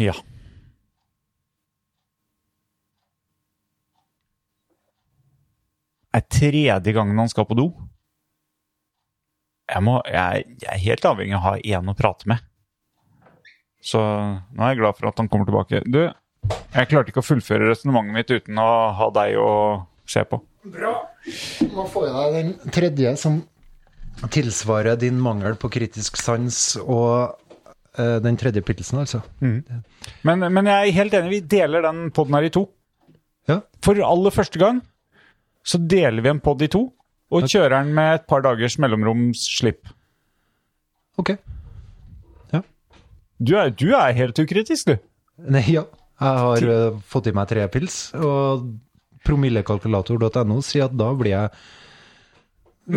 S4: Ja. er tredje gangen han skal på do. Jeg, må, jeg, jeg er helt avhengig av å ha én å prate med. Så nå er jeg glad for at han kommer tilbake. Du, jeg klarte ikke å fullføre resonnementet mitt uten å ha deg å se på.
S5: Nå får jeg deg den tredje som tilsvarer din mangel på kritisk sans og eh, den tredje pilsen, altså.
S4: Men, men jeg er helt enig, vi deler den podden her i to.
S5: Ja.
S4: For aller første gang så deler vi en podd i to, og kjører den med et par dagers mellomroms slipp.
S5: Ok.
S4: Du er, du er helt ukritisk, du.
S5: Nei, ja. Jeg har eh, fått i meg tre pils, og promillekalkulator.no sier at da blir jeg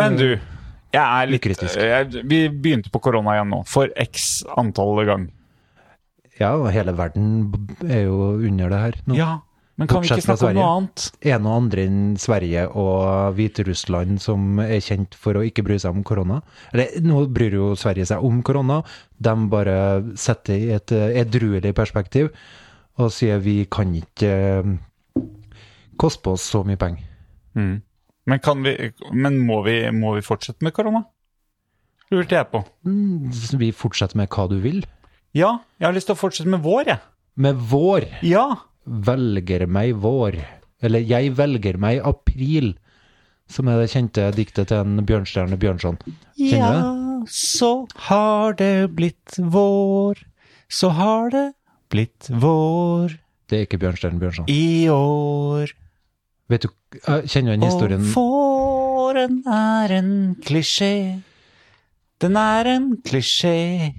S4: Men du, jeg er litt eh,
S5: Mm. Ukritisk.
S4: Jeg, vi begynte på korona igjen nå, for x antall gang.
S5: Ja, og hele verden b- er jo under det her nå.
S4: Ja, men kan vi
S5: Mm. Bortsett
S4: ikke
S5: fra
S4: snakke om
S5: Sverige.
S4: noe annet?
S5: En og andre enn Sverige og Hviterussland som er kjent for å ikke bry seg om korona. Eller, nå bryr jo Sverige seg om korona, de bare setter det i et eh, edruelig perspektiv og sier vi kan ikke eh, koste på oss så mye penger.
S4: Men, kan vi, men må, vi, må vi fortsette med korona? Lurte jeg på.
S5: Mm, Vi fortsetter med hva du vil.
S4: Ja, jeg har lyst til å fortsette med vår, jeg.
S5: Med vår
S4: Ja.
S5: velger meg vår. Eller jeg velger meg april, som er det kjente diktet til en Bjørnstjerne Bjørnson. Kjenner du det?
S4: så har det blitt vår. Så har det blitt vår
S5: Det er ikke Bjørnstjerne Bjørnson.
S4: i år.
S5: Vet du, jeg kjenner jo den historien
S4: Og fåren er en klisjé. Den er en klisjé.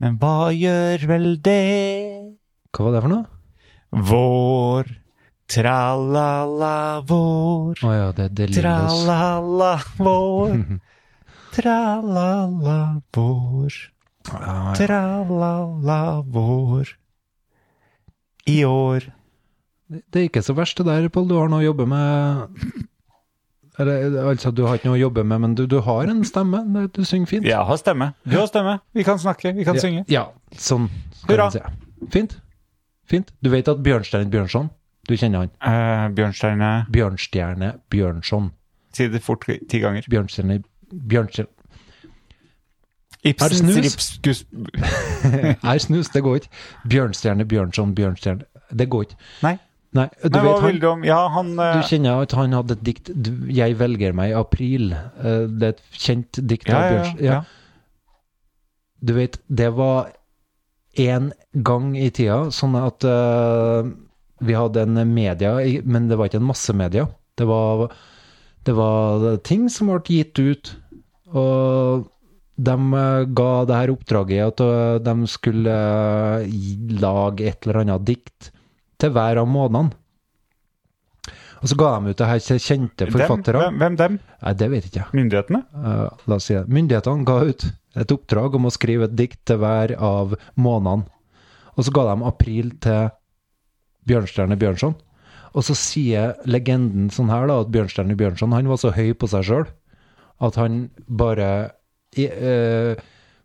S4: Men hva gjør vel det?
S5: Hva var det for noe?
S4: Vår. Tralala vår.
S5: Å ja, det er Delirious.
S4: Tralala vår. Tralala vår.
S5: Ja, ja.
S4: Tralala vår. I år.
S5: Det er ikke så verst det der, Pål. Du har noe å jobbe med Eller altså, du har ikke noe å jobbe med, men du, du har en stemme. Du synger fint.
S4: Jeg har stemme. Du har stemme. Vi kan snakke. Vi kan
S5: Ja,
S4: synge.
S5: Ja, sånn skal
S4: Hurra.
S5: man si. Fint. Fint. Du vet at Bjørnstjerne Bjørnson, du kjenner han.
S4: Eh, Bjørnstjerne,
S5: Bjørnstjerne Bjørnson.
S4: si det fort ti ganger.
S5: Bjørnstjerne Bjørnstjerne
S4: Ibsens
S5: snus?
S4: ripskus...
S5: Nei, snus, det går ikke. Bjørnstjerne Bjørnson Bjørnstjerne Det går ikke.
S4: Nei.
S5: Nei, du
S4: Nei, hva
S5: vet
S4: vil
S5: han
S4: du om Ja, han
S5: Du
S4: eh,
S5: kjenner at han hadde et dikt du, 'Jeg velger meg i april'. Eh, Det er et kjent dikt
S4: ja,
S5: av
S4: ja,
S5: Bjørnstjerne.
S4: ja, ja.
S5: Du vet, det var én gang i tida, sånn at eh, vi hadde en media, i- men det var ikke en massemedia. Det var, det var ting som ble gitt ut, og de eh, ga det her oppdraget i at eh, de skulle eh, gi- lage et eller annet dikt til hver av månedene. Og så ga de ut det her til kjente
S4: Dem,
S5: forfattere.
S4: hvem, hvem dem?
S5: Nei, det vet ikke jeg.
S4: Myndighetene?
S5: Eh, la oss si det. Myndighetene ga ut et oppdrag om å skrive et dikt til hver av månedene. Og så ga de april til Bjørnstjerne Bjørnson. Og så sier legenden sånn her, da, at Bjørnstjerne Bjørnson han var så høy på seg sjøl at han bare i, eh,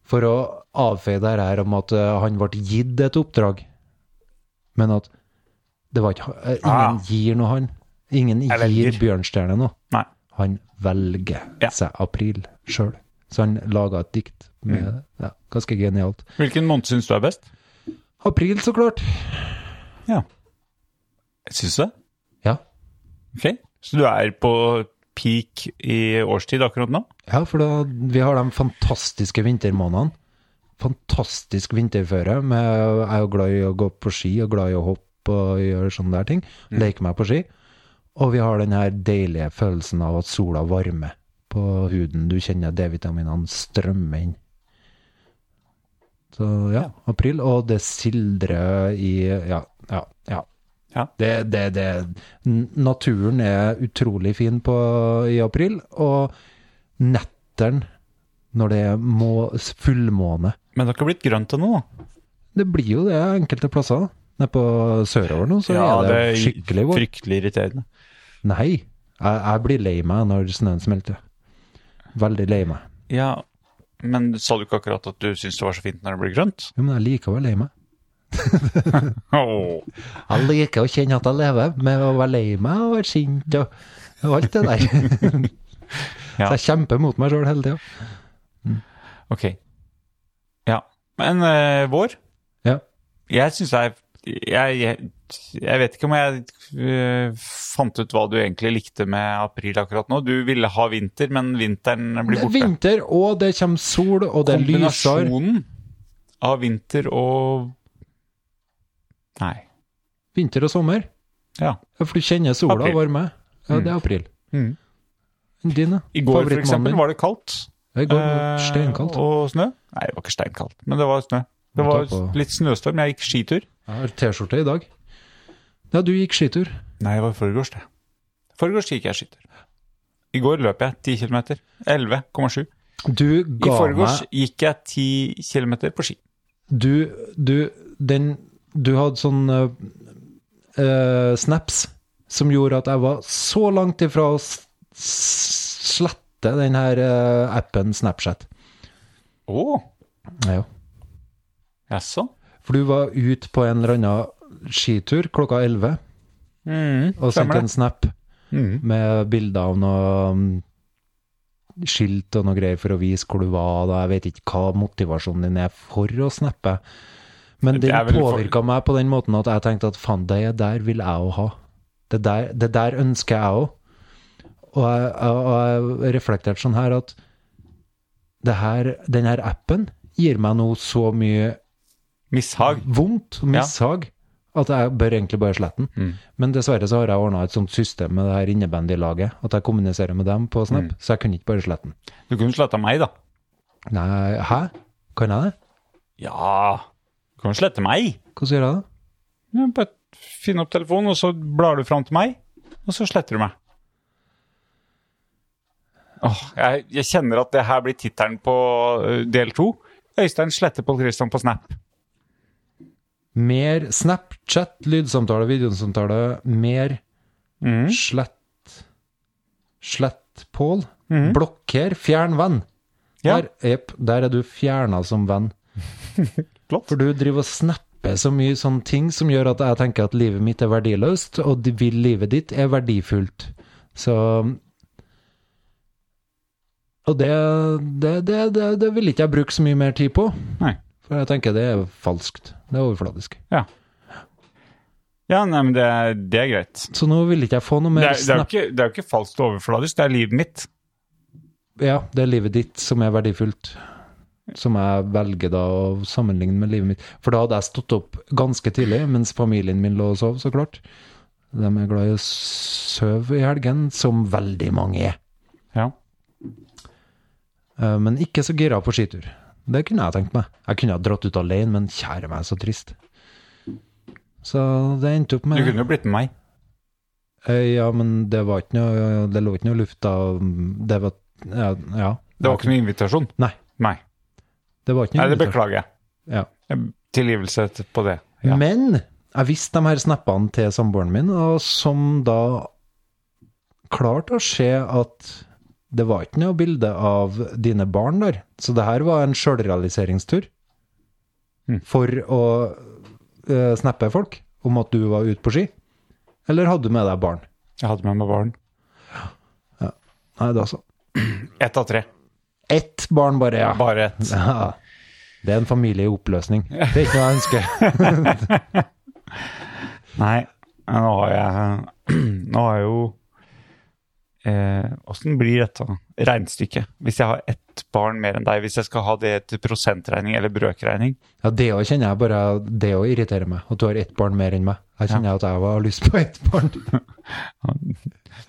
S5: For å avfeie det her om at eh, han ble gitt et oppdrag, Men at det var ikke eh,
S4: Ah.
S5: Ingen gir noe, han. Ingen
S4: Jeg
S5: gir
S4: velger.
S5: Bjørnstjerne noe.
S4: Nei.
S5: Han velger
S4: Ja.
S5: seg april sjøl. Så han laga et dikt med ja, Ganske genialt.
S4: Hvilken måned syns du er best?
S5: April, så klart.
S4: Ja. Syns du det?
S5: Ja.
S4: Ok. Så du er på peak i årstid akkurat nå?
S5: ja, for da, vi har de fantastiske vintermånedene. Fantastisk vinterføre. Med, jeg er jo glad i å gå på ski og glad i å hoppe og gjøre sånne der ting. Leke meg på ski. Og vi har den her deilige følelsen av at sola varmer på huden. Du kjenner D-vitaminene strømme inn. Så ja, april. Og det sildrer i Ja, ja. ja.
S4: Ja.
S5: Det, det, det. n- Naturen er utrolig fin på, i april, og netteren når det er må, fullmåne
S4: Men det har ikke blitt grønt ennå, da.
S5: Det blir jo det enkelte plasser. Nede på sørover nå, så er det, skikkelig vår.
S4: fryktelig irriterende.
S5: Nei, jeg, jeg blir lei meg når snøen smelter. Veldig lei meg.
S4: Ja, men sa du ikke akkurat at du syns det var så fint når det blir grønt?
S5: Jo, men jeg liker å være lei meg.
S4: Åh.
S5: Jeg liker å kjenne at jeg lever, med å være lei meg og være sint og, og alt det der.
S4: Ja.
S5: Så jeg kjemper mot meg sjøl hele tida.
S4: Ok. Ja. Men eh, vår?
S5: Ja.
S4: Jeg syns jeg, jeg jeg- Jeg vet ikke om jeg eh, fant ut hva du egentlig likte med april akkurat nå. Du ville ha vinter, men vinteren
S5: Det
S4: blir
S5: er
S4: borte.
S5: vinter, og det kommer sol, og det lyser.
S4: Kombinasjonen av vinter og Nei.
S5: Vinter og sommer.
S4: Ja.
S5: Ja, For du kjenner sola
S4: April.
S5: varme. Ja, det er april.
S4: Mm.
S5: Din, da?
S4: I går for
S5: Favorittmannen
S4: eksempel
S5: min.
S4: var det kaldt.
S5: Det går
S4: eh,
S5: steinkaldt.
S4: Og snø. Nei, det var ikke steinkaldt, men det var snø.
S5: Må
S4: Det var
S5: ta på-
S4: litt snøstorm. Jeg gikk skitur.
S5: Jeg har T-skjorte i dag. Ja, du gikk skitur.
S4: Nei, det var i forgårs, det. Forgårs gikk jeg skitur. I går løp jeg 10 km. 11,7.
S5: Du
S4: I
S5: ga
S4: forgårs
S5: meg
S4: gikk jeg 10 km på ski.
S5: Du, du, den Du hadde sånn eh, eh, snaps som gjorde at jeg var så langt ifra å s- s- slette den her eh, appen Snapchat.
S4: Å,
S5: Ja, ja.
S4: jaså?
S5: For du var ute på en eller annen skitur klokka 11
S4: Mm, stemmer
S5: og sendte
S4: det.
S5: en snap
S4: Mm.
S5: med bilder av noe mm, skilt og noe greier for å vise hvor du var. Da. Jeg vet ikke hva motivasjonen din er for å snappe. Men
S4: Det
S5: den
S4: er vel for-
S5: påvirka meg på den måten at jeg tenkte at faen, det der vil jeg òg ha. Det der, det der ønsker jeg òg. Og jeg, jeg, og jeg reflekterte sånn her at det her, den her appen gir meg nå så mye
S4: Mishag.
S5: vondt og
S4: Ja.
S5: mishag at jeg bør egentlig bare slette den. Men dessverre så har jeg ordna et sånt system med det her innebandylaget, at jeg kommuniserer med dem på Snap, så jeg kunne ikke bare slette den.
S4: Du kunne sletta meg, da.
S5: Nei, hæ? Kan jeg det?
S4: Ja Du kan jo slette meg.
S5: Hvordan gjør jeg det?
S4: Ja, Bare finn opp telefonen, og så blar du fram til meg, og så sletter du meg. Åh, jeg, jeg kjenner at det her blir tittelen på ø, del to. Øystein sletter Pål Christian på Snap.
S5: Mer Snapchat, lydsamtale, videosamtale, mer
S4: Mhm.
S5: slett Slett Pål. Blokker, fjern venn.
S4: Ja.
S5: Der, jep, der er du fjerna som venn.
S4: Flott.
S5: For du driver og snapper så mye sånne ting som gjør at jeg tenker at livet mitt er verdiløst, og de vil livet ditt er verdifullt. Så Og det, det, det, det, det vil ikke jeg bruke så mye mer tid på.
S4: Nei.
S5: For jeg tenker det er falskt. Det er overfladisk.
S4: Ja, nei, men det, er- det er greit.
S5: Så nå vil ikke jeg få noe
S4: Det
S5: mer
S4: er, det er, jo,
S5: snap.
S4: ikke, det er jo ikke falskt og overfladisk, det er livet mitt.
S5: Ja, det er livet ditt som er verdifullt. Som jeg velger da å sammenligne med livet mitt. For da hadde jeg stått opp ganske tidlig, mens familien min lå og sov, så klart. De er glad i å sove i helgen, som veldig mange er.
S4: Ja.
S5: Eh, Men ikke så gira på skitur. Det kunne jeg tenkt meg. Jeg kunne ha dratt ut alene, men kjære meg, så trist. Så det endte opp
S4: Du
S5: med
S4: kunne jo blitt med meg.
S5: Eh, Ja, men det var ikke noe Det lå ikke noe luft av Det var Ja. ja.
S4: Det var ikke noe invitasjon.
S5: Nei.
S4: Nei,
S5: Det var ikke noe
S4: nei det
S5: invitasjon.
S4: beklager jeg.
S5: Ja.
S4: Jeg- Tilgivelse til- på det. Ja.
S5: Men jeg visste de her snappene til samboeren min, og som da klarte å se at det var ikke noe bilde av dine barn der. Så det her var en sjølrealiseringstur for å eh, snappe folk. om at du var ute på ski? Eller hadde du med deg barn?
S4: Jeg hadde med meg barn.
S5: Nei, da så.
S4: Ett av tre.
S5: Ett barn bare, ja.
S4: Bare ett.
S5: ja. Det er en familie i oppløsning. Det er ikke noe jeg ønsker.
S4: Nei, nå har jeg Nå har jeg jo eh, Åssen blir dette regnestykket? Hvis jeg har ett barn mer enn deg, hvis jeg skal ha det til prosentregning eller brøkregning?
S5: Ja, det òg kjenner jeg bare Det òg irriterer meg, at du har ett barn mer enn meg. Jeg kjenner at jeg har lyst på ett barn.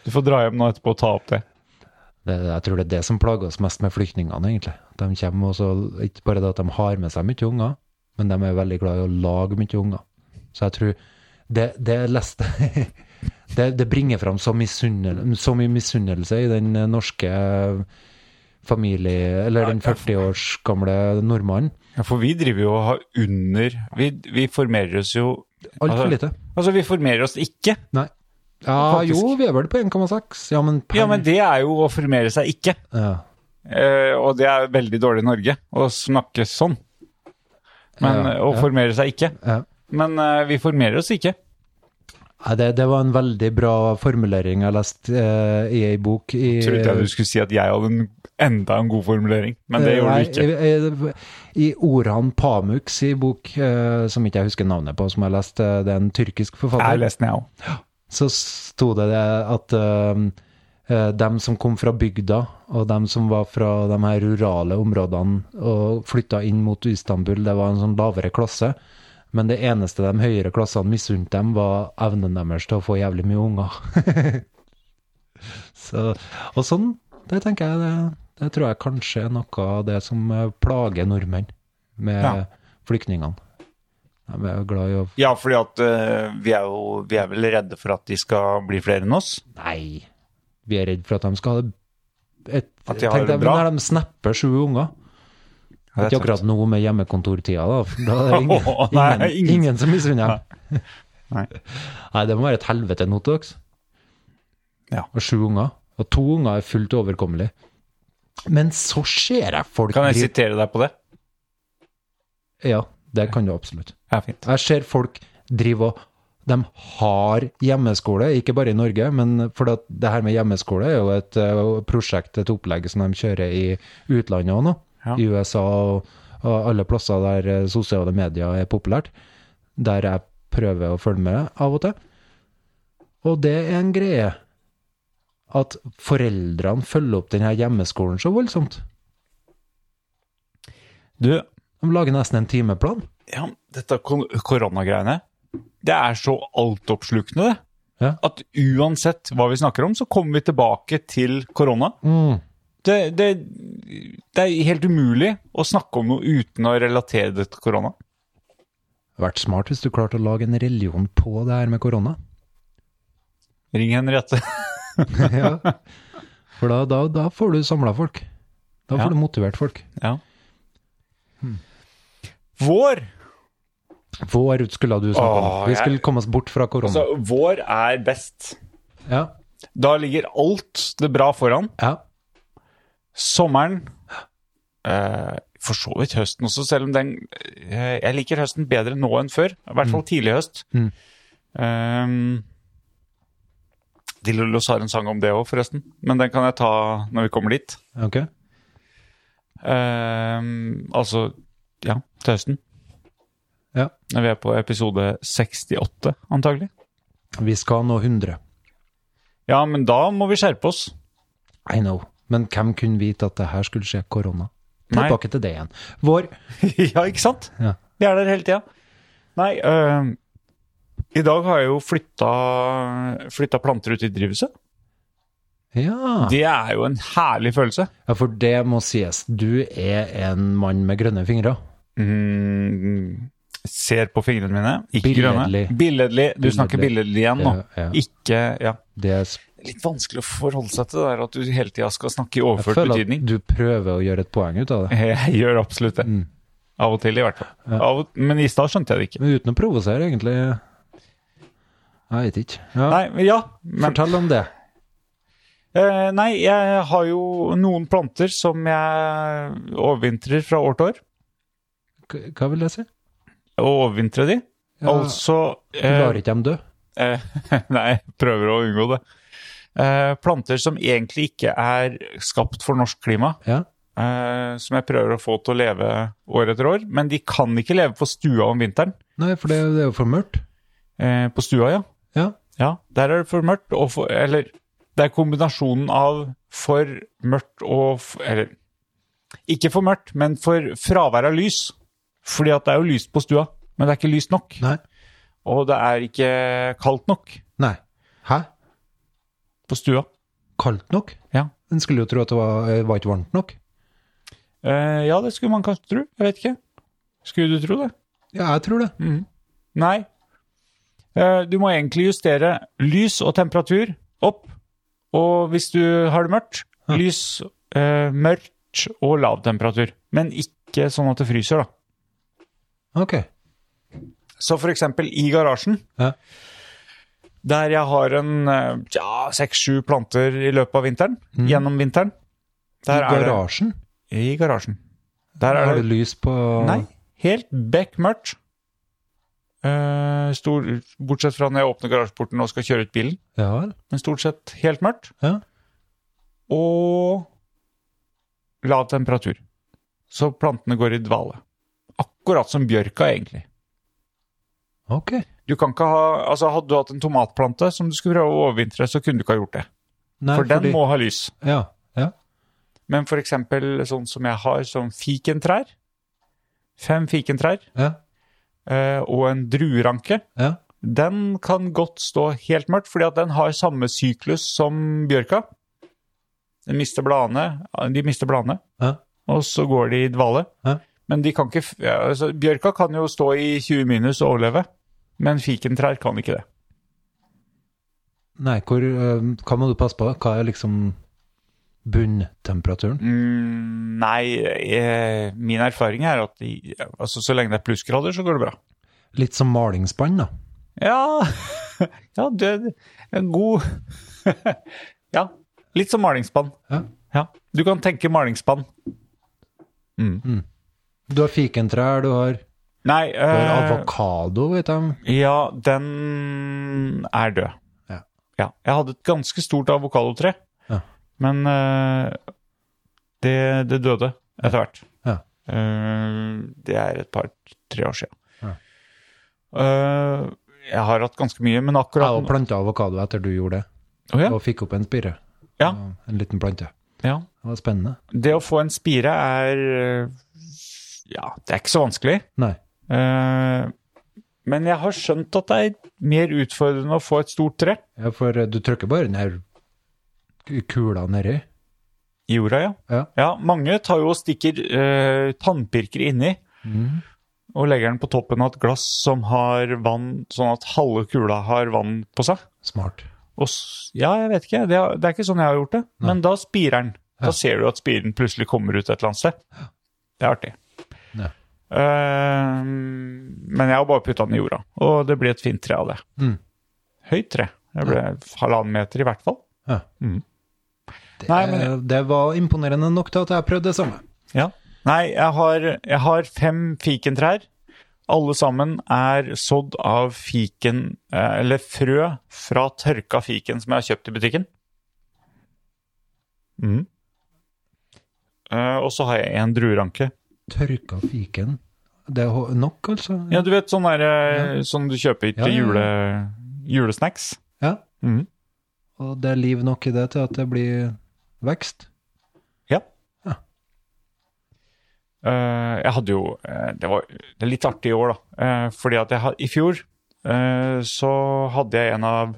S4: Du får dra hjem nå etterpå og ta opp det.
S5: Det, jeg tror det er det som plager oss mest med flyktningene, egentlig. De kommer også, ikke bare det at de har med seg mye unger, men de er veldig glad i å lage mye unger. Så jeg tror det, det jeg leste det, det bringer fram så, misunnel, så mye misunnelse i den norske familie... Eller den 40 års gamle nordmannen.
S4: Ja, for vi driver jo og har under Vi, vi formerer oss jo
S5: Altfor
S4: altså-
S5: lite.
S4: Altså, vi formerer oss ikke.
S5: Nei. Ja,
S4: Faktisk.
S5: jo, vi er vel på 1,6. Ja, men per
S4: Ja, men det er jo å formere seg ikke.
S5: ja.
S4: Eh, og det er veldig dårlig i Norge å snakke sånn. Men eh,
S5: Ja,
S4: å
S5: ja.
S4: formere seg ikke.
S5: Ja.
S4: Men eh, vi formerer oss ikke.
S5: Nei, det, det var en veldig bra formulering jeg leste eh, i ei bok i
S4: Trodde jeg du skulle si at jeg hadde en, enda en god formulering, men
S5: Eh,
S4: det gjorde du ikke.
S5: ikke. I, i Orhan Pamuk si bok, eh, som ikke jeg husker navnet på, som jeg leste, eh, det er en tyrkisk
S4: Jeg
S5: forfatter,
S4: leste den, jeg òg.
S5: så sto det det at eh, eh, dem som kom fra bygda, og dem som var fra de her rurale områdene og flytta inn mot Istanbul, det var en sånn lavere klasse. Men det eneste de høyere klassene misunte dem, var evnen deres til å få jævlig mye unger. så, og sånn, det tenker jeg, det, det tror jeg kanskje er noe av det som eh, plager nordmenn med
S4: Ja.
S5: flyktningene. De er jo glad i å
S4: Ja, fordi at eh, vi er jo Vi er vel redde for at de skal bli flere enn oss.
S5: Nei, vi er redd for at de skal ha det et,
S4: At de har
S5: tenk
S4: det
S5: deg,
S4: bra.
S5: Når de snapper sju unger.
S4: Ja, det
S5: Ikke
S4: er
S5: akkurat nå med hjemmekontortida, da. for Da er det ingen,
S4: Åh, nei,
S5: ingen,
S4: ingen-
S5: ingen som misunner dem.
S4: Nei.
S5: Nei, det må være et helvete nå til dere.
S4: Ja.
S5: Og sju unger. Og to unger er fullt overkommelig. Men så ser jeg folk
S4: Kan jeg
S5: drive-
S4: sitere deg på det?
S5: Ja, det kan du absolutt.
S4: Ja, fint.
S5: Jeg ser folk drive og De har hjemmeskole, ikke bare i Norge, men for at det her med hjemmeskole er jo et eh, prosjekt, et opplegg som de kjører i utlandet òg nå.
S4: Ja.
S5: I USA og, og alle plasser der eh, sosiale medier er populært. Der jeg prøver å følge med av og til. Og det er en greie. At foreldrene følger opp denne hjemmeskolen så voldsomt.
S4: Du,
S5: De lager nesten en timeplan.
S4: ja, dette kon- koronagreiene, det er så altoppslukende, det.
S5: Ja.
S4: At uansett hva vi snakker om, så kommer vi tilbake til korona.
S5: Mm.
S4: Det, det, det er helt umulig å snakke om noe uten å relatere det til korona.
S5: Vært smart hvis du klarte å lage en religion på det her med korona.
S4: Ring Henriette.
S5: ja. For da, da, da får du samla folk. Da får
S4: Ja.
S5: du motivert folk.
S4: Ja. Vår
S5: Vår skulle du snakke om.
S4: Åh,
S5: Vi
S4: jeg-
S5: skulle komme oss bort fra korona.
S4: altså, vår er best.
S5: ja.
S4: Da ligger alt det bra foran.
S5: ja.
S4: Sommeren eh, For så vidt høsten også, selv om den eh, Jeg liker høsten bedre nå enn før. I hvert fall tidlig høst.
S5: Mm.
S4: Ehm, Dillo Los har en sang om det òg, forresten. Men den kan jeg ta når vi kommer dit.
S5: Ok.
S4: Ehm, altså, ja, til høsten.
S5: Ja.
S4: Når vi er på episode 68, antagelig.
S5: Vi skal nå 100.
S4: Ja, men da må vi skjerpe oss.
S5: I know. Men hvem kunne vite at det her skulle skje korona?
S4: Nei.
S5: Tilbake til det igjen. Vår
S4: ja, ikke sant?
S5: Ja.
S4: Vi er der hele tida. Nei, ehm, i dag har jeg jo flytta, flytta planter ut i drivhuset.
S5: ja.
S4: Det er jo en herlig følelse.
S5: ja, for det må sies. Du er en mann med grønne fingre.
S4: Mm, ser på fingrene mine. Ikke
S5: Billedlig.
S4: grønne. Billedlig. Du snakker billedlig igjen nå.
S5: Ja, ja.
S4: Ikke Ja.
S5: Det er, s-
S4: Litt vanskelig å forholde seg til det der at du hele tida skal snakke i
S5: jeg
S4: overført
S5: føler
S4: betydning.
S5: at du prøver å gjøre et poeng ut av det.
S4: Jeg gjør absolutt det.
S5: Mm.
S4: Av og til, i hvert fall. Av og, men i stad skjønte jeg det ikke.
S5: Men uten å provosere, egentlig. Jeg vet ikke. Ja.
S4: Nei, men ja, men
S5: Fortell om det.
S4: eh, Nei, jeg har jo noen planter som jeg overvintrer fra år til år.
S5: K- Hva vil det si?
S4: Og overvintrer de. Altså
S5: Du
S4: eh,
S5: lar ikke dem dø?
S4: Eh, Nei, prøver å unngå det. Eh, planter som egentlig ikke er skapt for norsk klima,
S5: Ja.
S4: eh, som jeg prøver å få til å leve år etter år. Men de kan ikke leve på stua om vinteren.
S5: Nei, for det, det er jo for mørkt.
S4: Eh, på stua, ja.
S5: Ja.
S4: ja. Der er det for mørkt. Og for, eller det er kombinasjonen av for mørkt og f- Eller ikke for mørkt, men for fravær av lys. Fordi at det er jo lyst på stua, men det er ikke lyst nok.
S5: Nei.
S4: Og det er ikke kaldt nok
S5: Nei. Hæ?
S4: på stua.
S5: Kaldt nok?
S4: Ja.
S5: En skulle jo tro at det var, eh, var ikke varmt nok.
S4: Eh, ja, det skulle man kanskje tro. Jeg vet ikke. Skulle du tro det?
S5: Ja, jeg tror det.
S4: Mm. Nei. Eh, du må egentlig justere lys og temperatur opp. Og hvis du har det mørkt, lys, eh, mørkt og lav temperatur. Men ikke sånn at det fryser, da.
S5: Ok.
S4: Så for eksempel i garasjen,
S5: Ja.
S4: der jeg har en eh, ja, seks-sju planter i løpet av vinteren, gjennom vinteren
S5: Mm. I
S4: der er det-
S5: garasjen?
S4: I garasjen. Der er
S5: Har
S4: det
S5: du lys på
S4: Nei, helt bekmørkt. Eh, stor, bortsett fra når jeg åpner garasjeporten og skal kjøre ut bilen.
S5: Ja vel.
S4: Men stort sett helt mørkt.
S5: Ja.
S4: Og lav temperatur. Så plantene går i dvale. Akkurat som bjørka, egentlig.
S5: Ok.
S4: Du kan ikke ha, altså Hadde du hatt en tomatplante som du skulle prøve å overvintre, så kunne du ikke ha gjort det.
S5: Nei,
S4: For den
S5: fordi-
S4: må ha lys.
S5: Ja. ja.
S4: Men f.eks. sånn som jeg har, som fikentrær. Fem fikentrær
S5: Ja.
S4: eh, og en drueranke.
S5: Ja.
S4: den kan godt stå helt mørkt, fordi at den har samme syklus som bjørka. Den mister bladene, de mister bladene,
S5: ja.
S4: og så går de i dvale.
S5: Ja.
S4: Men de kan ikke, f- ja, altså, bjørka kan jo stå i 20 minus og overleve, men fikentrær kan ikke det.
S5: Nei, hvor, eh, hva må du passe på? Hva er liksom bunntemperaturen?
S4: Mm, nei, eh, min erfaring er at de, altså, så lenge det er plussgrader, så går det bra.
S5: Litt som malingsspann, da.
S4: Ja, ja det en god Ja, litt som malingsspann.
S5: Ja.
S4: Du kan tenke malingsspann.
S5: Du har fikentrær, du har,
S4: Nei,
S5: du har
S4: eh,
S5: avokado, vet jeg.
S4: ja, den er død.
S5: Ja.
S4: Jeg hadde et ganske stort avokadotre,
S5: Ja.
S4: men eh, det, det døde etter hvert.
S5: Ja.
S4: Eh, det er et par-tre år siden.
S5: Ja.
S4: Eh, jeg har hatt ganske mye, men
S5: Jeg
S4: akkurat
S5: har planta avokado etter du gjorde det,
S4: Å ja.
S5: og fikk opp en spire.
S4: Ja.
S5: Og En liten plante.
S4: ja.
S5: Det var spennende.
S4: Det å få en spire er eh, Ja, det er ikke så vanskelig.
S5: Nei.
S4: Eh, men jeg har skjønt at det er mer utfordrende å få et stort tre.
S5: Ja, for eh, du trykker bare den her kula nedi.
S4: I jorda, ja.
S5: Ja.
S4: mange tar jo og stikker eh, tannpirker inni
S5: Mhm.
S4: og legger den på toppen av et glass som har vann, sånn at halve kula har vann på seg.
S5: Smart.
S4: Og, s- ja, jeg vet ikke, det, er- det er ikke sånn jeg har gjort det. Men da spirer den. Da ser du at spiren plutselig kommer ut et eller annet sted. Det er artig.
S5: Ja.
S4: Eh, men jeg har bare putta den i jorda, og det blir et fint tre av det.
S5: Mm.
S4: Høyt tre. Det ble halvannen meter i hvert fall.
S5: Ja.
S4: Mm.
S5: Det,
S4: Nei, men
S5: det var imponerende nok til at jeg prøvde det samme.
S4: Ja. Nei, jeg har, jeg har fem fikentrær. Alle sammen er sådd av fiken, eh, eller frø fra tørka fiken som jeg har kjøpt i butikken. Mm. Eh, og så har jeg en drueranke.
S5: Tørka fiken. Det er ho- nok, altså?
S4: Ja, du vet sånn der, eh, som du kjøper til
S5: Ja, ja, ja.
S4: Jule, julesnacks.
S5: ja.
S4: Mm.
S5: Og det er liv nok i det til at det blir vekst.
S4: Ja.
S5: Ja.
S4: Eh, jeg hadde jo eh, det, var, det er litt artig i år, da. Eh, fordi at jeg had, i fjor eh, så hadde jeg en av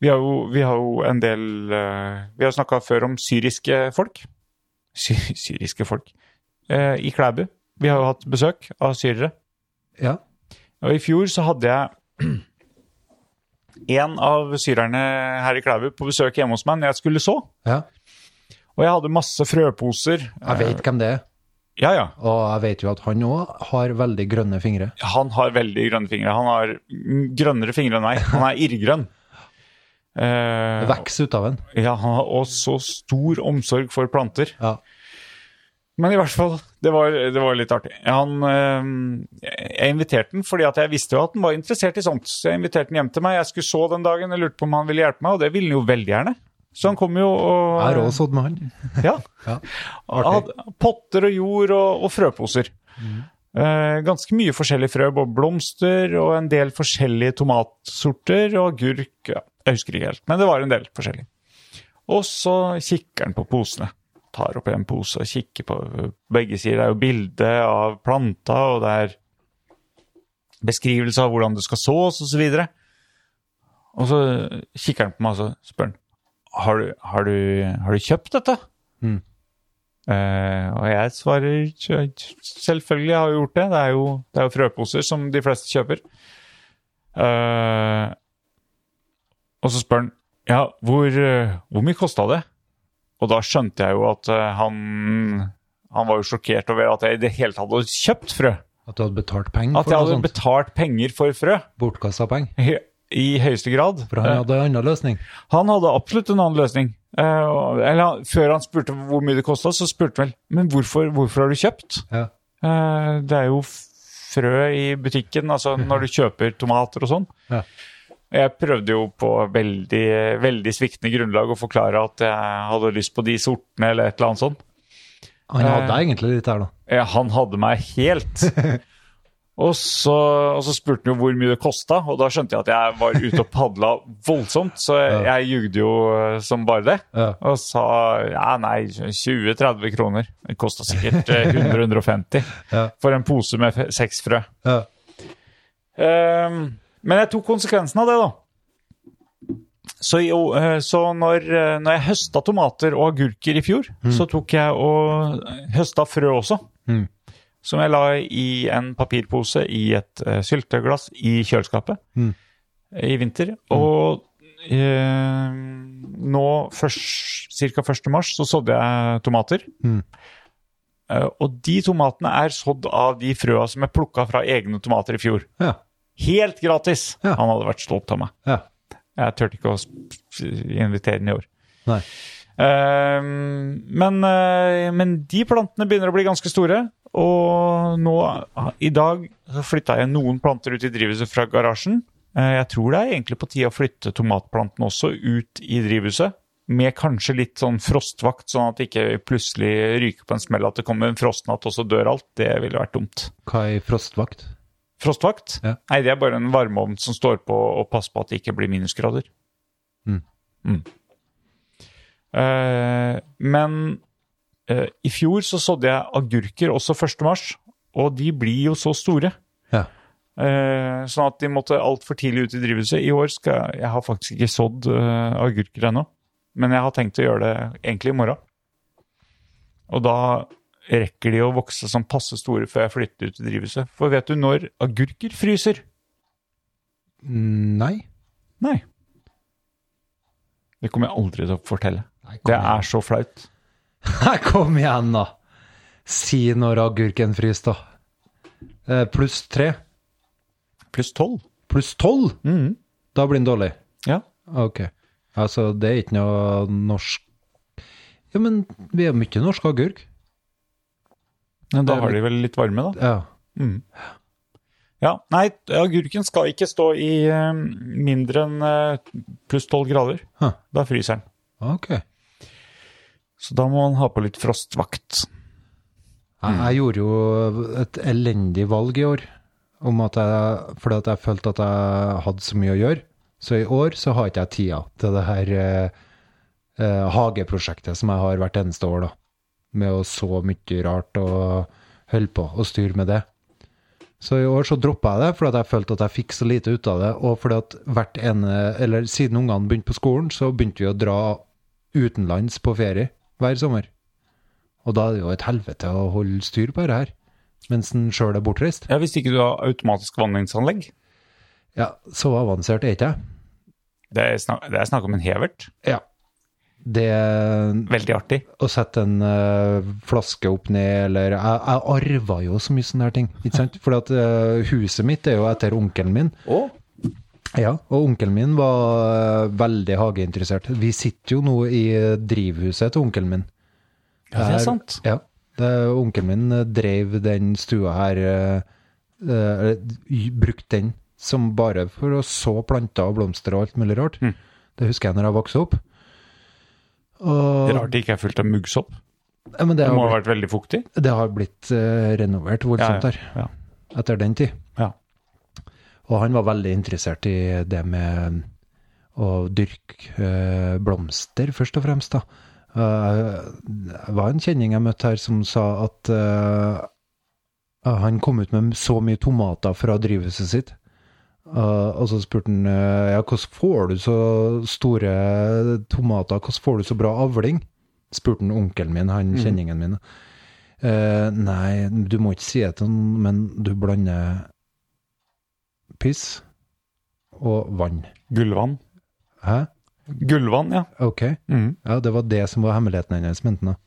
S4: Vi har jo, vi har jo en del eh, Vi har snakka før om syriske folk. Sy, syriske folk. Eh, I Klæbu. Vi har jo hatt besøk av syrere.
S5: Ja.
S4: Og i fjor så hadde jeg en av syrerne her i Klæbu på besøk hjemme hos meg når jeg skulle så.
S5: ja.
S4: Og jeg hadde masse frøposer. Eh,
S5: Jeg vet hvem det er,
S4: Ja, ja.
S5: og jeg vet jo at han òg har veldig grønne fingre.
S4: han har veldig grønne fingre. Han har mm, grønnere fingre enn meg. Han er irrgrønn. Eh,
S5: Veks ut av en.
S4: ja, han har også stor omsorg for planter.
S5: Ja.
S4: Men i hvert fall, det var, det var litt artig. Han, eh, jeg inviterte den fordi at jeg visste jo at han var interessert i sånt. Så jeg inviterte den hjem til meg. Jeg skulle så den dagen, jeg lurte på om han ville hjelpe meg, og det ville han jo veldig gjerne. Så han kom jo og
S5: Jeg har også hatt med han.
S4: Ja.
S5: Ja,
S4: Han hadde potter og jord og, og frøposer. Eh, ganske mye forskjellige frø, både blomster og en del forskjellige tomatsorter og agurk. Ja, jeg husker ikke helt, men det var en del forskjellig. Og så kikker han på posene. Tar opp en pose og kikker på begge sider. Det er jo bilde av planta, og det er beskrivelse av hvordan det skal sås, osv. Og, så og så kikker han på meg og så spør han har du, har du, har du kjøpt dette.
S5: Mm.
S4: Eh, og jeg svarer kjø- selvfølgelig har jeg gjort det. Det er jo, det er jo frøposer som de fleste kjøper. Eh, og så spør han ja, hvor, eh, hvor mye kosta det? Og da skjønte jeg jo at eh, han, han var jo sjokkert over at jeg i det hele tatt hadde kjøpt frø.
S5: At du hadde betalt penger
S4: At
S5: for
S4: jeg
S5: noe
S4: hadde
S5: sånt.
S4: betalt penger for frø.
S5: Bortkasta penger.
S4: I, i høyeste grad.
S5: For han
S4: Eh,
S5: hadde en annen løsning.
S4: han hadde absolutt en annen løsning. Eh, og- eller, han- før han spurte hvor mye det kosta, så spurte han vel Men hvorfor, hvorfor har du kjøpt?
S5: Ja.
S4: Eh, det er jo frø i butikken, altså når du kjøper tomater og sånn.
S5: Mhm. Ja.
S4: Jeg prøvde jo på veldig, veldig sviktende grunnlag å forklare at jeg hadde lyst på de sortene eller et eller annet sånt.
S5: Han hadde
S4: Eh.
S5: egentlig litt der, da.
S4: Ja, han hadde meg helt. Og så, og så spurte han jo hvor mye det kosta, og da skjønte jeg at jeg var ute og padla voldsomt, så jeg, jeg jugde jo eh, som bare det.
S5: Ja.
S4: Og sa ja, nei, 20-30 kroner. Det kosta sikkert eh, 100-150
S5: Ja.
S4: for en pose med f- seks frø.
S5: Ja.
S4: Ehm, men jeg tok konsekvensen av det, da. Så, i å- eh, så når, eh, når jeg høsta tomater og agurker i fjor, så tok jeg og høsta frø også.
S5: Mm.
S4: Som jeg la i en papirpose i et eh, sylteglass i kjøleskapet
S5: Mm.
S4: i vinter. Og eh, nå, ca. 1. mars, så sådde jeg tomater.
S5: Mm.
S4: Eh, og de tomatene er sådd av de frøa som jeg plukka fra egne tomater i fjor.
S5: Ja.
S4: Helt gratis!
S5: Ja.
S4: Han hadde vært stolt av meg.
S5: Ja.
S4: Jeg turte ikke å sp- invitere den i år.
S5: Nei.
S4: Eh, men, eh, men de plantene begynner å bli ganske store. Og nå i dag så flytta jeg noen planter ut i drivhuset fra garasjen. Eh, jeg tror det er egentlig på tide å flytte tomatplantene også ut i drivhuset. Med kanskje litt sånn frostvakt, sånn at det ikke plutselig ryker på en smell at det kommer en frostnatt, og så dør alt. Det ville vært dumt.
S5: Hva er frostvakt?
S4: Frostvakt?
S5: Ja.
S4: Nei, det er bare en varmeovn som står på og passer på at det ikke blir minusgrader.
S5: Mm.
S4: Mm. Eh, men eh, i fjor så sådde jeg agurker også 1. mars, og de blir jo så store.
S5: Ja.
S4: Eh, sånn at de måtte altfor tidlig ut i drivhuset. I år skal jeg, jeg har faktisk ikke sådd eh, agurker ennå, men jeg har tenkt å gjøre det egentlig i morgen. Og da rekker de å vokse som passe store før jeg flytter ut i drivhuset. For vet du når agurker fryser?
S5: Nei.
S4: Nei. Det kommer jeg aldri til å fortelle.
S5: Nei, kom
S4: Det
S5: igjen.
S4: er så flaut.
S5: Nei, Kom igjen, da! Si når agurken fryser, da. Eh, Pluss tre.
S4: Pluss tolv.
S5: Pluss tolv?
S4: Mhm.
S5: Da blir den dårlig.
S4: Ja.
S5: Ok. Altså, det er ikke noe norsk Ja, men vi er mye norsk agurk.
S4: Men da
S5: Det er
S4: har de vel litt varme, da.
S5: Ja.
S4: Ja, Nei, agurken skal ikke stå i eh, mindre enn eh, pluss tolv grader.
S5: Huh.
S4: Da fryser den.
S5: Ok. Jeg,
S4: Så da må man ha på litt frostvakt.
S5: jeg gjorde jo et elendig valg i år, om at jeg, fordi at jeg følte at jeg hadde så mye å gjøre. Så i år så har ikke jeg tida til det her eh, eh, hageprosjektet som jeg har hvert eneste år, da. Med å så mye rart og holde på og styre med det. Så i år så droppa jeg det, fordi at jeg følte at jeg fikk så lite ut av det. Og fordi at hvert ene, eller siden ungene begynte på skolen, så begynte vi å dra utenlands på ferie hver sommer. Og da er det jo et helvete å holde styr på det her, mens en sjøl er bortreist.
S4: Ja, Hvis ikke du har automatisk vanningsanlegg.
S5: Ja, så avansert er ikke jeg.
S4: Det er snakk, det er snakk om en hevert.
S5: Ja. Det
S4: Veldig artig.
S5: å sette en eh, flaske opp ned, eller Jeg, jeg arva jo så mye sånne her ting, ikke sant? For at eh, huset mitt er jo etter onkelen min. Ja, og onkelen min var eh, veldig hageinteressert. Vi sitter jo nå i drivhuset til eh, onkelen min.
S4: Ja, det er sant.
S5: Ja, Eh, onkelen min eh, drev den stua her eh, eh, eller, y- Brukte den som bare for å så planter og blomster og alt mulig rart.
S4: Mm.
S5: Det husker jeg når jeg vokste opp. Og,
S4: Rart det ikke er fullt av muggsopp.
S5: Ja, men det,
S4: Det
S5: har
S4: må ha
S5: blitt,
S4: vært veldig fuktig.
S5: det har blitt eh, renovert voldsomt
S4: Ja,
S5: her
S4: ja.
S5: etter den tid.
S4: Ja.
S5: Og han var veldig interessert i det med å dyrke eh, blomster, først og fremst. da. Eh, det var en kjenning jeg møtte her som sa at eh, han kom ut med så mye tomater fra drivhuset sitt. Eh, og så spurte han eh, ja, hvordan får du så store tomater, hvordan får du så bra avling? spurte han onkelen min, han kjenningen min. Eh, nei, du må ikke si det til noen, men du blander piss og vann.
S4: Gullvann.
S5: Hæ?
S4: Gullvann, ja.
S5: Ok.
S4: Mhm.
S5: Ja, det var det som var hemmeligheten hennes, mente han. da.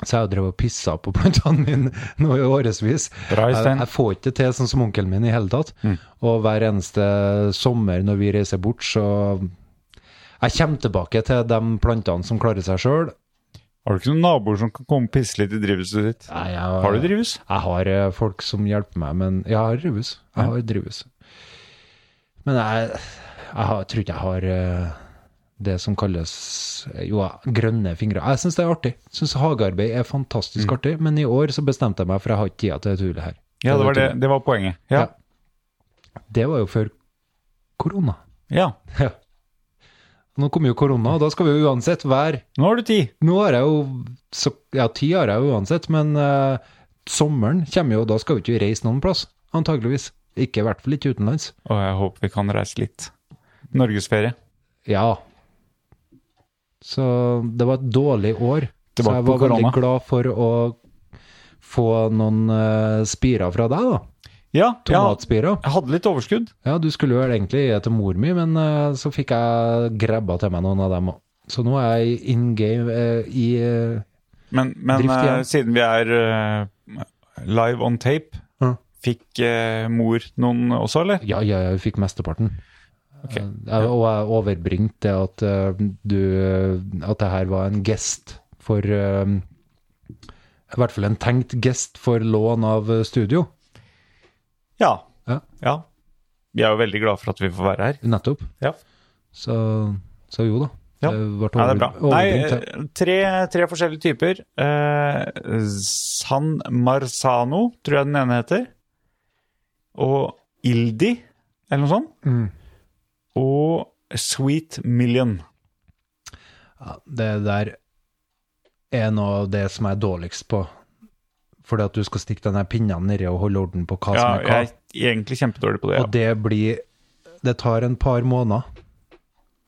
S5: Så jeg har drevet og pissa på plantene mine nå i årevis.
S4: Bra,
S5: Jeg,
S4: Øystein.
S5: jeg får ikke det til sånn som onkelen min i hele tatt.
S4: Mm.
S5: Og hver eneste sommer når vi reiser bort, så Jeg kommer tilbake til de plantene som klarer seg sjøl.
S4: Har du ikke noen naboer som kan komme og pisse litt i drivhuset ditt? Har du drivhus?
S5: Jeg har eh, folk som hjelper meg, men jeg har drivhus. Jeg har drivhus. Men jeg, jeg, har, tror ikke jeg har eh, det som kalles eh, jo, grønne fingre. Jeg syns det er artig. Syns hagearbeid er fantastisk artig, men i år så bestemte jeg meg for jeg har ikke tida til dette hullet her.
S4: Mm. Ja, det var, det,
S5: tullet.
S4: det var poenget. Ja.
S5: Det var jo før korona.
S4: ja.
S5: Ja. Nå kommer jo korona, og da skal vi jo uansett være
S4: Nå har du tid.
S5: Nå har jeg jo så, Ja, ti har jeg jo uansett, men eh, sommeren kommer jo, og da skal vi ikke reise noen plass, antageligvis. Ikke i hvert fall ikke utenlands.
S4: Og jeg håper vi kan reise litt. Norgesferie.
S5: Ja. Så det var et dårlig år. så
S4: Tilbake
S5: jeg
S4: på
S5: var veldig
S4: korona.
S5: glad for å få noen eh, spirer fra deg, da.
S4: Ja, ja,
S5: Tomatspirer.
S4: jeg hadde litt overskudd.
S5: Ja, du skulle vel egentlig gi det til mor mi, men eh, så fikk jeg grabba til meg noen av dem òg. Så nå er jeg in game eh, i eh,
S4: Men, men
S5: Drift igjen.
S4: eh, siden vi er eh, live on tape,
S5: Ja.
S4: fikk eh, mor noen også, eller?
S5: Ja, ja, jeg fikk mesteparten.
S4: Ok.
S5: Eh, og jeg overbringte det at eh, du At det her var en gest for eh, I hvert fall en tenkt gest for lån av eh, studio.
S4: Ja.
S5: Ja.
S4: ja. Vi er jo veldig glad for at vi får være her.
S5: Nettopp.
S4: Ja.
S5: Så, så jo da.
S4: Ja.
S5: Det ble
S4: Ja, det er bra.
S5: over,
S4: Nei,
S5: overbringt. ja.
S4: eh, tre, tre forskjellige typer. Eh, San Marzano, tror jeg den ene heter. Og Ildi, eller noe sånt.
S5: Mm.
S4: Og Sweet Million.
S5: Ja, det der er noe av det som jeg er dårligst på. Fordi at du skal stikke denne pinnen nedi og holde orden på hva
S4: Ja,
S5: som er hva.
S4: jeg er egentlig kjempedårlig på det.
S5: Altså Og det blir Det tar en par måneder,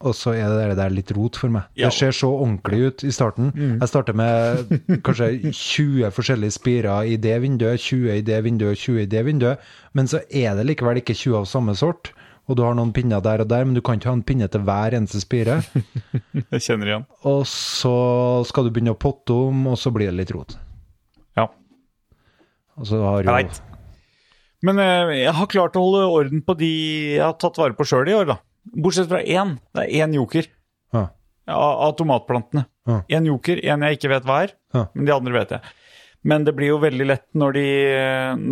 S5: og så er det der litt rot for meg.
S4: Ja. Mm.
S5: Det ser så ordentlig ut i starten. Jeg starter med kanskje 20 forskjellige spirer i det vinduet, 20 i det vinduet, 20 i det vinduet, men så er det likevel ikke 20 av samme sort. Og du har noen pinner der og der, men du kan ikke ha en pinne til hver eneste spire.
S4: Ja. Jeg kjenner igjen.
S5: Og så skal du begynne å potte om, og så blir det litt rot.
S4: Ja,
S5: Og så har
S4: jeg
S5: jo
S4: veit. Men eh, jeg har klart å holde orden på de jeg har tatt vare på sjøl i år, da. Bortsett fra én. Det er én joker
S5: Ja.
S4: av, av tomatplantene.
S5: Ja.
S4: Én joker, én jeg ikke vet hva er.
S5: Ja.
S4: Men de andre vet jeg. Men det blir jo veldig lett når de,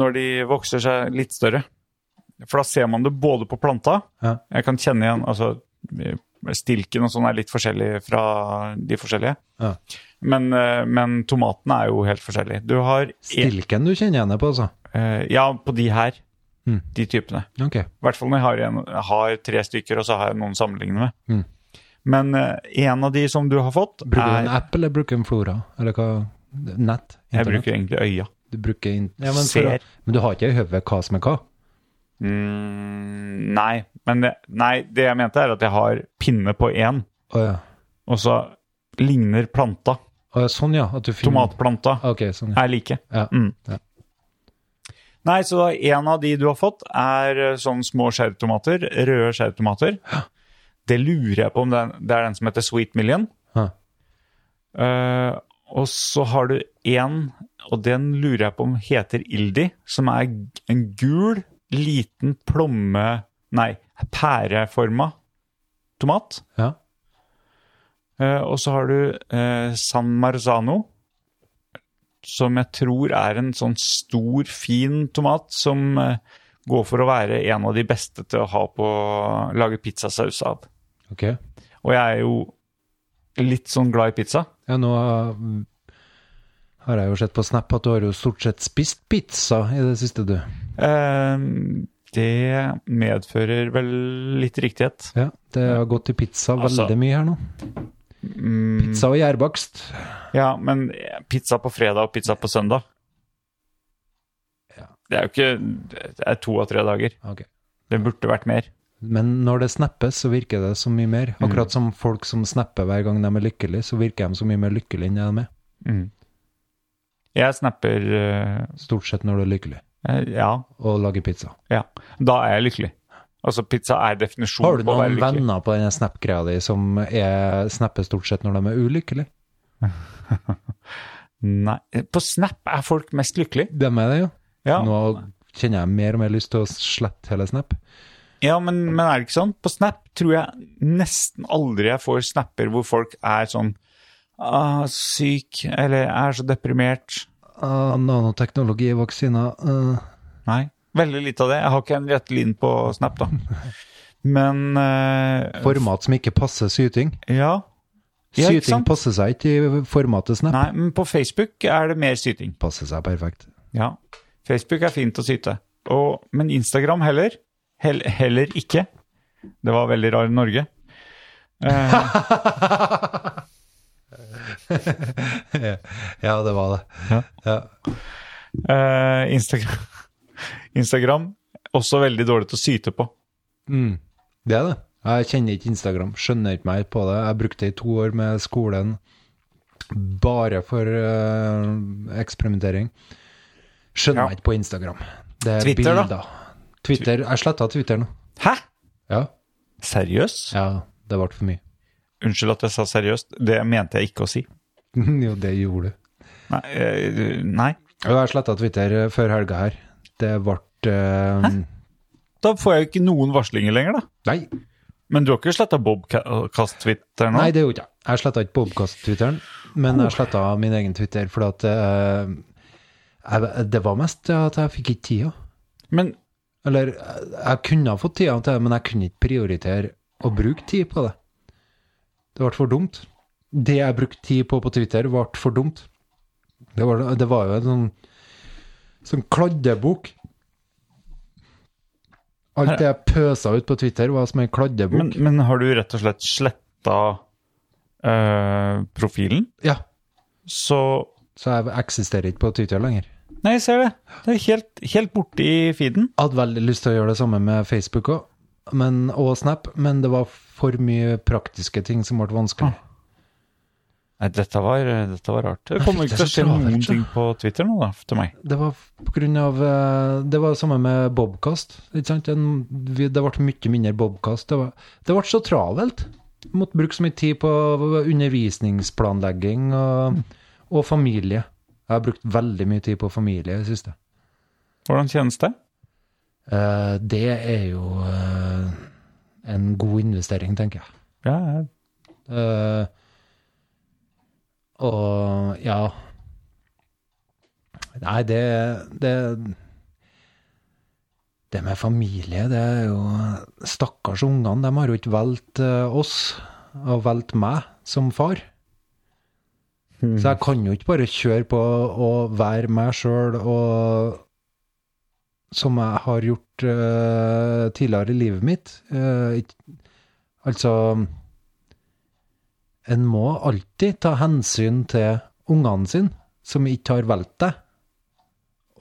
S4: når de vokser seg litt større. For da ser man det både på planta
S5: Ja.
S4: Jeg kan kjenne igjen altså, Stilken og sånn er litt forskjellig fra de forskjellige.
S5: Ja.
S4: Men, eh, men tomatene er jo helt forskjellige. Du har en,
S5: Stilken du kjenner henne på, altså.
S4: eh, Ja, på de her.
S5: Mm.
S4: De typene.
S5: Ok.
S4: I hvert fall når jeg har, en, har tre stykker, og så har jeg noen å sammenligne med.
S5: Mm.
S4: Men eh, en av de som du har fått,
S5: Bruker du en
S4: er
S5: app, eller bruker du en flora? Eller hva? Nett?
S4: Jeg
S5: Internett?
S4: bruker egentlig øya.
S5: Du bruker in ja, men, for,
S4: Ser.
S5: å- men du har ikke i hodet hva som er hva?
S4: Mm, nei, men det, nei, det jeg mente er at jeg har pinne på én,
S5: Å ja.
S4: og så ligner planta,
S5: Å, ja, sånn ja. At du finner
S4: tomatplanta,
S5: Ok, sånn ja.
S4: er like.
S5: ja.
S4: Mm.
S5: Ja.
S4: Nei, så da, en av de du har fått er eh, sånn små skjæretomater, røde skjæretomater. Det lurer jeg på om det er, det er den som heter Sweet Million.
S5: Ja.
S4: Eh, og så har du en, og den lurer jeg på om heter Ildi, som er g- en gul, liten plomme... Nei, pæreforma tomat.
S5: Ja.
S4: Eh, og så har du eh, San Marzano, som jeg tror er en sånn stor, fin tomat som eh, går for å være en av de beste til å ha på lage pizzasaus av.
S5: Ok.
S4: Og jeg er jo litt sånn glad i pizza.
S5: Ja, nå mm, har jeg jo sett på Snap at du har jo stort sett spist pizza i det siste, du.
S4: Eh, det medfører vel litt riktighet.
S5: Ja, det har gått til pizza
S4: Altså-
S5: veldig mye her nå.
S4: Mm,
S5: Pizza og gjærbakst.
S4: Ja, men pizza på fredag og pizza på søndag Det er jo ikke Det er to av tre dager.
S5: Ok.
S4: Det burde vært mer.
S5: Men når det snappes, så virker det så mye mer.
S4: Mm.
S5: Akkurat som folk som snapper hver gang de er lykkelige, så virker de så mye mer lykkelige enn de er.
S4: Jeg snapper eh,
S5: Stort sett når du er lykkelig
S4: eh, Ja.
S5: og lager pizza.
S4: ja. Da er jeg lykkelig. Altså, pizza er definisjonen
S5: Har du
S4: på å være
S5: noen
S4: lykkelig.
S5: venner på denne snap-greia di som er, snapper stort sett når de er ulykkelige?
S4: Nei. På Snap er folk mest lykkelige.
S5: De er det, jo.
S4: Ja,
S5: Nå kjenner jeg mer og mer lyst til å slette hele Snap.
S4: ja men, men er det ikke sånn? På Snap tror jeg nesten aldri jeg får snapper hvor folk er sånn ah, syk, eller er så deprimert.
S5: Ah, nanoteknologi, vaksiner eh,
S4: Nei. Veldig lite av det. Jeg har ikke Henriette Lien på Snap, da. Men eh,
S5: Format som ikke passer syting.
S4: Ja. Ja, ikke
S5: Syting
S4: sant?
S5: passer seg ikke i formatet Snap.
S4: Nei, men på Facebook er det mer syting.
S5: Passer seg perfekt.
S4: Ja. Facebook er fint å syte. Og, men Instagram heller? Hell, heller ikke. Det var veldig rar Norge. Eh,
S5: Ja, det var det.
S4: eh, Instagram. Instagram også veldig dårlig til å syte på.
S5: Mm. Det er det. Jeg kjenner ikke Instagram, skjønner ikke meg på det. Jeg brukte det i to år med skolen bare for eh, eksperimentering. Skjønner
S4: Ja.
S5: meg ikke på Instagram. Det er
S4: Twitter, da?
S5: bilder. Twitter, Jeg sletta Twitter nå.
S4: Hæ?
S5: Ja.
S4: Seriøs?
S5: ja, det ble for mye.
S4: Unnskyld at jeg sa seriøst. Det mente jeg ikke å si.
S5: jo, det gjorde du.
S4: Nei. eh, nei.
S5: Og jeg sletta Twitter eh, før helga her. Det ble eh,
S4: Da får jeg jo ikke noen varslinger lenger, da.
S5: Nei,
S4: Men du har ikke sletta Bobcast-Twitter nå?
S5: Nei, det gjorde jeg ikke. Jeg sletta ikke Bobkast-Twitteren, men jeg sletta min egen Twitter, for at eh, jeg, Det var mest at jeg fikk ikke tida.
S4: Men
S5: Eller jeg, jeg kunne ha fått tida til det, men jeg kunne ikke prioritere å bruke tid på det. Det ble for dumt. Det jeg brukte tid på på Twitter, ble for dumt. Det var, det var jo en sånn, sånn kladdebok. Alt det jeg pøsa ut på Twitter, var som en kladdebok.
S4: Men, men har du rett og slett sletta eh, profilen?
S5: ja,
S4: Så
S5: så jeg eksisterer ikke på Twitter lenger.
S4: Nei, jeg ser det. Det er helt, helt borte i feeden.
S5: Jeg hadde veldig lyst til å gjøre det samme med Facebook også, men, og Snap, men det var for mye praktiske ting som ble vanskelig.
S4: Nei, dette var, dette var rart. Det kommer
S5: fikk
S4: ikke til å
S5: det så
S4: skje
S5: travelt,
S4: noen
S5: så.
S4: ting på Twitter nå, da, til meg.
S5: Det var på grunn av eh, Det var det samme med Bobkast. Ikke sant? En, vi, det ble mye mindre Bobkast. Det, var, det ble så travelt. Jeg måtte bruke så mye tid på undervisningsplanlegging og, og familie. Jeg har brukt veldig mye tid på familie i det siste.
S4: Hvordan kjennes det?
S5: Eh, det er jo eh, en god investering, tenker jeg.
S4: Ja, jeg-
S5: Eh, og ja Nei, det, det Det med familie, det er jo Stakkars ungene, de har jo ikke valgt eh, oss, og valgt meg som far. Så jeg kan jo ikke bare kjøre på å være meg sjøl og Som jeg har gjort eh, tidligere i livet mitt. Eh, ikke- altså en må alltid ta hensyn til ungene sine, som ikke har valgt deg.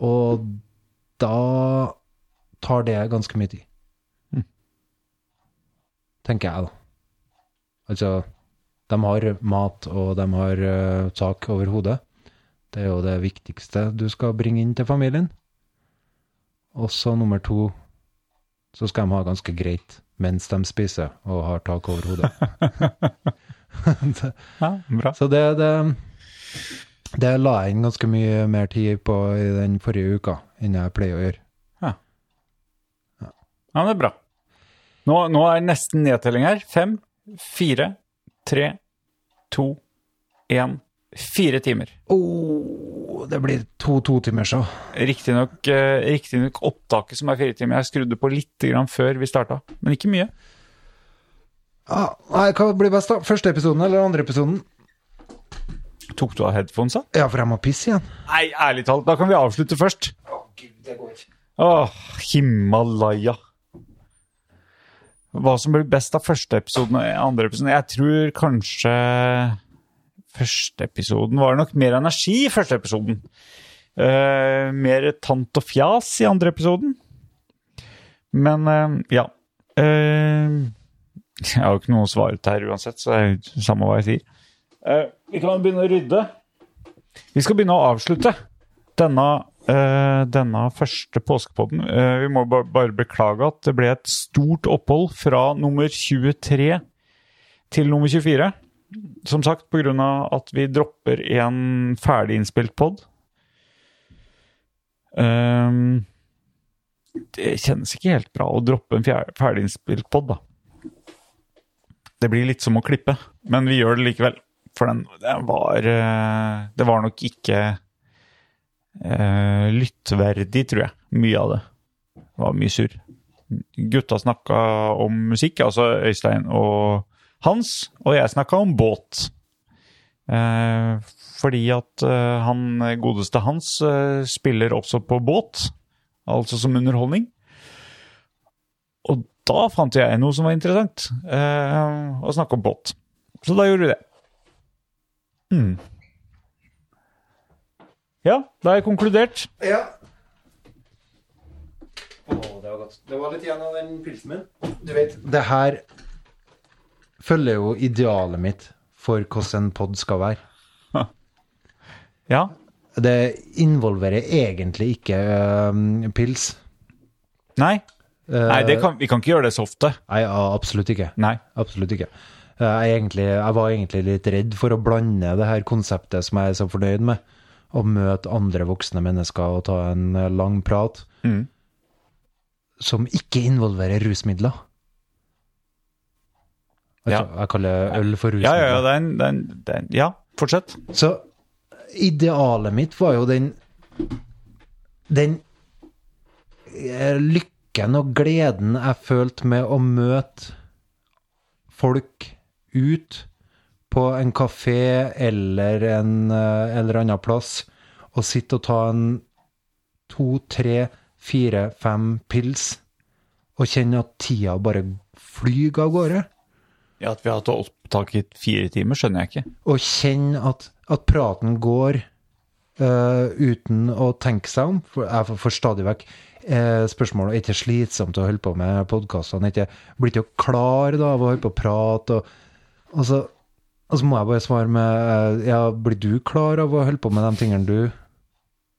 S5: Og da tar det ganske mye tid. Tenker jeg, da. Altså, de har mat, og de har eh, tak over hodet. Det er jo det viktigste du skal bringe inn til familien. Og så nummer to, så skal de ha ganske greit mens de spiser og har tak over hodet.
S4: ja bra.
S5: Så det, det, det la jeg inn ganske mye mer tid på i den forrige uka enn jeg pleier å gjøre.
S4: Ja, men det er bra. Nå, nå er nesten nedtelling her. Fem, fire, tre, to, én. Fire timer.
S5: Oh, det blir to totimersshow.
S4: Riktignok eh, riktignok opptaket som er fire timer. Jeg skrudde på litt grann før vi starta, men ikke mye.
S5: Ah, nei, hva blir best, da? Første episoden eller andre episoden?
S4: Tok du av headphonesa?
S5: Ja, for jeg må pisse igjen.
S4: Nei, ærlig talt, da kan vi avslutte først. Å, Himalaya. Hva som blir best av første episoden og andre episoden? Jeg tror kanskje første episoden var det nok mer energi i første episoden. Eh, mer tant og fjas i andre episoden. Men eh, ja. Eh, jeg har jo ikke noe å svare til her uansett, så det er jo samme hva jeg sier. Eh, vi kan begynne å rydde. Vi skal begynne å avslutte denne, eh, denne første påskepodden. Eh, vi må ba bare beklage at det ble et stort opphold fra nummer 23 til nummer 24. Som sagt, pga. at vi dropper en ferdig innspilt pod. Ehm, det kjennes ikke helt bra å droppe en fjer- ferdig innspilt pod, da. Det blir litt som å klippe, men vi gjør det likevel. For den, den var eh, Det var nok ikke eh, lyttverdig, tror jeg. Mye av det. Det var mye surr. Gutta snakka om musikk, altså Øystein og Hans, og jeg snakka om båt. Eh, fordi at eh, han godeste Hans eh, spiller også på båt, altså som underholdning. Og da fant jeg noe som var interessant, eh, å snakke om båt. Så da gjorde vi det. Mm. Ja, da har jeg konkludert.
S5: Ja. det var godt. Det var litt igjen av den pilsen min. Du vet, det her følger jo idealet mitt for hvordan en pod skal være.
S4: Ja,
S5: Det involverer egentlig ikke øhm, pils.
S4: Nei,
S5: Eh,
S4: Nei det kan, vi kan ikke gjøre det så ofte.
S5: Nei, ja, absolutt ikke.
S4: Nei.
S5: Absolutt ikke. Eh, Jeg, egentlig, jeg var egentlig litt redd for å blande det her konseptet som jeg er så fornøyd med, å møte andre voksne mennesker og ta en eh, lang prat,
S4: Mm.
S5: som ikke involverer rusmidler. Altså, Jeg kaller øl for
S4: Ja, ja, ja,
S5: rusmidler.
S4: det er en, det er en, det er en Ja, fortsett.
S5: Så idealet mitt var jo den den eh, lykken og gleden jeg følte med å møte folk ut på en kafé eller en eh, eller annen plass og sitte og ta en to, tre, fire, fem pils og kjenne at tida bare flyr av gårde.
S4: Ja, At vi har hatt opptak i fire timer, skjønner jeg ikke.
S5: og kjenne at, at praten går eh, uten å tenke seg om. For jeg får- får stadig vekk eh, spørsmål er det ikke slitsomt å holde på med podkastene. Blir ikke klar da, av å holde på å prate. Og, og, så, og så må jeg bare svare med eh, ja, blir du klar av å holde på med de tingene du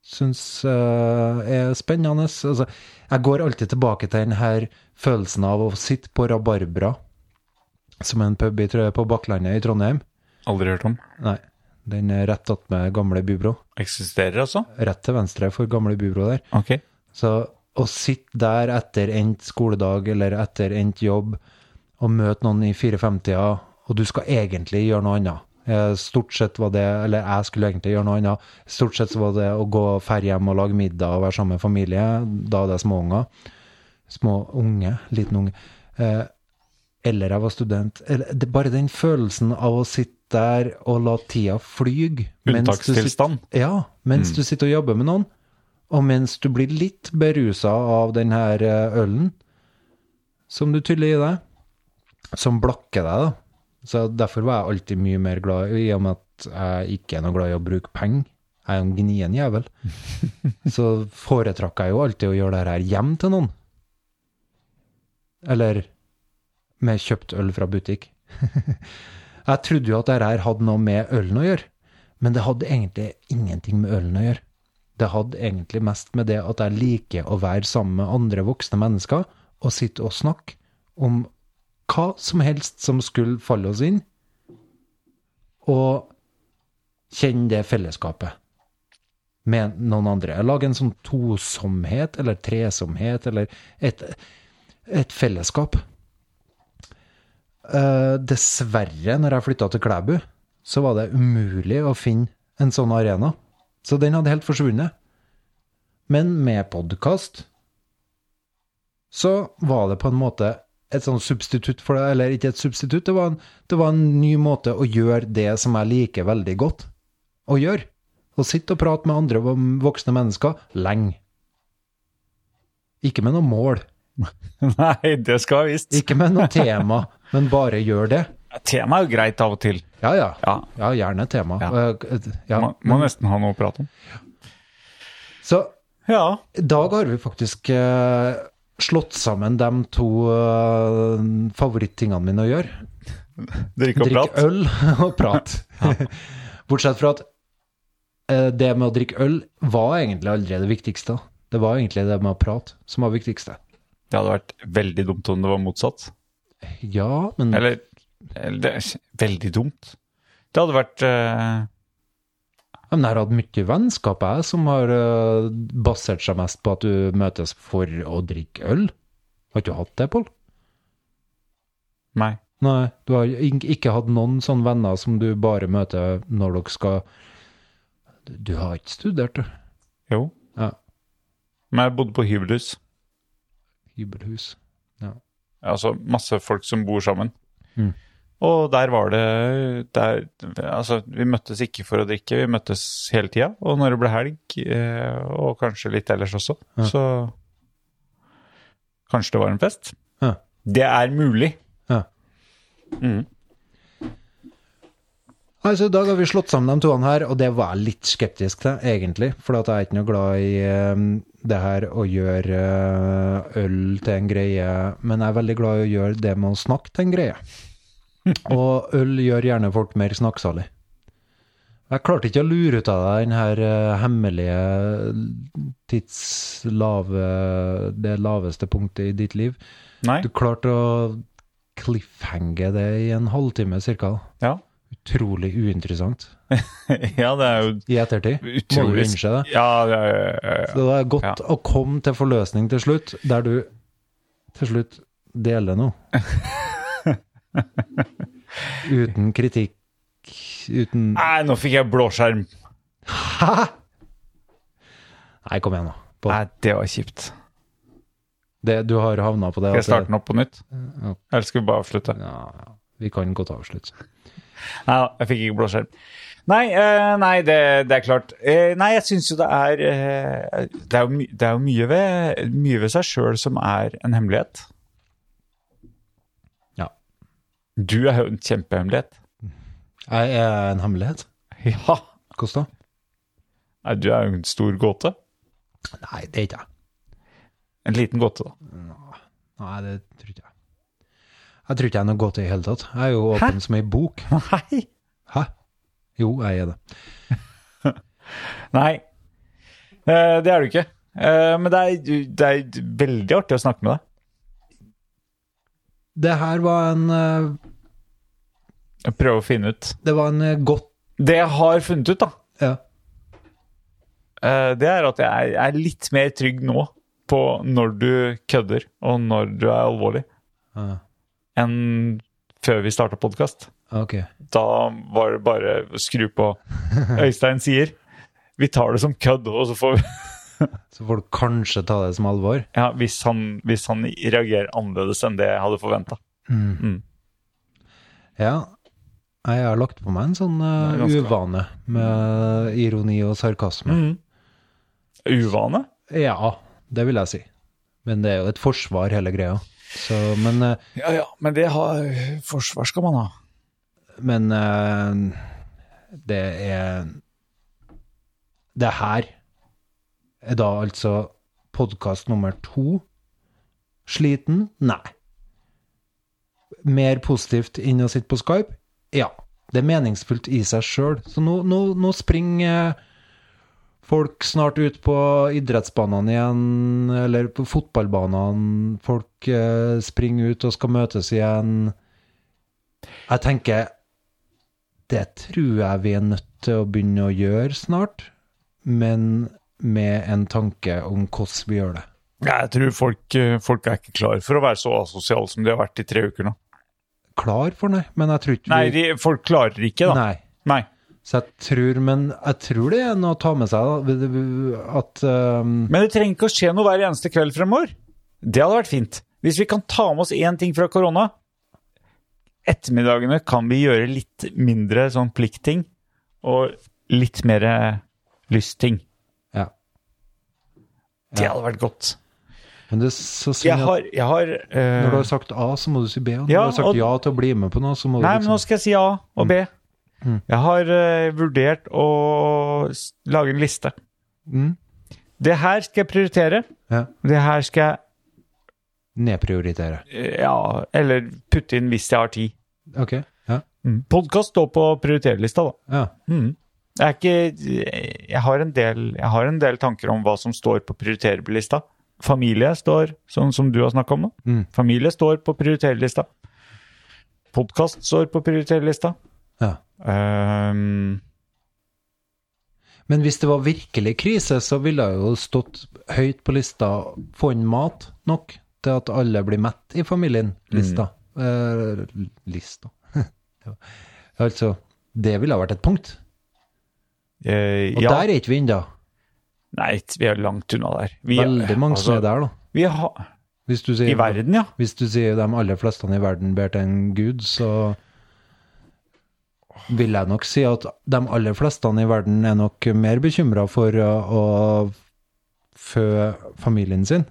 S5: syns eh, er spennende? Altså, jeg går alltid tilbake til den her følelsen av å sitte på Rabarbra, som er en pub i, Trø- på Bakklandet i Trondheim.
S4: Aldri hørt om.
S5: Nei, den er rett attmed gamle bybro.
S4: Eksisterer altså?
S5: Rett til venstre for gamle bybro der.
S4: Ok.
S5: Så å sitte der etter endt skoledag eller etter endt jobb og møte noen i 54-tida, og du skal egentlig gjøre noe annet. Eh, Stort sett var det, eller jeg skulle egentlig gjøre noe annet, stort sett så var det å gå ferie hjem og lage middag og være sammen med familie. Da hadde jeg små unger. Små unge, liten unge. Eh, Eller jeg var student. Eller, det, bare den følelsen av å sitte der og la tida flyge. mens du sitter-
S4: Unntakstilstand.
S5: ja, mens du sitter og jobber med noen, og mens du blir litt berusa av den her eh, ølen som du tyller i deg, som blakker deg, da. Så derfor var jeg alltid mye mer glad i, i og med at jeg ikke er noe glad i å bruke penger. Jeg er jo en gnien jævel. Så foretrakk jeg jo alltid å gjøre det her hjem til noen. Eller med kjøpt øl fra butikk. jeg trodde jo at det her hadde noe med ølen å gjøre. Men det hadde egentlig ingenting med ølen å gjøre. Det hadde egentlig mest med det at jeg liker å være sammen med andre voksne mennesker og sitte og snakke om hva som helst som skulle falle oss inn, og kjenne det fellesskapet med noen andre. Lage en sånn tosomhet eller tresomhet eller et, et fellesskap. Eh, dessverre, når jeg flytta til Klæbu, så var det umulig å finne en sånn arena. Så den hadde helt forsvunnet. Men med podkast så var det på en måte et sånn substitutt for det, eller ikke et substitutt, det var en, det var en ny måte å gjøre det som jeg liker veldig godt å gjøre. Å sitte og prate med andre voksne mennesker lenge. Ikke med noe mål,
S4: Nei, det skal jeg visst.
S5: ikke med noe tema, men bare gjør det.
S4: Temaet er jo greit av og til.
S5: Ja, ja.
S4: Ja,
S5: Ja, gjerne tema.
S4: Ja.
S5: Eh, Ja.
S4: Man må nesten ha noe å prate om.
S5: Så
S4: Ja.
S5: i dag har vi faktisk eh, slått sammen de to eh, favorittingene mine å gjøre.
S4: Drikke og
S5: Drikke
S4: prate.
S5: øl og prat. Bortsett fra at eh, det med å drikke øl var egentlig aldri det viktigste. Det var egentlig det med å prate som var viktigste.
S4: Det hadde vært veldig dumt om det var motsatt.
S5: Ja, men
S4: Eller, eller det er Veldig dumt. Det hadde vært eh,
S5: Men jeg har hatt mye vennskap jeg, som har eh, basert seg mest på at du møtes for å drikke øl. Har ikke du hatt det, Pål?
S4: Nei.
S5: Nei, du har in- ikke hatt noen sånne venner som du bare møter når dere skal Du du har ikke studert, du.
S4: Jo.
S5: Ja.
S4: Men jeg bodde på hybelhus.
S5: Hybelhus.
S4: Altså masse folk som bor sammen.
S5: Mm.
S4: Og der var det der, Altså, vi møttes ikke for å drikke, vi møttes hele tida. Og når det ble helg, eh, og kanskje litt ellers også,
S5: Ja.
S4: så Kanskje det var en fest?
S5: Ja.
S4: Det er mulig.
S5: Ja.
S4: Mm.
S5: Nei, så Altså, I dag har vi slått sammen de toene her, og det var jeg litt skeptisk til, egentlig. For at jeg er ikke noe glad i eh, det her å gjøre eh, øl til en greie, men jeg er veldig glad i å gjøre det med å snakke til en greie. Og øl gjør gjerne folk mer snakksalig. Jeg klarte ikke å lure ut av deg den her eh, hemmelige tidslave Det laveste punktet i ditt liv.
S4: Nei.
S5: Du klarte å cliffhange det i en halvtime cirka.
S4: Ja.
S5: Utrolig uinteressant.
S4: ja, det er jo
S5: I ettertid. Må du
S4: utrolig
S5: unnskylde det.
S4: Ja, ja, ja, ja, ja.
S5: Så det er godt å komme til forløsning til slutt, der du til slutt deler noe. Uten kritikk, uten
S4: Nei, nå fikk jeg blåskjerm.
S5: Hæ?! Nei, kom igjen, nå. På,
S4: Ah. Nei, det var kjipt.
S5: det, du har havna på det.
S4: Skal jeg
S5: at
S4: starte den opp på nytt?
S5: Ja.
S4: Eller skal vi bare avslutte?
S5: det- Ja, ja. vi kan godt avslutte.
S4: Nei da, jeg fikk ikke blåskjerm. Nei, eh, nei det, det er klart. Eh, nei, jeg syns jo det er eh, Det er jo, my, det er jo mye, ved, mye ved seg sjøl som er en hemmelighet.
S5: Ja.
S4: Du er jo en kjempehemmelighet.
S5: Jeg er en hemmelighet.
S4: Ja.
S5: Hvordan da?
S4: Nei, du er jo en stor gåte.
S5: Nei, det er ikke jeg.
S4: En liten gåte, da.
S5: Nei, det tror ikke jeg. Jeg tror ikke jeg er noe godt i det hele tatt. Jeg er jo åpen som ei bok.
S4: Nei!
S5: Hæ? Jo, jeg er det.
S4: Nei. Eh, det er du ikke. Eh, men det er, det er veldig artig å snakke med deg.
S5: Det her var en eh,
S4: Jeg prøver å finne ut.
S5: Det var en eh, godt
S4: Det jeg har funnet ut, da,
S5: ja.
S4: Eh, det er at jeg er, er litt mer trygg nå på når du kødder og når du er alvorlig,
S5: Ah,
S4: enn før vi starta podkast.
S5: Ah, Ok.
S4: Da var det bare å skru på. Øystein sier vi tar det som kødd, og så får vi
S5: Så får du kanskje ta det som alvor.
S4: ja, hvis, han, hvis han reagerer annerledes enn det jeg hadde forventa.
S5: Ja. Nei, Jeg har lagt på meg en sånn eh,
S4: Det er ganske
S5: uvane med ironi og sarkasme.
S4: Uvane?
S5: Ja, det vil jeg si. Men det er jo et forsvar, hele greia. Så, men eh,
S4: Ja ja, men det har Forsvar skal man ha.
S5: Men eh, det er Det her er da altså podkast nummer to. Sliten? Nei. Mer positivt enn å sitte på Skype? Ja. Det er meningsfullt i seg sjøl. Så nå, nå, nå springer eh, folk snart ut på idrettsbanene igjen, eller på fotballbanene. Folk eh, springer ut og skal møtes igjen. Jeg tenker det tror jeg vi er nødt til å begynne å gjøre snart, men med en tanke om hvordan vi gjør det.
S4: Jeg tror folk, eh, folk er ikke klar for å være så asosiale som de har vært i tre uker nå.
S5: Klar for det, men jeg tror ikke
S4: Nei,
S5: vi
S4: de, folk klarer ikke, da.
S5: Nei.
S4: Nei.
S5: Så jeg tror, men jeg tror det er noe å ta med seg, da. At eh,
S4: Men det trenger ikke å skje noe hver eneste kveld fremover. Det hadde vært fint. Hvis vi kan ta med oss én ting fra korona Ettermiddagene kan vi gjøre litt mindre sånn pliktting og litt mer eh, lystting.
S5: Ja.
S4: Det hadde vært godt.
S5: Men det er så synd
S4: Jeg
S5: at
S4: har, jeg har eh,
S5: når du har sagt A, så må du si B. Og når
S4: Ja,
S5: du har sagt
S4: og-
S5: ja til å bli med på noe, så må du
S4: Nei, men nå
S5: liksom
S4: skal jeg si A og B.
S5: Mm.
S4: Jeg har eh, vurdert å s- lage en liste.
S5: mm,
S4: Det her skal jeg prioritere.
S5: ja,
S4: Det her skal jeg
S5: Nedprioritere.
S4: eh, Ja, eller putte inn hvis jeg har tid.
S5: Ok. Ja.
S4: Mm. Podkast står på prioriterlista, da.
S5: ja.
S4: Jeg, er ikke, jeg, har en del, jeg har en del tanker om hva som står på prioriterlista. Familie står, sånn som du har snakka om nå.
S5: Mm.
S4: Familie står på prioriterlista. Podkast står på prioriterlista.
S5: ja.
S4: Ehm,
S5: Men hvis det var virkelig krise, så ville jeg jo stått høyt på lista få inn mat nok til at alle blir mett i familien. Lista.
S4: Mm.
S5: Eh, lista. Ja. altså, det ville ha vært et punkt.
S4: eh,
S5: Og
S4: ja.
S5: der er ikke vi ennå.
S4: Nei, vi er langt unna der. Vi,
S5: Veldig mange som er der, da.
S4: Vi har,
S5: Hvis du sier,
S4: I verden, ja.
S5: Hvis du sier de aller fleste i verden ber til en gud, så vil jeg nok si at de aller fleste i verden er nok mer bekymra for uh, å fø familien sin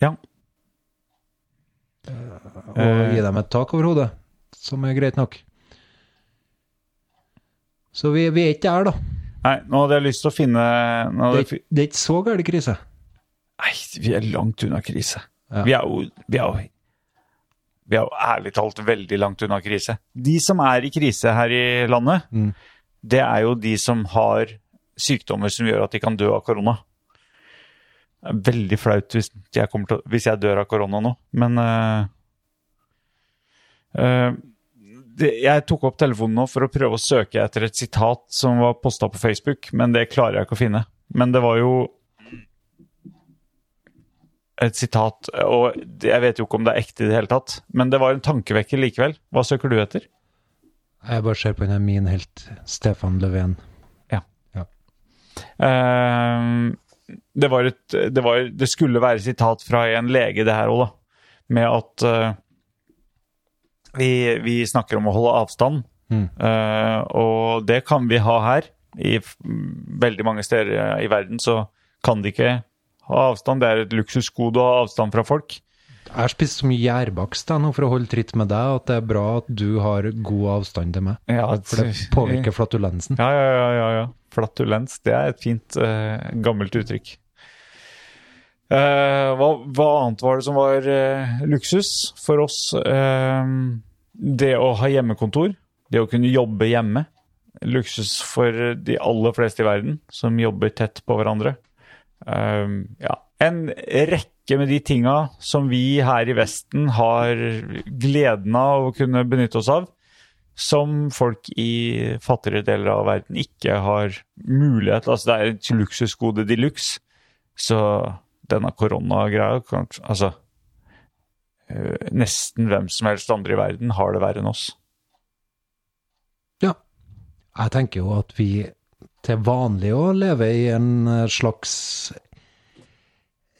S4: ja.
S5: og gi dem et tak over hodet, som er greit nok. Så vi, vi er ikke der, da.
S4: Nei, nå hadde jeg lyst til å finne nå hadde
S5: Det er,
S4: jeg fi-
S5: ikke- det er ikke så gæren krise.
S4: Nei, vi er langt unna krise.
S5: Ja.
S4: Vi er jo vi er, jo- vi er jo ærlig talt veldig langt unna krise. De som er i krise her i landet,
S5: Mm.
S4: det er jo de som har sykdommer som gjør at de kan dø av korona. Det er veldig flaut hvis jeg, kommer til, å- hvis jeg dør av korona nå, men eh, eh, det, jeg tok opp telefonen nå for å prøve å søke etter et sitat som var posta på Facebook, men det klarer jeg ikke å finne. Men det var jo et sitat, og det- jeg vet jo ikke om det er ekte i det hele tatt, men det var en tankevekker likevel. Hva søker du etter?
S5: Jeg bare ser på den her min helt, Stefan Löfven.
S4: Ehm, det var et det, var, det skulle være sitat fra en lege, det her òg, da. Med at eh, vi, vi snakker om å holde avstand.
S5: Mm.
S4: Eh, og det kan vi ha her. I f- veldig mange steder eh, i verden så kan de ikke ha avstand. Det er et luksusgode å ha avstand fra folk.
S5: Jeg har spist så mye gjærbakst jeg, nå for å holde tritt med deg at det er bra at du har god avstand til meg.
S4: Ja,
S5: For det påvirker flatulensen.
S4: Ja, ja, ja, ja, ja. Flatulens, det er et fint, eh, gammelt uttrykk. Eh, hva, hva annet var det som var eh, luksus for oss? Eh, det å ha hjemmekontor, det å kunne jobbe hjemme. Luksus for de aller fleste i verden, som jobber tett på hverandre. Eh, ja. En rekke med de tinga som vi her i Vesten har gleden av å kunne benytte oss av som folk i fattigere deler av verden ikke har mulighet Altså, det er et luksusgode de luxe, så denne koronagreia kanskje Altså øh, Nesten hvem som helst andre i verden har det verre enn oss.
S5: Ja. Jeg tenker jo at vi til vanlig å leve i en eh, slags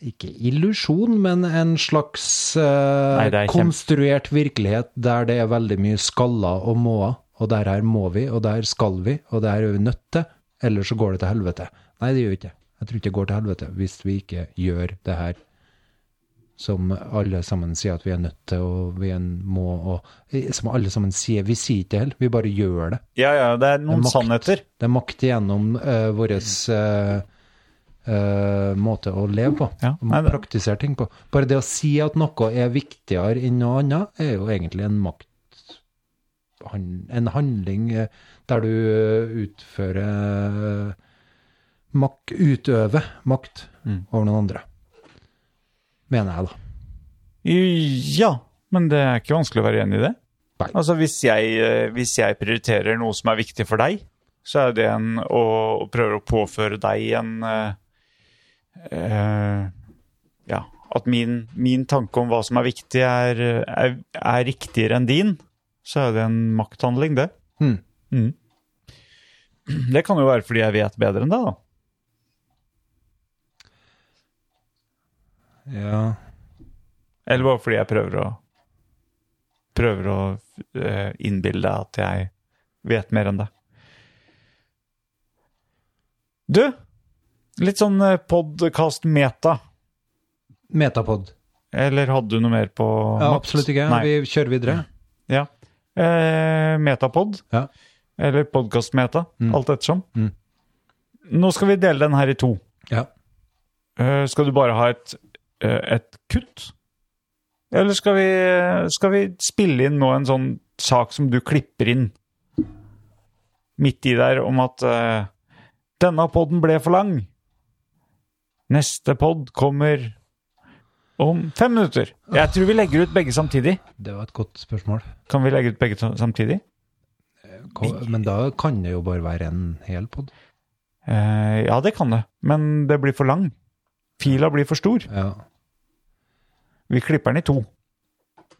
S5: ikke illusjon, men en slags eh,
S4: Nei, det er kjempe-
S5: konstruert virkelighet der det er veldig mye skaller og måer. Og der her må vi, og der skal vi, og der er vi nødt til. Ellers så går det til helvete. Nei, det gjør vi ikke. Jeg tror ikke det går til helvete hvis vi ikke gjør det her som alle sammen sier at vi er nødt til, og vi er en må, og eh, som alle sammen sier. Vi sier ikke det heller, vi bare gjør det.
S4: Ja, ja, det er noen
S5: Det er makt.
S4: sannheter.
S5: Det er makt gjennom uh, vår eh, måte å leve på.
S4: Ja,
S5: og
S4: nei, det-
S5: praktisere ting på. Bare det å si at noe er viktigere enn noe annet, er jo egentlig en makt han, En handling eh, der du eh, utfører eh, mak, Utøver makt
S4: Mm.
S5: over noen andre. Mener jeg, da.
S4: Ja, men det er ikke vanskelig å være enig i det.
S5: Nei.
S4: Altså, hvis jeg, øh, hvis jeg prioriterer noe som er viktig for deg, så er det en å, å prøve å påføre deg en øh, eh, ja, at min, min tanke om hva som er viktig, er, er, er riktigere enn din, så er det en makthandling, det.
S5: Mm.
S4: Mm. Det kan jo være fordi jeg vet bedre enn deg, da.
S5: Ja.
S4: Eller bare fordi jeg prøver å Prøver å eh, innbille deg at jeg vet mer enn deg. Du, litt sånn podkast-meta.
S5: Metapod.
S4: Eller hadde du noe mer på
S5: Ja,
S4: Mats?
S5: absolutt ikke.
S4: Nei. Mm.
S5: Vi kjører videre.
S4: Ja. Eh, Metapod.
S5: Ja.
S4: Eller podkast-meta,
S5: Mm.
S4: alt ettersom.
S5: Mm.
S4: Nå skal vi dele den her i to.
S5: Ja.
S4: Eh, skal du bare ha et, eh, et kutt? Eller skal vi, skal vi spille inn nå en sånn sak som du klipper inn midt i der, om at eh, denne podden ble for lang? Neste podd kommer om fem minutter. Jeg tror vi legger ut begge samtidig.
S5: Det var et godt spørsmål.
S4: Kan vi legge ut begge to- samtidig?
S5: Hva- Men da kan det jo bare være en hel pod.
S4: Eh, ja, det kan det, men det blir for lang. Fila blir for stor.
S5: Ja.
S4: Vi klipper den i to.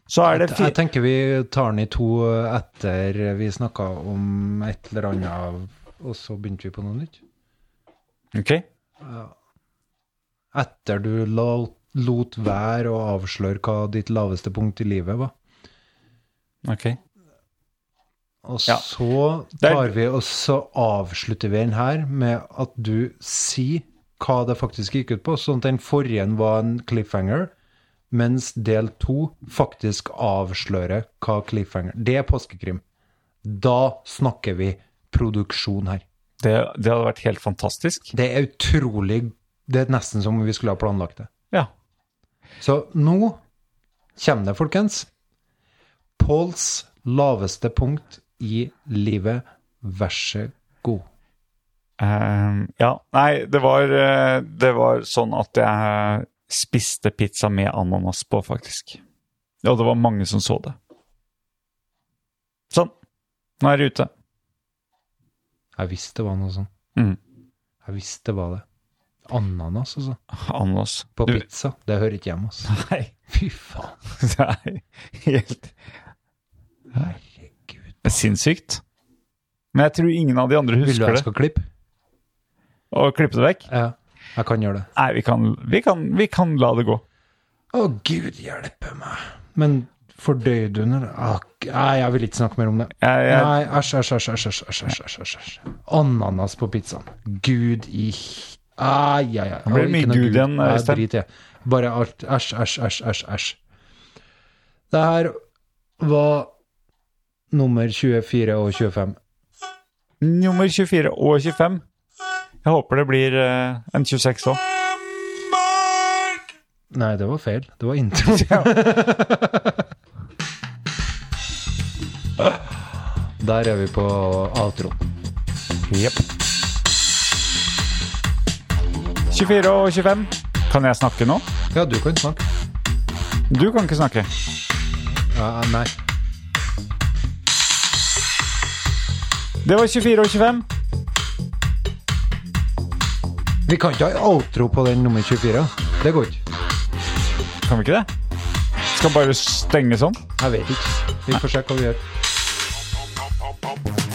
S4: Så er det
S5: Jeg-
S4: fi-
S5: Jeg tenker vi tar den i to etter vi snakka om et eller annet, og så begynte vi på noe nytt.
S4: Ok.
S5: Etter du la, lot være å avsløre hva ditt laveste punkt i livet var.
S4: ok.
S5: Og
S4: Ja.
S5: så
S4: Der-
S5: tar vi og så avslutter vi den her med at du sier hva det faktisk gikk ut på, sånn at den forrige var en cliffhanger, mens del to faktisk avslører hva cliffhanger Det er påskekrim. Da snakker vi produksjon her.
S4: Det, det hadde vært helt fantastisk.
S5: Det er utrolig Det er nesten som om vi skulle ha planlagt det.
S4: Ja.
S5: Så nå kommer det, folkens. Pauls laveste punkt i livet. Vær så god.
S4: Ehm, ja. Nei, det var, eh, det var sånn at jeg spiste pizza med ananas på, faktisk. Ja, det var mange som så det. Sånn. Nå er det ute.
S5: Jeg visste det var noe sånt.
S4: Mm.
S5: Jeg visste det var det. Ananas, altså.
S4: Ananas.
S5: På
S4: Du-
S5: pizza. Det hører ikke hjemme, altså.
S4: Nei.
S5: Fy faen.
S4: Det er helt
S5: Herregud.
S4: sinnssykt. Men jeg tror ingen av de andre
S5: Vil du
S4: husker
S5: jeg
S4: det.
S5: skal klippe?
S4: Å klippe det vekk?
S5: Ja. Jeg kan gjøre det.
S4: Nei, vi kan, vi kan, vi kan la det gå.
S5: Å, gud hjelpe meg. Men fordøyer du den? Ah, Nei, jeg vil ikke snakke mer om det.
S4: Jeg, jeg,
S5: Nei, æsj, æsj, æsj, æsj, æsj, æsj, æsj, æsj, æsj, æsj. Ananas på pizzaen. Gud i h- Ai, ai, ai.
S4: blir det
S5: Ikke
S4: mye
S5: noe
S4: Gud igjen,
S5: Nei,
S4: Øystein.
S5: Drit i det. Bare alt. Æsj, æsj, æsj, æsj, æsj. Det her var nummer 24 og 25.
S4: nummer 24 og 25. Jeg håper det blir eh, en 26 òg.
S5: Nei, det var feil. Det var intro. Der er vi på outro.
S4: Jepp. 24 og 25. Kan jeg snakke nå?
S5: Ja, du kan snakke.
S4: Du kan ikke snakke.
S5: Ja, nei.
S4: Det var 24 og 25.
S5: Vi kan ikke ha outro på den nummer 24. Det går ikke.
S4: Kan vi ikke det? Skal bare stenge sånn?
S5: Jeg vet ikke. Vi får se hva vi gjør.
S3: Boom, boom, boom, boom.